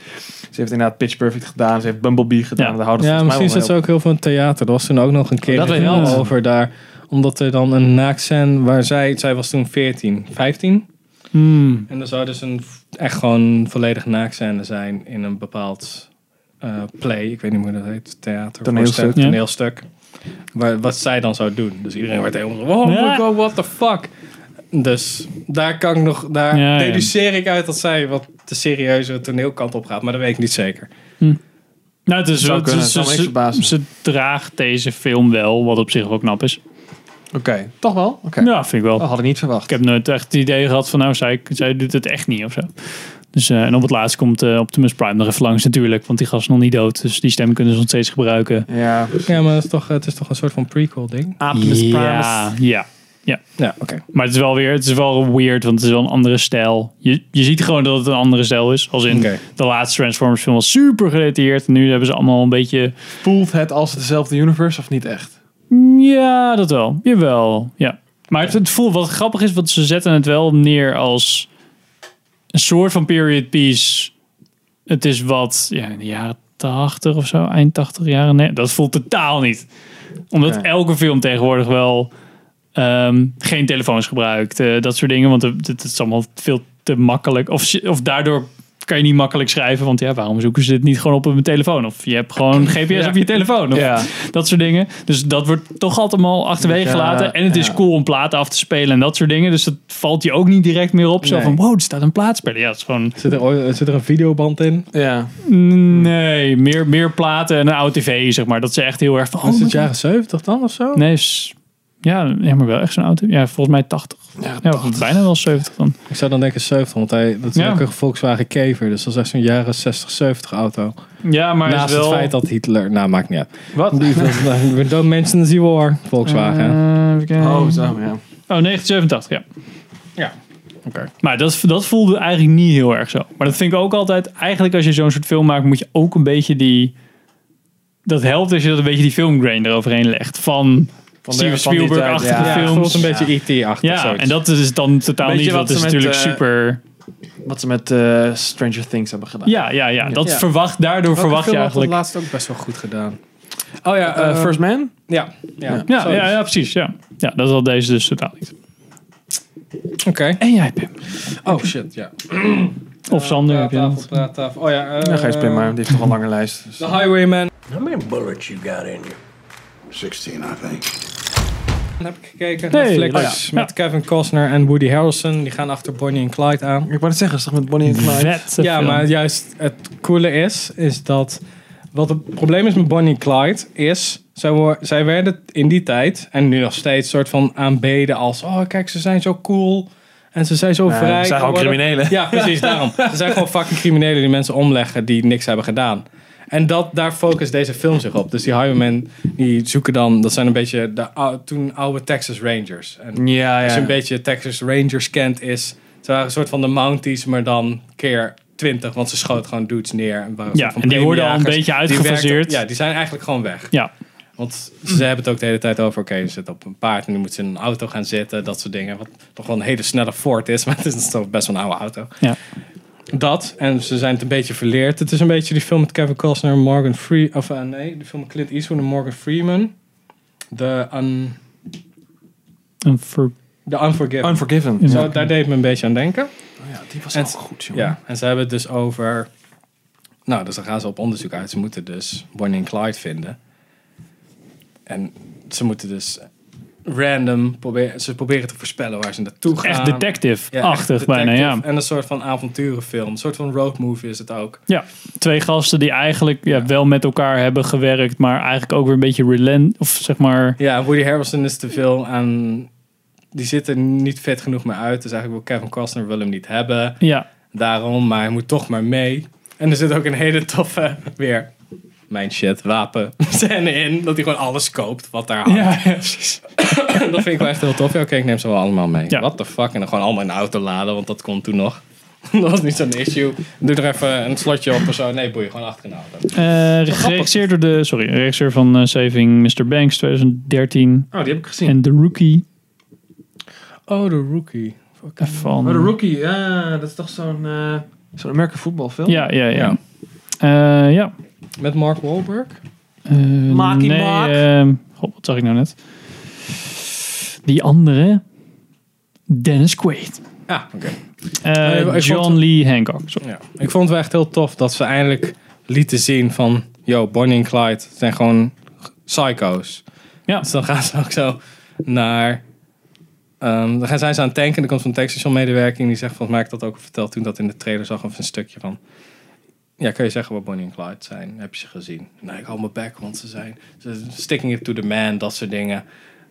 Ze heeft inderdaad Pitch Perfect gedaan, ze heeft Bumblebee gedaan. Ja. Daar houden ze Ja, volgens mij misschien zat wel ze ook heel veel in het theater. Er was toen ook nog een keer Dat een weet ik film niet. over daar. Omdat er dan een naaktscène waar zij, zij was toen 14, 15. Hmm. En er zou dus een v- echt gewoon volledig naaktscène zijn in een bepaald eh, play. Ik weet niet hoe dat heet. Theater. Toneelstuk. voorstelling, Ja. Toneelstuk. Waar, wat zij dan zou doen. Dus iedereen werd helemaal zo, oh Ja. my god, what the fuck. Dus daar kan ik nog, daar Ja, ja. deduceer ik uit dat zij wat de serieuzere toneelkant op gaat. Maar dat weet ik niet zeker. Nou, het is Zou wel, kunnen, ze, zou me ze- niks verbazen. ze draagt deze film wel, wat op zich wel knap is. Oké, toch wel? Oké. Ja, vind ik wel. Dat had ik niet verwacht. Ik heb nooit echt het idee gehad van, nou, zij, zij doet het echt niet of zo. Dus, eh, en op het laatst komt eh, Optimus Prime nog even langs natuurlijk, want die gast is nog niet dood. Dus die stem kunnen ze nog steeds gebruiken. Ja, Ja, maar het is toch, het is toch een soort van prequel ding? Ah. Optimus ja, ja. Ja, oké. Maar het is wel weer, het is wel weird, want het is wel een andere stijl. Je, je ziet gewoon dat het een andere stijl is. Als in Oké. de laatste Transformers film was super gedetailleerd. En nu hebben ze allemaal een beetje, Voelt het als dezelfde universe of niet echt? ja, dat wel. Jawel, ja. Maar het, het voelt, wat grappig is, want ze zetten het wel neer als een soort van period piece. Het is wat, ja, in de jaren 80 of zo, eind 80 jaren. Nee, dat voelt totaal niet. Omdat Nee. elke film tegenwoordig wel ehm, geen telefoons gebruikt. eh, dat soort dingen, want het, het is allemaal veel te makkelijk. Of, ze- of daardoor kan je niet makkelijk schrijven, want ja, waarom zoeken ze dit niet gewoon op op mijn telefoon? Of je hebt gewoon GPS op je telefoon. Of Ja. Dat soort dingen. Dus dat wordt toch altijd al achterwege Ja, gelaten. En het is ja. cool om platen af te spelen en dat soort dingen. Dus dat valt je ook niet direct meer op. Zo Nee. van, wow, er staat een plaatspeler. Ja, het is gewoon... Zit er, ooit- zit er een videoband in? Ja. Nee, meer, meer platen en een oud tv, zeg maar. Dat ze echt heel erg van... oh Is my het jaren 70 dan of zo? Nee, s- ja, ja, maar wel echt zo'n auto. Ja, volgens mij 80. Ja, bijna wel 70 dan. Ik zou dan denken 70, want hij, dat is Ja. ook een Volkswagen Kever. Dus dat is echt zo'n jaren 60, 70 auto. Ja, maar Naast is wel... het feit dat Hitler... Nou, maakt niet uit. eh, Wat? We don't mention the war. Volkswagen. Eh, even kijken. Oh, zo, ja. Oh, 1987, ja. ja. Oké. Maar dat, dat voelde eigenlijk niet heel erg zo. Maar dat vind ik ook altijd... Eigenlijk als je zo'n soort film maakt, moet je ook een beetje die... Dat helpt als je dat een beetje die filmgrain eroverheen legt. Van, Van de- Steven van die tijd, Spielberg-achtige ja. Ja, het voelt Eh, films. een beetje IT-achtig. Ja, zoiets. en dat is dan totaal Beetje niet... wat Dat is ze met, natuurlijk eh, super... Wat ze met eh, Stranger Things hebben gedaan. Ja, ja, ja. Dat Ja. verwacht... Daardoor verwacht je eigenlijk... laatst ook best wel goed gedaan. Oh ja, eh, Eh, First Man. Ja. Ja, Ja, ja, ja, precies. Ja. ja, dat had deze dus totaal niet. oké. En jij, Pim. Oh shit, ja. Of Sander. heb je Praattafel, dat? praattafel. Oh ja, Ja, Gijs Pim, die heeft toch een lange lijst. Dus. The Highwayman. How many bullets you got in you? 16, I think. Heb ik gekeken. Nee, Netflix. oh ja. Met Kevin Costner en Woody Harrelson. Die gaan achter Bonnie en Clyde aan. Ik wou het zeggen, is toch met Bonnie en Clyde? Vette ja, film. maar juist het coole is, is dat wat het probleem is met Bonnie en Clyde is, zij, wo- zij werden in die tijd en nu nog steeds soort van aanbeden als, oh kijk, ze zijn zo cool en ze zijn zo Ja, vrij. ze zijn gewoon geworden." criminelen. Ja, precies daarom. Ze zijn gewoon fucking criminelen die mensen omleggen die niks hebben gedaan. En dat, daar focust deze film zich op. Dus die highwaymen die zoeken dan, dat zijn een beetje de ou- toen oude Texas Rangers. En Ja, als ja. je een beetje Texas Rangers kent, is. Ze waren een soort van de Mounties, maar dan keer 20, want ze schoten gewoon dudes neer. En, waren een Ja, soort van en die worden al een premiejagers. beetje Die werkten- uitgefaseerd. Ja, die zijn eigenlijk gewoon weg. Ja. Hm. Want ze hebben het ook de hele tijd over: oké, ze zitten op een paard en nu moeten ze in een auto gaan zitten, dat soort dingen. Wat toch wel een hele snelle Ford is, maar het is toch best wel een oude auto. Ja. Dat, en ze zijn het een beetje verleerd. Het is een beetje die film met Kevin Costner en Morgan Freeman. Of eh, nee, de film met Clint Eastwood en Morgan Freeman. De un, Een ver- the Unforgiven. Unforgiven. Zo, daar deed het me een beetje aan denken. Oh Ja, die was En- ook goed, jongen. Ja, en ze hebben het dus over. Nou, dus dan gaan ze op onderzoek uit. Ze moeten dus Bonnie en Clyde vinden. En ze moeten dus random proberen. Ze proberen te voorspellen waar ze naartoe gaan. Echt Ja, echt detective-achtig bijna, detective. ja. En een soort van avonturenfilm. Een soort van roadmovie is het ook. Ja, twee gasten die eigenlijk ja, wel met elkaar hebben gewerkt, maar eigenlijk ook weer een beetje relent, of zeg maar... Ja, Woody Harrelson is te veel aan. Die zit er niet vet genoeg meer uit. Dus eigenlijk wil Kevin Costner wil hem niet hebben. Ja, Daarom, maar hij moet toch maar mee. En er zit ook een hele toffe, weer, mijn shit, wapen scène in. Dat hij gewoon alles koopt wat daar hangt. Eh, dat vind ik wel echt heel tof. Ja, Oké, ik neem ze wel allemaal mee. Ja. What the fuck? En dan gewoon allemaal in de auto laden, want dat kon toen nog. dat was niet zo'n issue. Doe er even een slotje op of zo. Nee, boeien, gewoon achter een auto. Eh, geregisseerd door de... Sorry, regisseur van eh, Saving Mr. Banks 2013. Oh, die heb ik gezien. En The Rookie Oh, de rookie. Fuck. van... Maar Oh, de Rookie, ja, dat is toch zo'n eh zo'n American voetbalfilm? Ja, ja, ja. Ja. Eh, ja. Met Mark Wahlberg. Eh, Maak die nee, maak. ehm, god, wat zag ik nou net? Die andere... Dennis Quaid. Ja, oké. Eh, ik vond- John Lee Hancock. Sorry. Ja. Ik vond het wel echt heel tof dat ze eindelijk lieten zien van... Yo, Bonnie en Clyde zijn gewoon psycho's. Ja. Dus dan gaan ze ook zo naar... ehm, dan gaan zij ze aan het tanken. Dan komt zo'n tankstation medewerking die zegt... Volgens mij heb ik dat ook verteld toen ik dat in de trailer zag. Of een stukje van... Ja, kun je zeggen wat Bonnie en Clyde zijn? Heb je ze gezien? Nee, ik hou mijn bek, want ze zijn... Ze sticking it to the man, dat soort dingen.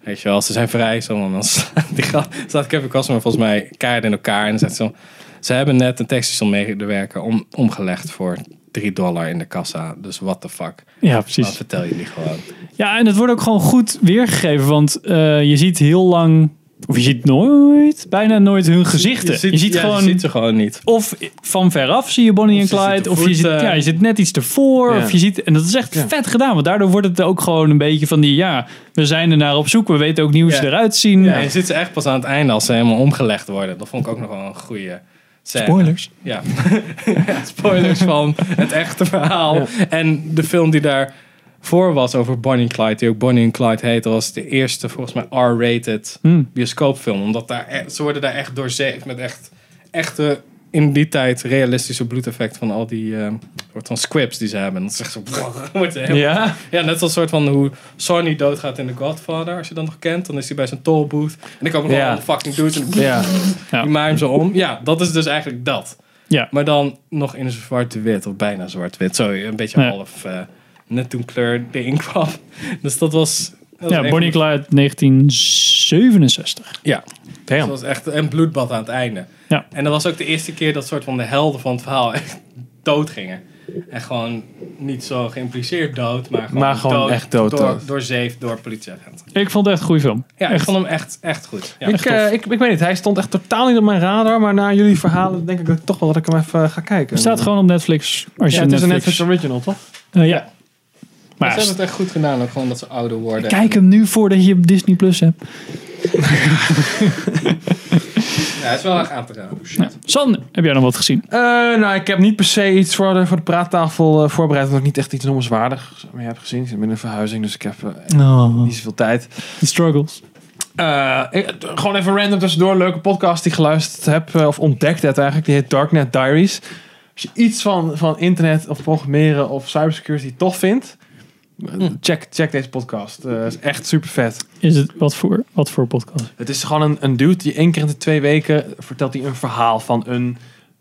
Weet je wel, ze zijn vrij. Zo, en dan slaat die gast- staat Kevin Costner volgens mij keihard in elkaar. En dan zegt ze zo... Ze hebben net een tankstation medewerker om, omgelegd voor 3 dollar in de kassa. Dus what the fuck. Ja, Dat precies. vertel je niet gewoon. Ja, en het wordt ook gewoon goed weergegeven, want eh, je ziet heel lang, of je ziet nooit, bijna nooit hun gezichten. Je ziet, ja, gewoon, Je ziet ze gewoon niet. of van veraf zie je Bonnie en Of ze Clyde, zitten of je zit, voeten. ja, je zit net iets ervoor, Ja. of je ziet, en dat is echt vet gedaan, want daardoor wordt het ook gewoon een beetje van die, ja, we zijn er naar op zoek, we weten ook niet hoe ze Ja. eruit zien. Ja. Je ziet ze echt pas aan het einde als ze helemaal omgelegd worden. Dat vond ik ook nog wel een goede scène. Spoilers. Ja. Ja, spoilers van het echte verhaal. En de film die daarvoor was over Bonnie en Clyde, die ook Bonnie en Clyde heette, was de eerste volgens mij Hm. Hm. R-rated bioscoopfilm. Omdat daar, e- ze worden daar echt doorzeefd met echt, echte in die tijd realistische bloedeffect van al die eh, soort van squibs die ze hebben. En dat is echt zo... wordt helemaal- Ja? ja, net als soort van hoe Sonny doodgaat in The Godfather. Als je dat nog kent, dan is hij bij zijn toll booth. En ik ook nog Ja. alle fucking dudes en die Ja. Ja. maaien hem zo om. Ja, dat is dus eigenlijk dat. Ja. Maar dan nog in zwart-wit, of bijna zwart-wit. Zo, een beetje Ja. half eh, net toen kleur erin kwam. Dus dat was... dat was Ja, echt- Bonnie Clyde 1967. Ja, Damn. dat was echt een bloedbad aan het einde. Ja. En dat was ook de eerste keer dat soort van de helden van het verhaal echt dood gingen. En gewoon niet zo geïmpliceerd dood, maar gewoon, Maar gewoon echt dood, Door, dood. door zeef, door politieagenten. Ik vond het echt een goede film. Ja, ik echt. vond hem echt, echt goed. Ja. ik, eh, ik, ik weet niet, hij stond echt totaal niet op mijn radar. Maar na jullie verhalen denk ik dat toch wel dat ik hem even eh, ga kijken. Het staat gewoon op Netflix. Als ja, je het is een Netflix, Netflix original, toch? Eh, ja. Maar ze hebben het echt goed gedaan, ook gewoon dat ze ouder worden. Kijk hem nu voordat je Disney Plus hebt. Ja, het is wel erg aan te raden. San, heb jij nog wat gezien? Eh, nou, ik heb niet per se iets voor de, voor de praattafel eh, voorbereid. Omdat ik niet echt iets noemenswaardigs meer heb gezien. Ik ben in een verhuizing, dus ik heb eh, Nou, niet zoveel tijd. The Struggles. Eh, ik- gewoon even random tussendoor. Leuke podcast die ik geluisterd heb. eh, of ontdekt heb eigenlijk. Die heet Darknet Diaries. Als je iets van, van internet of programmeren of cybersecurity toch vindt. eh, Hm. Check, check deze podcast. Eh, is echt super vet. Is het wat voor, wat voor podcast? Het is gewoon een, een dude die één keer in de twee weken vertelt hij een verhaal van een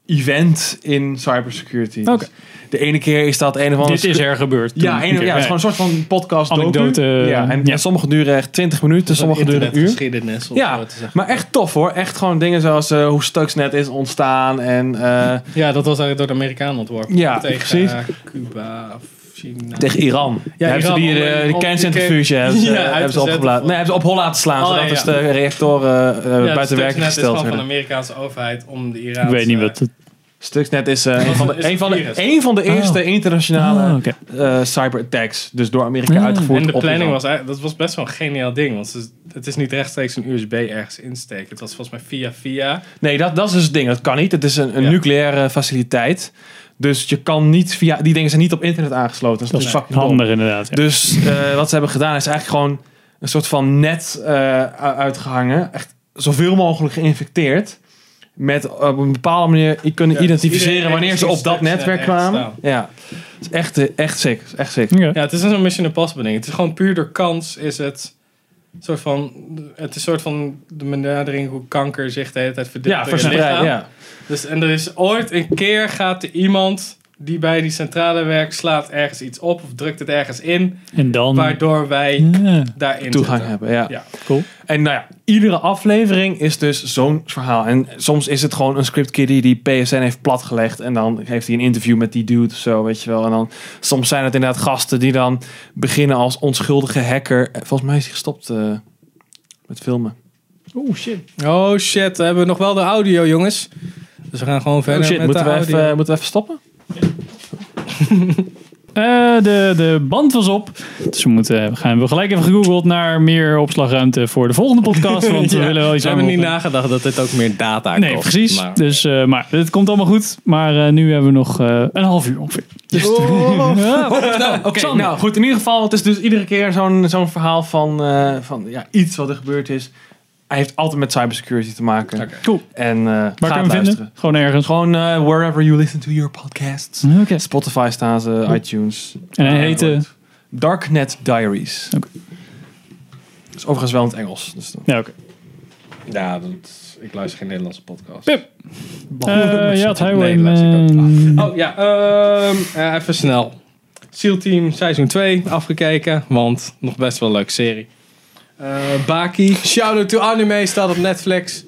event in cybersecurity. Dus Oké. de ene keer is dat een of andere... Dit is er gebeurd. Ja, Toen- een, ja, het is gewoon een soort van podcast docu. Anekdote, Ja, en, ja. en sommige duren echt 20 minuten, sommige duren een uur. Internetgeschiedenis, of Ja, zo te zeggen. maar echt tof hoor. Echt gewoon dingen zoals eh, hoe Stuxnet is ontstaan en eh, Ja, dat was eigenlijk door de Amerikanen ontworpen. Ja, tegen precies. eh, Cuba of China. tegen Iran. Ja, hebben ze Iran, die, om- eh, om- die om- kerncentrifuge ja, hebben ze, uit te hebben ze zetten. opgeblazen. Nee, hebben ze op hol laten slaan, Oh, zodat ja, dus ja. de reactoren eh, eh, Ja, buiten Stuxnet werking is gewoon gesteld van de werden. Amerikaanse overheid om de Ik Iraanse... weet niet wat het... Stuxnet is, eh, een, van de, is een, van de, virus. een van de eerste internationale Ah, oké. eh, cyberattacks. Dus door Amerika uitgevoerd. En de op planning Iran. was eigenlijk, dat was best wel een geniaal ding. Want het is, het is niet rechtstreeks een USB ergens insteken. Het was volgens mij via via. Nee, dat, dat is dus het ding. Dat kan niet. Het is een, een Ja. nucleaire faciliteit. Dus je kan niet via... Die dingen zijn niet op internet aangesloten. Dus dat, is fucking dom. Handig inderdaad. ja. Dus eh, wat ze hebben gedaan is eigenlijk gewoon een soort van net eh, u- uitgehangen. Echt zoveel mogelijk geïnfecteerd. Met eh, op een bepaalde manier i- kunnen Ja, dus identificeren iedereen wanneer heeft ze die op dat stuks net netwerk echt kwamen. staan. Ja, het is echt, eh, echt sick. Het is Echt sick. Oké. Ja, het is een zo'n Mission Impossible ding. Het is gewoon puur door kans is het... Soort van, het is soort van de benadering hoe kanker zich de hele tijd verdeelt. Ja, door je verspreid. lichaam. Ja. Dus, en er is ooit een keer gaat er iemand die bij die centrale werkt, slaat ergens iets op of drukt het ergens in, En dan... waardoor wij Ja. daarin Hmm? Toegang zitten. hebben, ja. Ja, Cool. En nou ja, iedere aflevering is dus zo'n verhaal. En soms is het gewoon een scriptkiddie die PSN heeft platgelegd. En dan heeft hij een interview met die dude of zo, weet je wel. En dan soms zijn het inderdaad gasten die dan beginnen als onschuldige hacker. Eh, Volgens mij is hij gestopt eh, met filmen. Oh shit. Oh shit, we hebben nog wel de audio, jongens. Dus we gaan gewoon verder Oh shit, met moeten de we, audio. even, eh, moeten we even stoppen? Eh, de, de band was op. Dus we, moeten, we gaan, we hebben gelijk even gegoogeld naar meer opslagruimte voor de volgende podcast. Want we Ja, willen wel iets Ze hebben aan niet op- nagedacht dat dit ook meer data kost. Nee, precies. maar- Dus, eh, maar het komt allemaal goed. Maar eh, nu hebben we nog eh, een half uur ongeveer. Dus Ja. Oké, Sander. nou goed, in ieder geval, het is dus iedere keer zo'n zo'n verhaal van, eh, van ja, iets wat er gebeurd is. Hij heeft altijd met cybersecurity te maken. Oké. Cool. En eh ga Waar kan je het hem luisteren. vinden? Gewoon ergens. Gewoon eh, wherever you listen to your podcasts. Oké. Spotify staan ze, iTunes. eh, En hij heette... Darknet Diaries. Oké. Dat is overigens wel in het Engels. Dus dat- Ja, oké. Ja, dat, ik luister geen Nederlandse podcast. Pip. Eh, ja, het Nee, Highwayman. Oh ja, ehm, eh, even snel. SEAL Team seizoen 2 afgekeken, want nog best wel een leuke serie. Eh, Baki, Shadow to Anime staat op Netflix.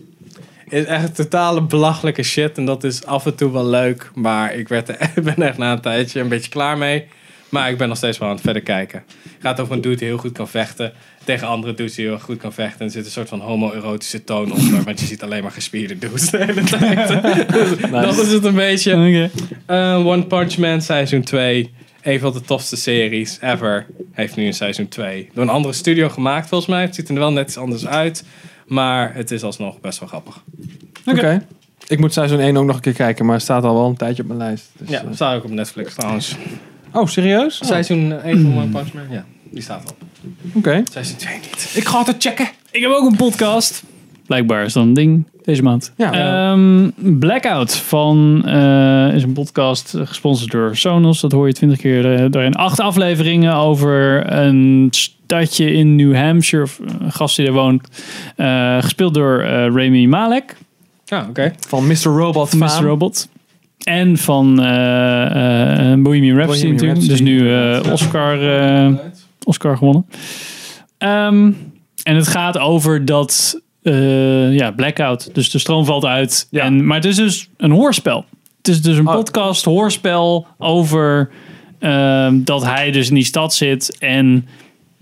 Is echt totale belachelijke shit en dat is af en toe wel leuk, maar ik werd er, ben echt na een tijdje een beetje klaar mee. Maar ik ben nog steeds wel aan het verder kijken. Gaat over een dude die heel goed kan vechten. Tegen andere dudes die heel erg goed kan vechten. En er zit een soort van homoerotische toon onder. Want je ziet alleen maar gespierde dudes de hele tijd. Nou, Dat is het een beetje. Oké. Eh, One Punch Man seizoen 2. Een van de tofste series ever. Heeft nu een seizoen 2. Door een andere studio gemaakt volgens mij. Het ziet er wel net iets anders uit. Maar het is alsnog best wel grappig. Oké. Ik moet seizoen 1 ook nog een keer kijken, maar het staat al wel een tijdje op mijn lijst. Dus, Ja, eh. staat ook op Netflix trouwens. Oh, serieus? Oh, Seizoen 1 van One Punch Man. Ja, die staat op. Oké. Seizoen 2 niet. Ik ga het checken. Ik heb ook een podcast. Blijkbaar is dat een ding. Deze maand. Ja. Ehm, Blackout van, eh, is een podcast eh, gesponsord door Sonos. Dat hoor je twintig keer eh, doorheen. Acht afleveringen over een stadje in New Hampshire. Of een gast die daar woont. Eh, gespeeld door eh Rami Malek. Ja, Ah, oké. Van Mr. Robot Mr. faam. Robot. En van eh eh, Bohemian Rhapsody Bohemian natuurlijk. Rhapsody. Dus nu eh, Oscar, eh, Oscar gewonnen. Ehm, en het gaat over dat eh, ja, blackout. Dus de stroom valt uit. Ja. En, maar het is dus een hoorspel. Het is dus een Oh. podcast hoorspel over ehm, dat hij dus in die stad zit. En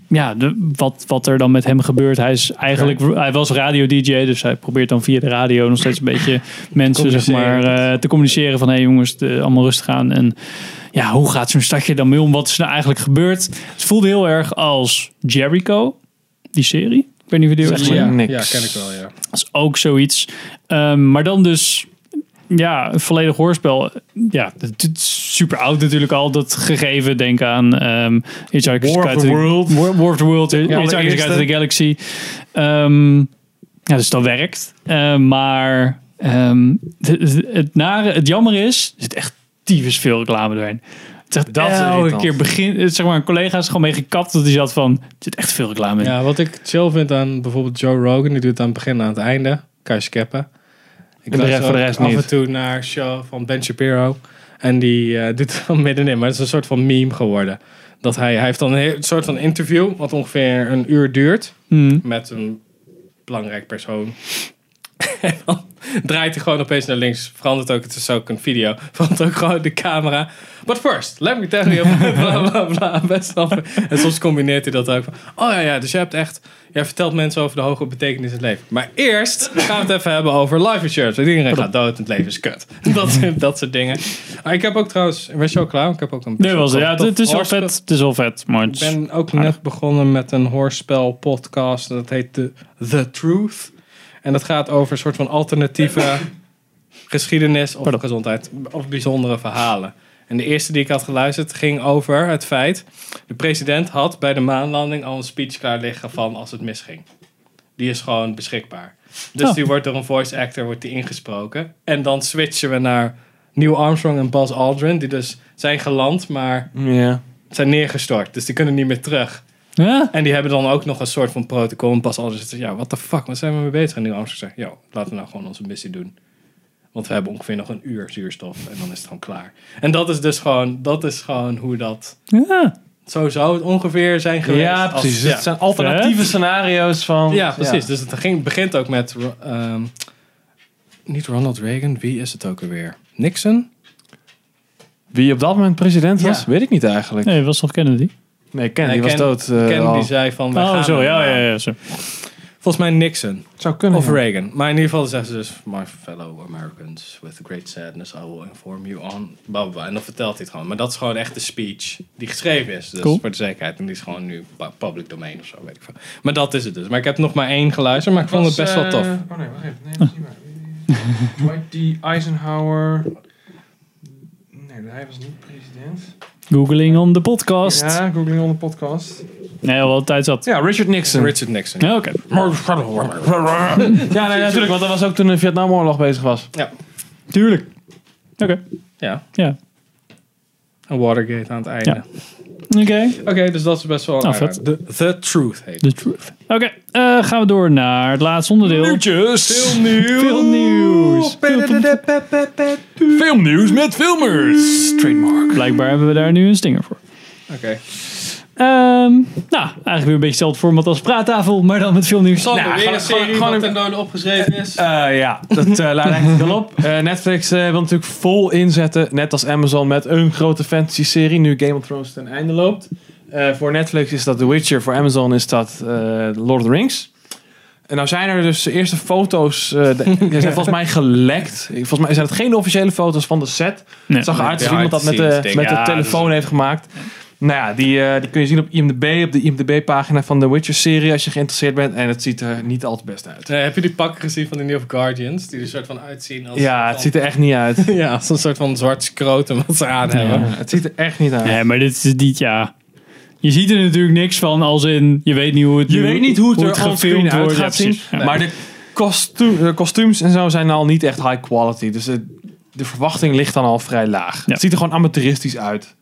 ja, de, wat, wat er dan met hem gebeurt. Hij is eigenlijk, hij was radio DJ, dus hij probeert dan via de radio nog steeds een beetje mensen zeg maar, eh, te communiceren van hé hey jongens, de- allemaal rustig aan. En ja, hoe gaat zo'n stadje dan mee om? Wat is er nou eigenlijk gebeurd? Het voelde heel erg als Jericho, die serie. Ik weet niet of je die ooit Zeg maar gezien Ja, niks. ja, ken ik wel, ja. dat is ook zoiets. Ehm, maar dan dus, ja, een volledig hoorspel. Ja, het is super oud natuurlijk al, dat gegeven. Denk aan ehm Hitchhiker's War of Guide the to World. War, War of the World, Hitchhiker's allereerste. Guide to the Galaxy. Ehm, ja, dus dat werkt. Ehm, maar ehm, het, het, het nare, het jammer is, er zit echt tyfus veel reclame doorheen. Het is echt Dat is elke irritant. keer begin, het- zeg maar, een collega is gewoon mee gekapt dat hij zat van, er zit echt veel reclame in. Ja, wat ik chill vind aan bijvoorbeeld Joe Rogan, die doet het aan het begin en aan het einde. Kan je skippen. Ik de luister rest- voor de ook rest af niet. en toe naar een show van Ben Shapiro. En die eh, doet het dan middenin. Maar het is een soort van meme geworden. Dat hij, hij heeft dan een heel- soort van interview, wat ongeveer een uur duurt. Hmm. Met een belangrijk persoon. en dan draait hij gewoon opeens naar links. Verandert ook, het is ook een video. Verandert ook gewoon de camera. But first, let me tell you. bla bla bla. Best wel. En soms combineert hij dat ook. Van, oh ja, ja, dus je hebt echt. Jij vertelt mensen over de hoge betekenis in het leven. Maar eerst gaan we het even hebben over life insurance. Want iedereen gaat dood en het leven is kut. Dat, soort- dat soort dingen. Ah, ik heb ook trouwens. Was je al klaar? Ik heb ook een. Nee, was het. Ja, het, tof het is wel hoorspel. vet. Het is wel vet, maar het Ik is- ben ook net begonnen met een hoorspel podcast. Dat heet The, The Truth. En dat gaat over een soort van alternatieve geschiedenis of gezondheid. Of bijzondere verhalen. En de eerste die ik had geluisterd ging over het feit... de president had bij de maanlanding al een speech klaar liggen van als het misging. Die is gewoon beschikbaar. Dus Oh. die wordt door een voice actor wordt die ingesproken. En dan switchen we naar Neil Armstrong en Buzz Aldrin... die dus zijn geland, maar Ja. zijn neergestort. Dus die kunnen niet meer terug. Ja? En die hebben dan ook nog een soort van protocol. En pas alles ja, what the fuck, wat zijn we mee bezig? En nu Amsterdam zegt, yo, laten we nou gewoon onze missie doen. Want we hebben ongeveer nog een uur zuurstof en dan is het gewoon klaar. En dat is dus gewoon, dat is gewoon hoe dat, Ja. zo zou het ongeveer zijn geweest. Ja, als- precies. Dus ja. Het zijn alternatieve scenario's van... Ja, precies. Dus het ging, begint ook met, ro- ehm, niet Ronald Reagan, wie is het ook alweer? Nixon? Wie op dat moment president was, Ja. weet ik niet eigenlijk. Nee, was toch Kennedy? Nee, Kennedy Nee, was Ken- dood. eh, Kennedy al. zei van, wij Oh, gaan eh, zo. er Ja, maar. ja, ja. Zo. Volgens mij Nixon. Zou kunnen. Of ja. Reagan. Maar in ieder geval zeggen ze dus... My fellow Americans, with great sadness I will inform you on... Blah, blah, blah. En dan vertelt hij het gewoon. Maar dat is gewoon echt de speech die geschreven is. Dus Cool. voor de zekerheid. En die is gewoon nu pu- public domain of zo, weet ik veel. Maar dat is het dus. Maar ik heb nog maar één geluisterd, maar ik vond het best wel tof. Oh nee, wacht even. Nee, dat is niet waar. Dwight D. Eisenhower... Nee, hij was niet president. Googling om de podcast. Ja, googling on de podcast. Nee, wel tijd zat. Ja, Richard Nixon. Richard Nixon. Ja, Oké. Ja, nee, natuurlijk, want dat was ook toen de Vietnamoorlog bezig was. Tuurlijk. Oké. Ja. Ja. En Watergate aan het einde. Ja. Oké. Oké, dus dat is best wel... Nou, een vet. aanrader. The, the Truth heet The truth. Oké, eh, gaan we door naar het laatste onderdeel. Veel nieuws. Veel nieuws. Filmnieuws met filmers. Trademark. Blijkbaar hebben we daar nu een stinger voor. Oké. Ehm, nou, eigenlijk weer een beetje hetzelfde format als praattafel, maar dan met veel nieuws. Sander, Nou, weer gewoon- een serie gewoon- wat ten dode opgeschreven is. ja, dat eh laat eigenlijk wel op. Eh, Netflix eh, wil natuurlijk vol inzetten, net als Amazon, met een grote fantasy-serie. Nu Game of Thrones ten einde loopt. Eh, voor Netflix is dat The Witcher, voor Amazon is dat eh, Lord of the Rings. En nou zijn er dus de eerste foto's, eh, de- die zijn volgens mij gelekt. Volgens mij zijn het geen officiële foto's van de set. Nee. Het zag eruit als iemand dat met behind the de, scenes met de ding. Ja, dus- telefoon heeft gemaakt. Nou ja, die, eh, die kun je zien op IMDb, op de IMDb-pagina van de Witcher-serie als je geïnteresseerd bent. En het ziet er niet al te best uit. Eh, heb je die pakken gezien van de New Guardians? Die er soort van uitzien als... Ja, het ziet er echt niet uit. Ja, als een soort van zwart skrotum wat ze aan hebben. Ja, het ziet er echt niet uit. Nee, maar dit is niet, ja. Je ziet er natuurlijk niks van, als in, je weet niet hoe het Je nu- weet niet hoe het er onscreen gefilmd uit wordt. gaat Ja, zien. precies. Ja. Maar de kostu- eh, kostuums en zo zijn al niet echt high quality. Dus eh, de verwachting ligt dan al vrij laag. Ja. Het ziet er gewoon amateuristisch uit.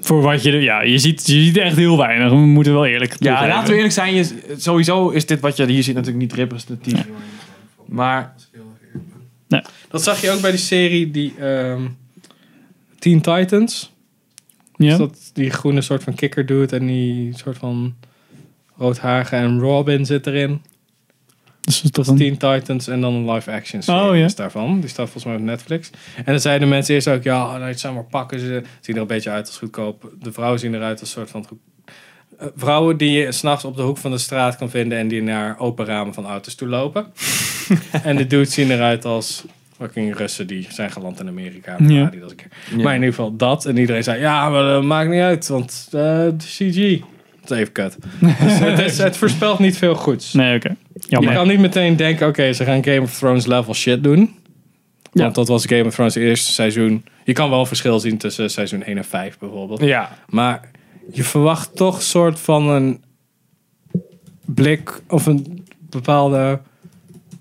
Voor wat je... Ja, je ziet, je ziet echt heel weinig. We moeten wel eerlijk Ja, toegeven. laten we eerlijk zijn. Je, sowieso is dit wat je hier ziet natuurlijk niet representatief. Maar Dat zag je ook bij die serie, die ehm, Teen Titans. Ja. Dus dat die groene soort van kikker doet en die soort van roodhagen en Robin zit erin. Dus dat is toch een- Teen Titans en dan een live action serie Oh, ja. is daarvan. Die staat volgens mij op Netflix. En dan zeiden mensen eerst ook, ja, nou, het zijn maar pakken. Ze zien er een beetje uit als goedkoop. De vrouwen zien eruit als een soort van... goed- eh, Vrouwen die je s'nachts op de hoek van de straat kan vinden en die naar open ramen van auto's toe lopen. en de dudes zien eruit als fucking Russen die zijn geland in Amerika. Ja. Ja. Die dat een keer. Maar in ieder geval dat. En iedereen zei, ja, maar dat maakt niet uit, want eh, de CG. Dat is even kut. dus het, is, het voorspelt niet veel goeds. Nee, oké. Jammer. Je Oh, kan niet meteen denken, oké, ze gaan Game of Thrones level shit doen. Want dat was Game of Thrones eerste seizoen. Je kan wel een verschil zien tussen seizoen 1 en 5 bijvoorbeeld. ja, Maar je verwacht toch soort van een blik of een bepaalde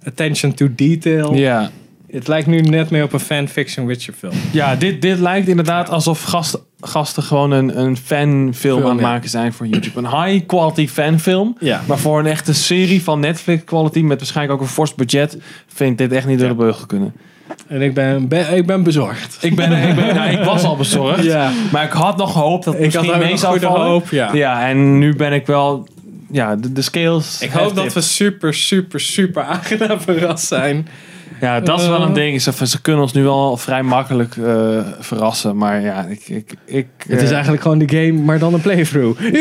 attention to detail. ja. Het lijkt nu net meer op een fanfiction Witcher film. ja dit, dit lijkt inderdaad alsof gast, gasten gewoon een, een fanfilm aan het ja. maken zijn voor YouTube. Een high quality fanfilm. Ja. Maar voor een echte serie van Netflix quality met waarschijnlijk ook een fors budget vind ik dit echt niet door de beugel kunnen. En ik ben, ben- ik ben bezorgd. Ik, ben, ik, ben, nou, ik was al bezorgd. Ja. Maar ik had nog gehoopt dat het Ik had misschien ook mee nog zou goede vallen. hoop, ja. en nu ben ik wel... Ja, de, de scales... Ik hoop have dat tipped. we super, super, super aangenaam verrast zijn. Ja, dat is wel een ding. Ze, ze kunnen ons nu wel vrij makkelijk eh, verrassen. Maar ja, ik... ik, ik Het is eh, eigenlijk gewoon de game, maar dan een playthrough.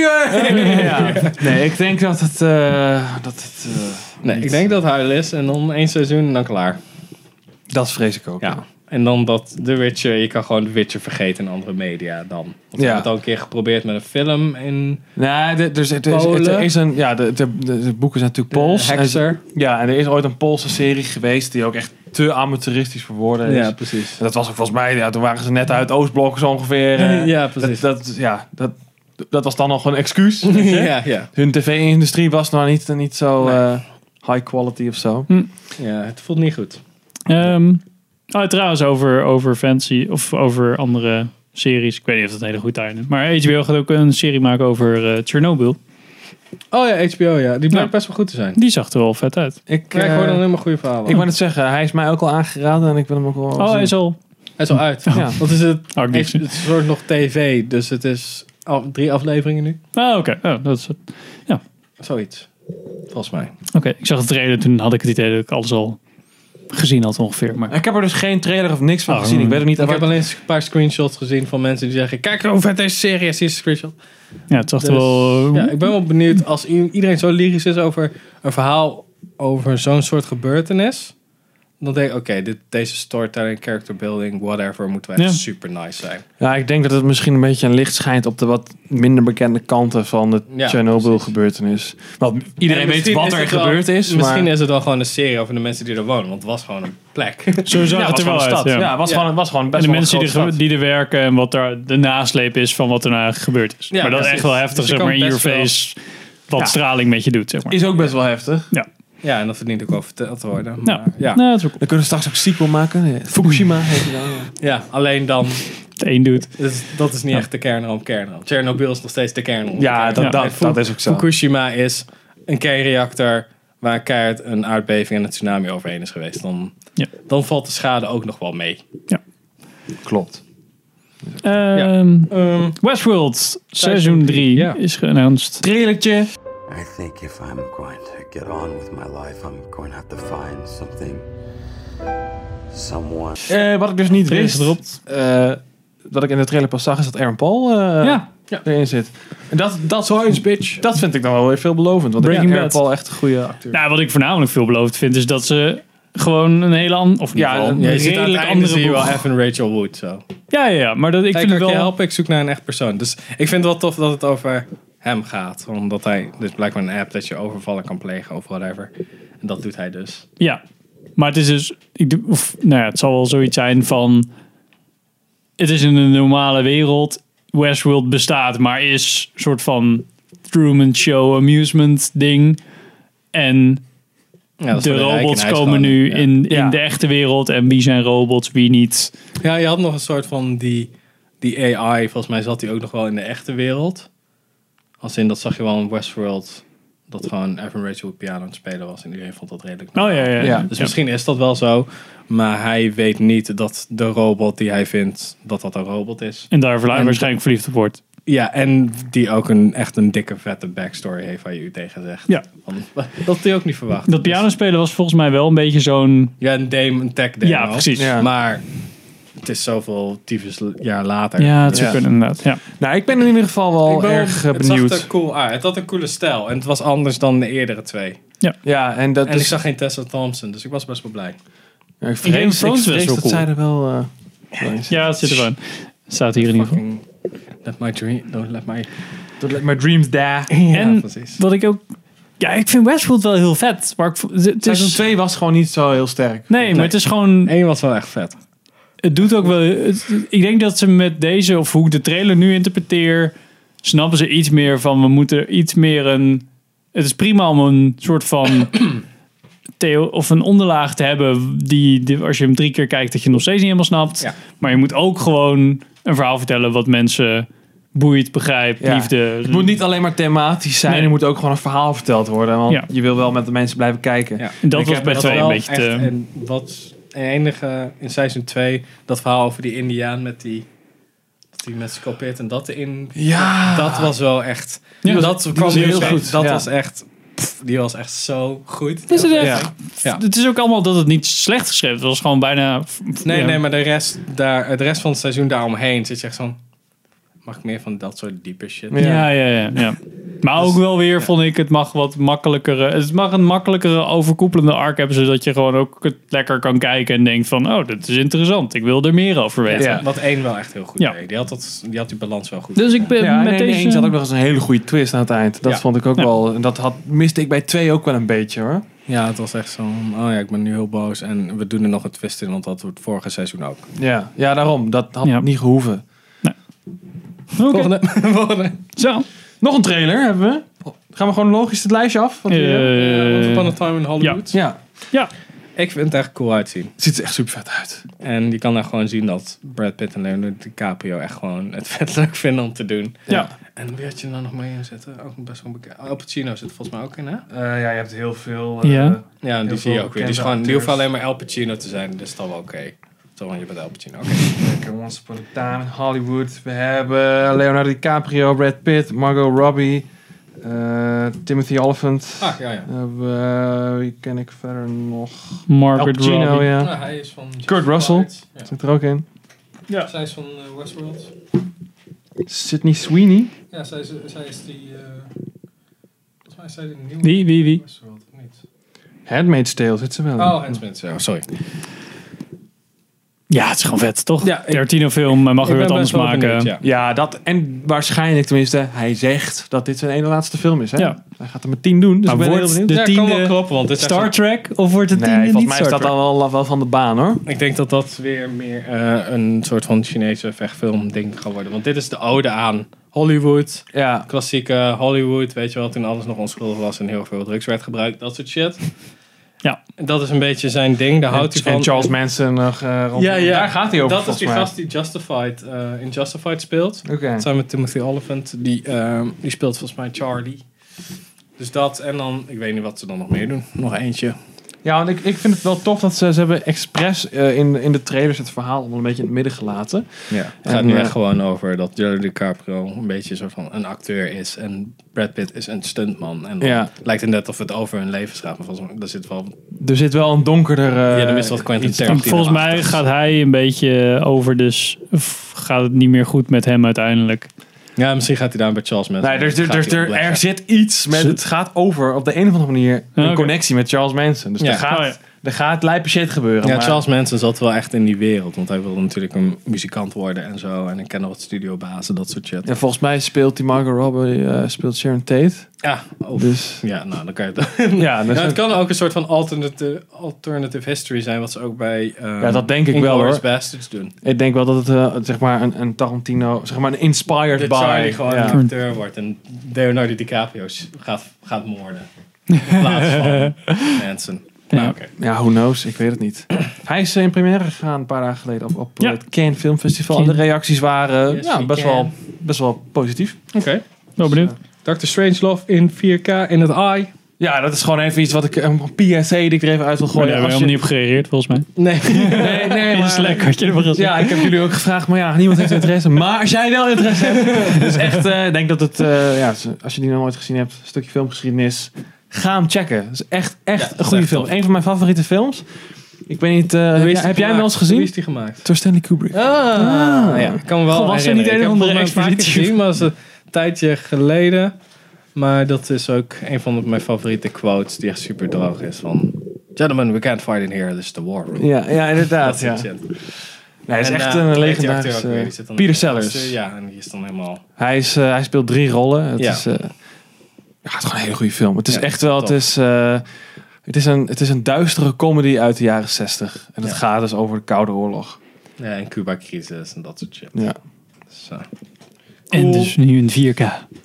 ja. Nee, ik denk dat het... eh, dat, het eh, Nee, niet- ik denk dat huil is en dan één seizoen en dan klaar. Dat vrees ik ook. Ja. En dan dat The Witcher, je kan gewoon The Witcher vergeten in andere media dan. Want we Ja. hebben het al een keer geprobeerd met een film in eh, Nee, de- dus het is, Polen. er is een... Ja, de, de, de, de boeken zijn natuurlijk Pools. En ze- Hexer. Ja, en er is ooit een Poolse serie geweest die ook echt te amateuristisch verwoorden is. Ja, precies. En Dat was ook volgens mij, ja, toen waren ze net uit Oostblok zo ongeveer. eh, Ja, precies. Dat, dat, ja, dat, dat was dan nog een excuus. weet je. ja, ja. Hun tv-industrie was nog niet, niet zo eh, high quality of zo. ja, het voelt niet goed. Ehm, oh, trouwens, over, over fancy of over andere series. Ik weet niet of dat hele goed daarin is. Maar HBO gaat ook een serie maken over eh Chernobyl. Oh ja, HBO, ja. Die blijkt Ja. best wel goed te zijn. Die zag er wel vet uit. Ik, Ja, ik eh, hoor dan helemaal goede verhalen. ik wou net zeggen, hij is mij ook al aangeraden en ik wil hem ook wel Oh, hij zien. is al. Hij is al uit. Ja. Wat is het? Oh, ik Het niet. het is soort nog tv, dus het is al drie afleveringen nu. Ah, oké. Oh, dat is het. Zoiets. Volgens mij. Oké, ik zag de trailer. Toen had ik het idee dat ik alles al gezien had ongeveer. Maar Ik heb er dus geen trailer of niks van Oh, gezien. Ik weet er niet Ik waar- heb alleen een paar screenshots gezien van mensen die zeggen... Kijk hoe vet deze serie is, hier is een screenshot. ja, het zag er Dus, wel... ja, ik ben wel benieuwd als i- iedereen zo lyrisch is over een verhaal over zo'n soort gebeurtenis. Dan denk ik, oké, dit- deze storytelling, character building, whatever, moet echt Ja. super nice zijn. Ja, ik denk dat het misschien een beetje een licht schijnt op de wat minder bekende kanten van de Ja, Chernobyl gebeurtenis. Want iedereen En weet misschien wat is er het wel- gebeurd is. Misschien maar... is het wel gewoon een serie over de mensen die er wonen, want het was gewoon een plek. Zo zag Ja, het was er gewoon wel een uit. stad. ja. Ja, het was, Ja. Gewoon, het was gewoon en best de wel een mensen die, grote er- stad. die er werken en wat daar de nasleep is van wat er nou gebeurd is. Ja, maar dat is precies. echt wel heftig, Dus je zeg kan maar, in your best wel- face. Wat Ja. straling met je doet, zeg maar. Is ook best wel heftig. ja, en dat verdient ook wel verteld te worden. Nou, Maar, ja. nou, dat is ook Dan kunnen we straks ook sequel maken. Fukushima heet die dan. ja, alleen dan, het één doet. dat is, Dus dat is niet echt de kernramp, kernramp. Chernobyl is nog steeds de kernramp. Ja, dat, Ja. dat, dat is ook zo. Fukushima is een kernreactor waar keihard een aardbeving en een tsunami overheen is geweest. Dan, Ja. dan valt de schade ook nog wel mee. Klopt. Ehm, Westworld, seizoen 3 ja. is geannounced. Trailertje. I think if I'm going to get on with my life, I'm going to have to find something. Someone. Eh, wat ik dus niet Trailer wist, gedropt. eh, wat ik in de trailer pas zag, is dat Aaron Paul eh, Ja. erin zit. En dat, dat, bitch. dat vind ik dan wel weer veelbelovend. Want Breaking ik vind Bad. Aaron Paul echt een goede acteur. Nou, wat ik voornamelijk veelbelovend vind is dat ze gewoon een hele andere... Of in Ja, ieder geval een- een ja, Ja, je ziet aan het redelijk einde zie je andere wel boeg. even Rachel Wood zo. Ja, ja, ja, maar dat, ik Ik vind kan het je wel... helpen, ik zoek naar een echt persoon. Dus ik vind het wel tof dat het over hem gaat. Omdat hij, dus blijkbaar een app dat je overvallen kan plegen of whatever. En dat doet hij dus. Ja, maar het is dus... Ik, doe- of, nou ja, het zal wel zoiets zijn van... Het is in een normale wereld. Westworld bestaat, maar is een soort van Truman Show amusement ding. En Ja, dat is de voor rijken robots in IJsland. komen nu Ja. in, in Ja. de echte wereld en wie zijn robots, wie niet. Ja, je had nog een soort van die, die AI. Volgens mij zat die ook nog wel in de echte wereld. Als in, dat zag je wel in Westworld. Dat gewoon Evan Rachel op piano aan het spelen was. En iedereen vond dat redelijk Oh ja, ja. ja. Ja. Dus misschien is dat wel zo. Maar hij weet niet dat de robot die hij vindt, dat dat een robot is. En daar En- waarschijnlijk verliefd op wordt. Ja, en die ook een, echt een dikke vette backstory heeft waar je u tegen zegt. Ja. Want Dat had hij ook niet verwacht. Dus, Dat pianospelen was volgens mij wel een beetje zo'n... Ja, een dame, een tech demo. Ja, precies. Ja. Maar het is zoveel tyfus jaar later. Dus Ja, het zou Ja. kunnen inderdaad. Ja. Nou, ik ben in ieder geval wel Ik ben- erg eh, het benieuwd. zag er cool uit. Het had een coole stijl. En het was anders dan de eerdere twee. Ja, en dat En is... ik zag geen Tessa Thompson, dus ik was best wel blij. Ja, Game ik of vrees, ik Thrones was vrees wel dat cool. zij er wel... eh, wel in zit. ja, het zit er gewoon. Staat hier in ieder geval. Fucking let my dream... Don't let my... Don't let my dreams die. En- Ja, precies. Wat ik ook... Ja, ik vind Westworld wel heel vet. Maar ik, vo- het- het Seizoen is... 2 was gewoon niet zo heel sterk. Nee, maar het is gewoon... Eén was wel echt vet. Het doet ook wel... het- ik denk dat ze met deze, of hoe ik de trailer nu interpreteer... snappen ze iets meer van... We moeten iets meer een... Het is prima om een soort van... theo- of een onderlaag te hebben... Die, die- als je hem drie keer kijkt... dat je nog steeds niet helemaal snapt. Ja. Maar je moet ook gewoon een verhaal vertellen... wat mensen boeit, begrijpt, Ja. liefde... Het moet niet alleen maar thematisch zijn, Nee. er moet ook gewoon een verhaal verteld worden. Want Ja. je wil wel met de mensen blijven kijken. Ja. En dat Ik was heb bij dat twee een wel beetje echt- te... En wat en enige in seizoen 2, dat verhaal over die Indiaan met die... dat Die met scopeert en dat in. Ja. Dat was wel echt. Ja, dat kwam was heel nieuws uit. goed. Dat Ja. was echt. pff, die was echt zo goed. Is het echt? Ja. Ja. Het is ook allemaal dat het niet slecht geschreven is. Het was gewoon bijna... Nee, ja. nee, maar de rest, daar, het rest van het seizoen daaromheen zit je echt zo'n... Mag ik meer van dat soort diepe shit? Ja. Ja, ja, ja. ja. Maar ook wel weer vond ik, het mag wat makkelijkere... Het mag een makkelijkere overkoepelende arc hebben... zodat je gewoon ook het lekker kan kijken en denkt van... oh, dit is interessant. Ik wil er meer over weten. Ja. Wat één wel echt heel goed Ja. deed. Die had, dat, die, had die balans wel goed. Dus ik ben Ja, en met in deze... één zat ook nog eens een hele goede twist aan het eind. Dat Ja. vond ik ook Ja. wel. En dat had, miste ik bij twee ook wel een beetje hoor. Ja, het was echt zo'n... Oh ja, ik ben nu heel boos. En we doen er nog een twist in, want dat wordt vorige seizoen ook. Ja, ja daarom. Dat had Ja. niet gehoeven. Oké, Volgende. Volgende. Zo. Nog een trailer hebben we. Gaan we gewoon logisch het lijstje af? Van die, eh, Eh, Once Upon a Time in Hollywood. ja, ja. Ik vind het echt cool uitzien. het ziet er echt super vet uit. En je kan daar gewoon zien dat Brad Pitt en Leonardo DiCaprio echt gewoon het vet leuk vinden om te doen. Ja. En wie had je er nou nog mee inzetten? Ook best wel bekend. Al Pacino zit er volgens mij ook in, hè? Eh, ja, je hebt heel veel. eh, Ja. Ja, en die Heel zie je veel ook weer. Die, is bekende gewoon, die acteurs. hoeft alleen maar Al Pacino te zijn. dus Dat is dan wel oké. Zo, want je bent Al Pacino. Oké. Once Upon a Time in Hollywood. We hebben Leonardo DiCaprio, Brad Pitt, Margot Robbie, eh, Timothy Oliphant. Ah, ja, ja. We hebben- wie ken ik verder nog? Margaret Al Pacino, Robbie. ja. Nou, hij is van... Kurt Russell. Ja. Zit er ook in. Zij is van eh, Westworld. Sydney Sweeney. Ja, zij is, zij is die... eh, volgens mij is zij de nieuwe Wie, wie, wie? Westworld, of niet? Handmaid's Tale zit ze wel in. Oh, Hensmith. Oh, sorry. Ja, het is gewoon vet, toch? Ja, Ja, ik- Tarantino film, hij mag Ik weer wat ben anders best wel maken. benieuwd, ja. Ja, dat en waarschijnlijk tenminste, hij zegt dat dit zijn ene laatste film is. Hè? Ja. Hij gaat er met tien doen, dus Maar ik ben heel wordt benieuwd. de Ja, kan wel tiende kloppen, want dit is echt Star Trek of wordt het tiende nee, volgens niet mij Star is dat Trek? dan wel, wel van de baan hoor. Ik denk dat dat weer meer eh, een soort van Chinese vechtfilm ding gaat worden. Want dit is de ode aan Hollywood. Ja, Klassieke Hollywood, weet je wel, toen alles nog onschuldig was en heel veel drugs werd gebruikt. Dat soort shit. Ja. En dat is een beetje zijn ding, daar houdt hij van. en Charles Manson nog eh, rond. Ja, ja. Daar gaat hij over dat is volgens die mij. gast die Justified, eh, in Justified speelt. Oké. Samen met Timothy Oliphant. Die, ehm, die speelt volgens mij Charlie. Dus dat en dan, ik weet niet wat ze dan nog meer doen. Nog eentje. Ja, want ik, ik vind het wel tof dat ze, ze hebben expres eh, in, in de trailers het verhaal allemaal een beetje in het midden gelaten. Ja. Het En, gaat nu eh, echt gewoon over dat Leonardo DiCaprio een beetje zo van een acteur is. En Brad Pitt is een stuntman. En dan Ja. lijkt het net of het over hun leven gaat. Maar volgens mij, daar zit wel... Er zit wel een donkerder... eh, ja, dan is wat Quentin iets- Tarantino. Volgens mij gaat hij een beetje over, dus f- gaat het niet meer goed met hem uiteindelijk. Ja, misschien gaat hij daar bij Charles Manson. Nee, er, er, Gaat er, hij er, opleggen. er zit iets met... Het gaat over op de een of andere manier een oké. connectie met Charles Manson. Dus Ja. er gaat, Oh, ja. er gaat lijpe shit gebeuren. Ja, maar- Charles Manson zat wel echt in die wereld. Want hij wilde natuurlijk een muzikant worden en zo. En ik ken al wat studiobazen, dat soort shit. Ja, volgens mij speelt die Margot Robbie, eh, speelt Sharon Tate. Ja, of- Dus ja nou, dan kan je het... ja, dus Ja, het kan ook een soort van alternative, alternative history zijn. Wat ze ook bij ehm, Ja, dat denk ik wel, Inglourious hoor. Basterds doen. ik denk wel dat het eh, zeg maar een, een Tarantino, zeg maar een inspired Dat by. Charlie gewoon ja. een acteur wordt en Leonardo DiCaprio s- gaat, gaat moorden. In plaats van Manson. Nou, oké. Ja, who knows? Ik weet het niet. Hij is eh, in première gegaan een paar dagen geleden op, op eh, Ja. het Cannes Film Festival. En Cannes. de reacties waren Yes, ja, we best, can. wel, best wel positief. Oké. Wel Oh, benieuwd. Dr. Strangelove in 4K in het eye. Ja, dat is gewoon even iets wat ik... Een PSA die ik er even uit wil Maar daar hebben Oh, gooien. we Als helemaal niet op gereageerd, volgens mij. Nee. je- Nee, nee, Het is maar... lekker wat je ervan gezegd. Ja, ik heb jullie ook gevraagd, maar ja, niemand heeft interesse. Maar als jij wel interesse hebt, dus echt, eh, ik denk dat het, eh, ja, als je die nog nooit gezien hebt, een stukje filmgeschiedenis, ga hem checken. Het is echt, echt Ja, dat een is goede echt film. tof. Een van mijn favoriete films. Ik weet niet, eh, heb, jij- heb jij hem wel eens Wie gezien? is die gemaakt? Door Stanley Kubrick. Ah, Nou ja. Ik kan me wel Goh, was er niet herinneren. een Ik heb of andere volgens mij vaker expeditie? gezien, maar dat is een tijdje geleden. Maar dat is ook een van mijn favoriete quotes die echt super droog is. Van, gentlemen, we can't fight in here, this is the war room. Ja, ja inderdaad. Ja. Dat is het, Nee, hij is En, echt eh, een hoe heet die acteur ook legendarische... weer? Die zit dan Peter in de laatste- Sellers. Ja, en die is dan helemaal... Hij, is, eh, hij speelt drie rollen. Het, Ja. is, eh, ja, het is gewoon een hele goede film. Het is Ja, echt wel, het top. is, eh, het, is een, het is een duistere comedy uit de jaren zestig. En het Ja. gaat dus over de Koude Oorlog. Ja, en eh, Cuba-crisis en dat soort shit. Ja. Dus, eh, En dus nu in 4K.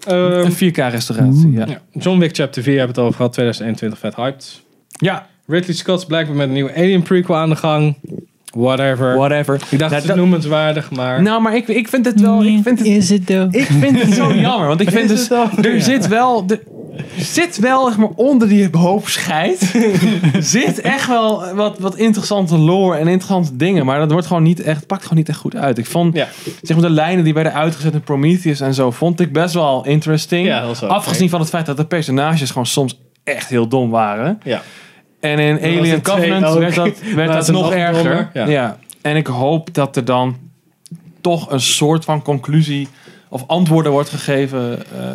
ehm, Een 4K-restauratie. Ja. ja. John Wick Chapter 4 hebben we het over gehad, 2021, vet hyped. ja, Ridley Scott is blijkbaar met een nieuwe Alien prequel aan de gang. Whatever. whatever. Ik dacht, Nou, het is noemenswaardig, maar... Nou, maar ik, ik vind het wel... Ik vind het, Is het though? ik vind het zo jammer. Want ik vind dus... Er zit wel... Er zit wel, zeg maar, onder die hoop scheid... zit echt wel wat, wat interessante lore en interessante dingen. Maar dat wordt gewoon niet echt... pakt gewoon niet echt goed uit. Ik vond, Ja. zeg maar, de lijnen die werden uitgezet in Prometheus en zo... vond ik best wel interesting. Ja, dat was wel Afgezien oké. van het feit dat de personages gewoon soms echt heel dom waren. Ja. En in was Alien een twee Covenant ook. werd dat, werd Maar dat het is nog nog erger. dommer, Ja. ja. En ik hoop dat er dan toch een soort van conclusie of antwoorden wordt gegeven eh,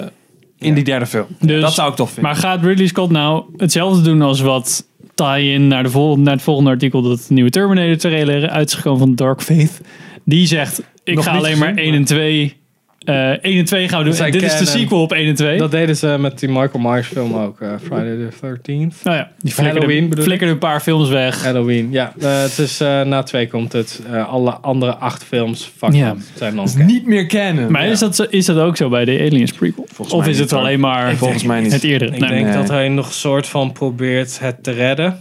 in Ja. die derde film. Dus- dat zou ik tof vinden. Maar gaat Ridley Scott nou hetzelfde doen als wat tie-in naar, de vol- naar het volgende artikel dat de nieuwe Terminator trailer uit is gekomen van Dark Faith? Die zegt, ik Nog ga niet alleen gezien, maar 1 en 2... eh 1 en 2 gaan we doen. zijn En dit is de canon. sequel op 1 en 2. Dat deden ze met die Michael Myers film ook, eh, Friday the 13th. nou ja, die flikkerde, Halloween bedoel je? flikkerde een paar films weg. Halloween, ja. Eh, het is, eh, na twee komt het. Eh, alle andere acht films fuck Ja. it, zijn dan Dat is niet meer kennen. Maar is, dat, zo- is dat ook zo bij de Aliens prequel? of mij is niet, het hoor. alleen maar Volgens mij niet. het eerdere? Ik Nee. denk nee. dat hij nog soort van probeert het te redden.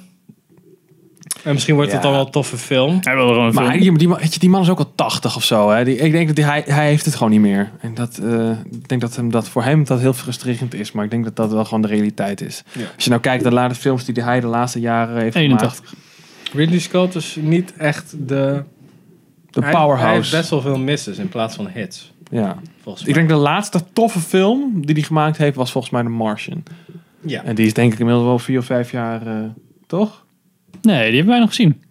En misschien wordt het Ja. dan wel een toffe film. Hij wil er gewoon een Maar film. die, die, man- weet je, die man is ook al 80 of zo. Hè? Die, ik denk dat die- hij, hij heeft het gewoon niet meer. En dat, eh, ik denk dat, hem, dat voor hem dat heel frustrerend is. Maar ik denk dat dat wel gewoon de realiteit is. Ja. Als je nou kijkt naar de laatste films die hij de laatste jaren heeft 81. gemaakt. Ridley Scott is niet echt de... De hij- powerhouse. Hij heeft best wel veel misses in plaats van hits. Ja. Volgens mij. Ik denk de laatste toffe film die hij gemaakt heeft was volgens mij The Martian. ja. En die is denk ik inmiddels wel vier of vijf jaar, eh, toch? Nee, die hebben wij nog gezien.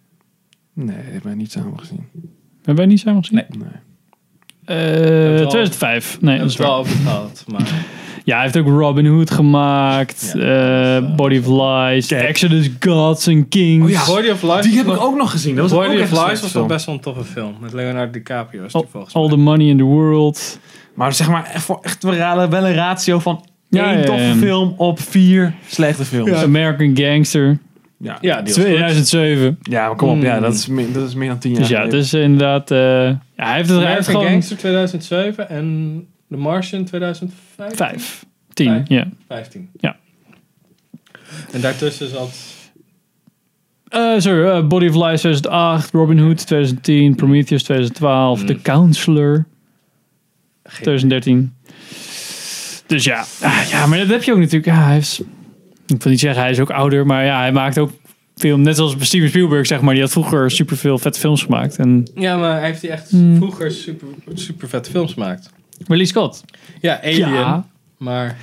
Nee, die hebben we niet samen gezien. Hebben wij niet samen gezien? Nee. Nee. Eh, wel- 2005. Nee, We dat hebben is het waar. wel over gehad, maar... Ja, hij heeft ook Robin Hood gemaakt. Ja. eh, Body of Lies. Exodus Gods and Kings. Oh ja. Body of Life Die heb was ik nog- ook nog gezien. Dat was ook Body echt of een Lies slechte was nog film. best wel een toffe film. Met Leonardo DiCaprio is die Al- volgens mij. All the Money in the World. Maar zeg maar, echt, voor, echt wel wel een ratio van Ja, één ja, toffe ja. film op vier slechte films. Ja, American Gangster. ja. Ja, die was goed. 2007. maar kom op. Ja, Mm. dat is, meer, dat is meer dan tien jaar Dus ja, het geleden. is inderdaad... eh, ja, hij heeft het hij heeft American gewoon... Gangster 2007 en The Martian 2005? Vijf. Tien, Vijf. ja. 15. Ja. En daartussen zat... Eh, sorry, eh, Body of Lies 2008. Robin Hood 2010. Prometheus 2012. Mm. The Counselor 2013. Dus ja. Ah, ja, maar dat heb je ook natuurlijk. Ja, hij is, ik wil niet zeggen, hij is ook ouder. Maar ja, hij maakt ook film. Net zoals Steven Spielberg, zeg maar. Die had vroeger superveel vette films gemaakt. En Ja, maar heeft hij echt Hmm. vroeger super, super vette films gemaakt? Ridley Scott. Ja, Alien. Ja. Maar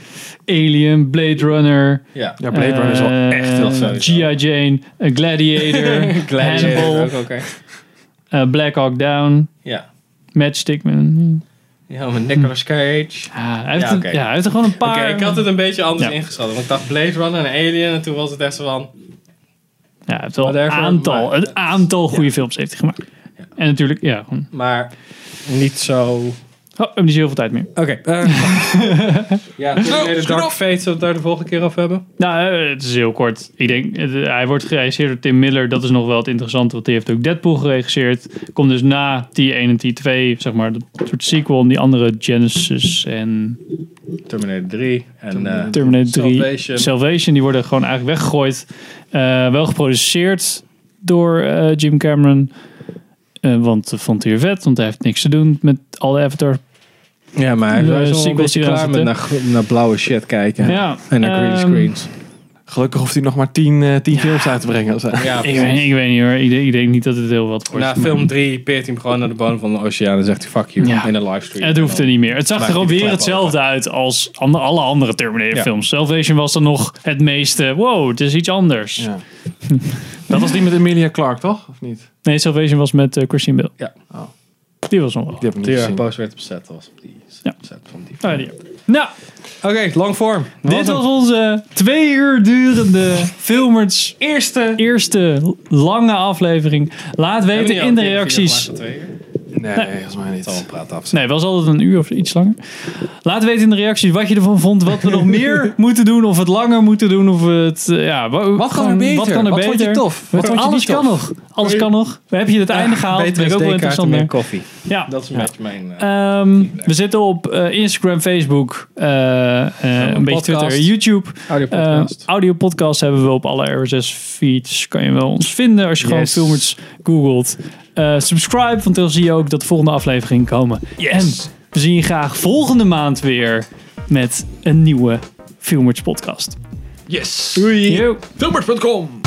Alien, Blade Runner. ja. Ja, Blade Runner is wel eh, echt heel vet. sowieso. G.I. Jane. eh, Gladiator. Gladiator Hannibal. ook, oké. eh, Black Hawk Down. Ja. Matchstick Man. Ja, met Nicolas Cage. Ja, hij heeft, Ja, oké. er, ja, hij heeft er gewoon een Oké, paar. ik had het een beetje anders Ja. ingeschat. Want ik dacht Blade Runner en Alien. En toen was het echt zo van... Ja, hij heeft wel een Whatever, aantal, maar- een aantal goede films heeft hij gemaakt. En natuurlijk, ja, gewoon. Maar niet zo... Oh, we hebben niet zo heel veel tijd meer. Oké. eh. Nou, ja, Terminator Dark Fate, zullen we het daar de volgende keer over hebben? Nou, eh, het is heel kort. Ik denk, eh, hij wordt geregisseerd door Tim Miller. Dat is nog wel het interessante, want die heeft ook Deadpool geregisseerd. Komt dus na T1 en T2, zeg maar, dat soort sequel. En die andere Genesis en Terminator 3 en eh, Terminator 3, Salvation. Salvation. die worden gewoon eigenlijk weggegooid. Eh, wel geproduceerd door eh, Jim Cameron. Eh, want dat vond hij weer vet, want hij heeft niks te doen met alle Avatar. ja, maar hij de is wel een sequels beetje die eraan klaar met naar, gro- naar blauwe shit kijken. Ja, En naar green ehm, screens. Gelukkig hoeft hij nog maar tien, eh, tien films uit te brengen. Zo. Ja, Ik, weet- ik weet niet hoor, ik denk, ik denk niet dat het heel wat wordt. na film 3 peert hij hem gewoon naar de bodem van de oceaan en zegt hij fuck you Ja. in een livestream. Het hoeft er niet meer. Het zag er Maakt gewoon die weer klep hetzelfde uit als ander- alle andere Terminator Ja. films. Salvation was dan nog het meeste, wow, het is iets anders. Ja. Dat was die met Emilia Clarke, toch? Of niet? Nee, Salvation was met eh, Christine Bale. Ja. Oh. Die was nog wel. Die heb ik niet Die erg gezien. boos werd op set was. op Die Ja. set van die. Ah, die heb ik. Nou, Oké, long form. Dit was onze twee uur durende Filmers eerste, eerste lange aflevering. Laat weten in de reacties. Nee, volgens mij Het zal niet. een praat af. Nee, was altijd een uur of iets langer. Laat weten in de reacties wat je ervan vond. Wat we nog meer moeten doen. Of het langer moeten doen. Of we het, eh, ja, wa- gewoon, kan er beter? Wat kan er Wat beter? vond je tof? Wat Wat vond je alles niet kan tof? nog. Alles kan nog. We hebben je het einde gehaald. Dat vind ik ook wel interessant. meer hè? koffie. Ja. Dat is een beetje mijn... eh, Ehm, we zitten op eh, Instagram, Facebook, eh, eh, een beetje podcast. Twitter, YouTube. Audiopodcast. Eh, audiopodcast hebben we op alle RSS-feeds. Kan je wel ons vinden als je gewoon Yes. filmers googelt. Eh, subscribe, want dan zie je ook dat de volgende aflevering komen. En we zien je graag volgende maand weer met een nieuwe Filmers podcast. Yes! Yo. Filmers.com!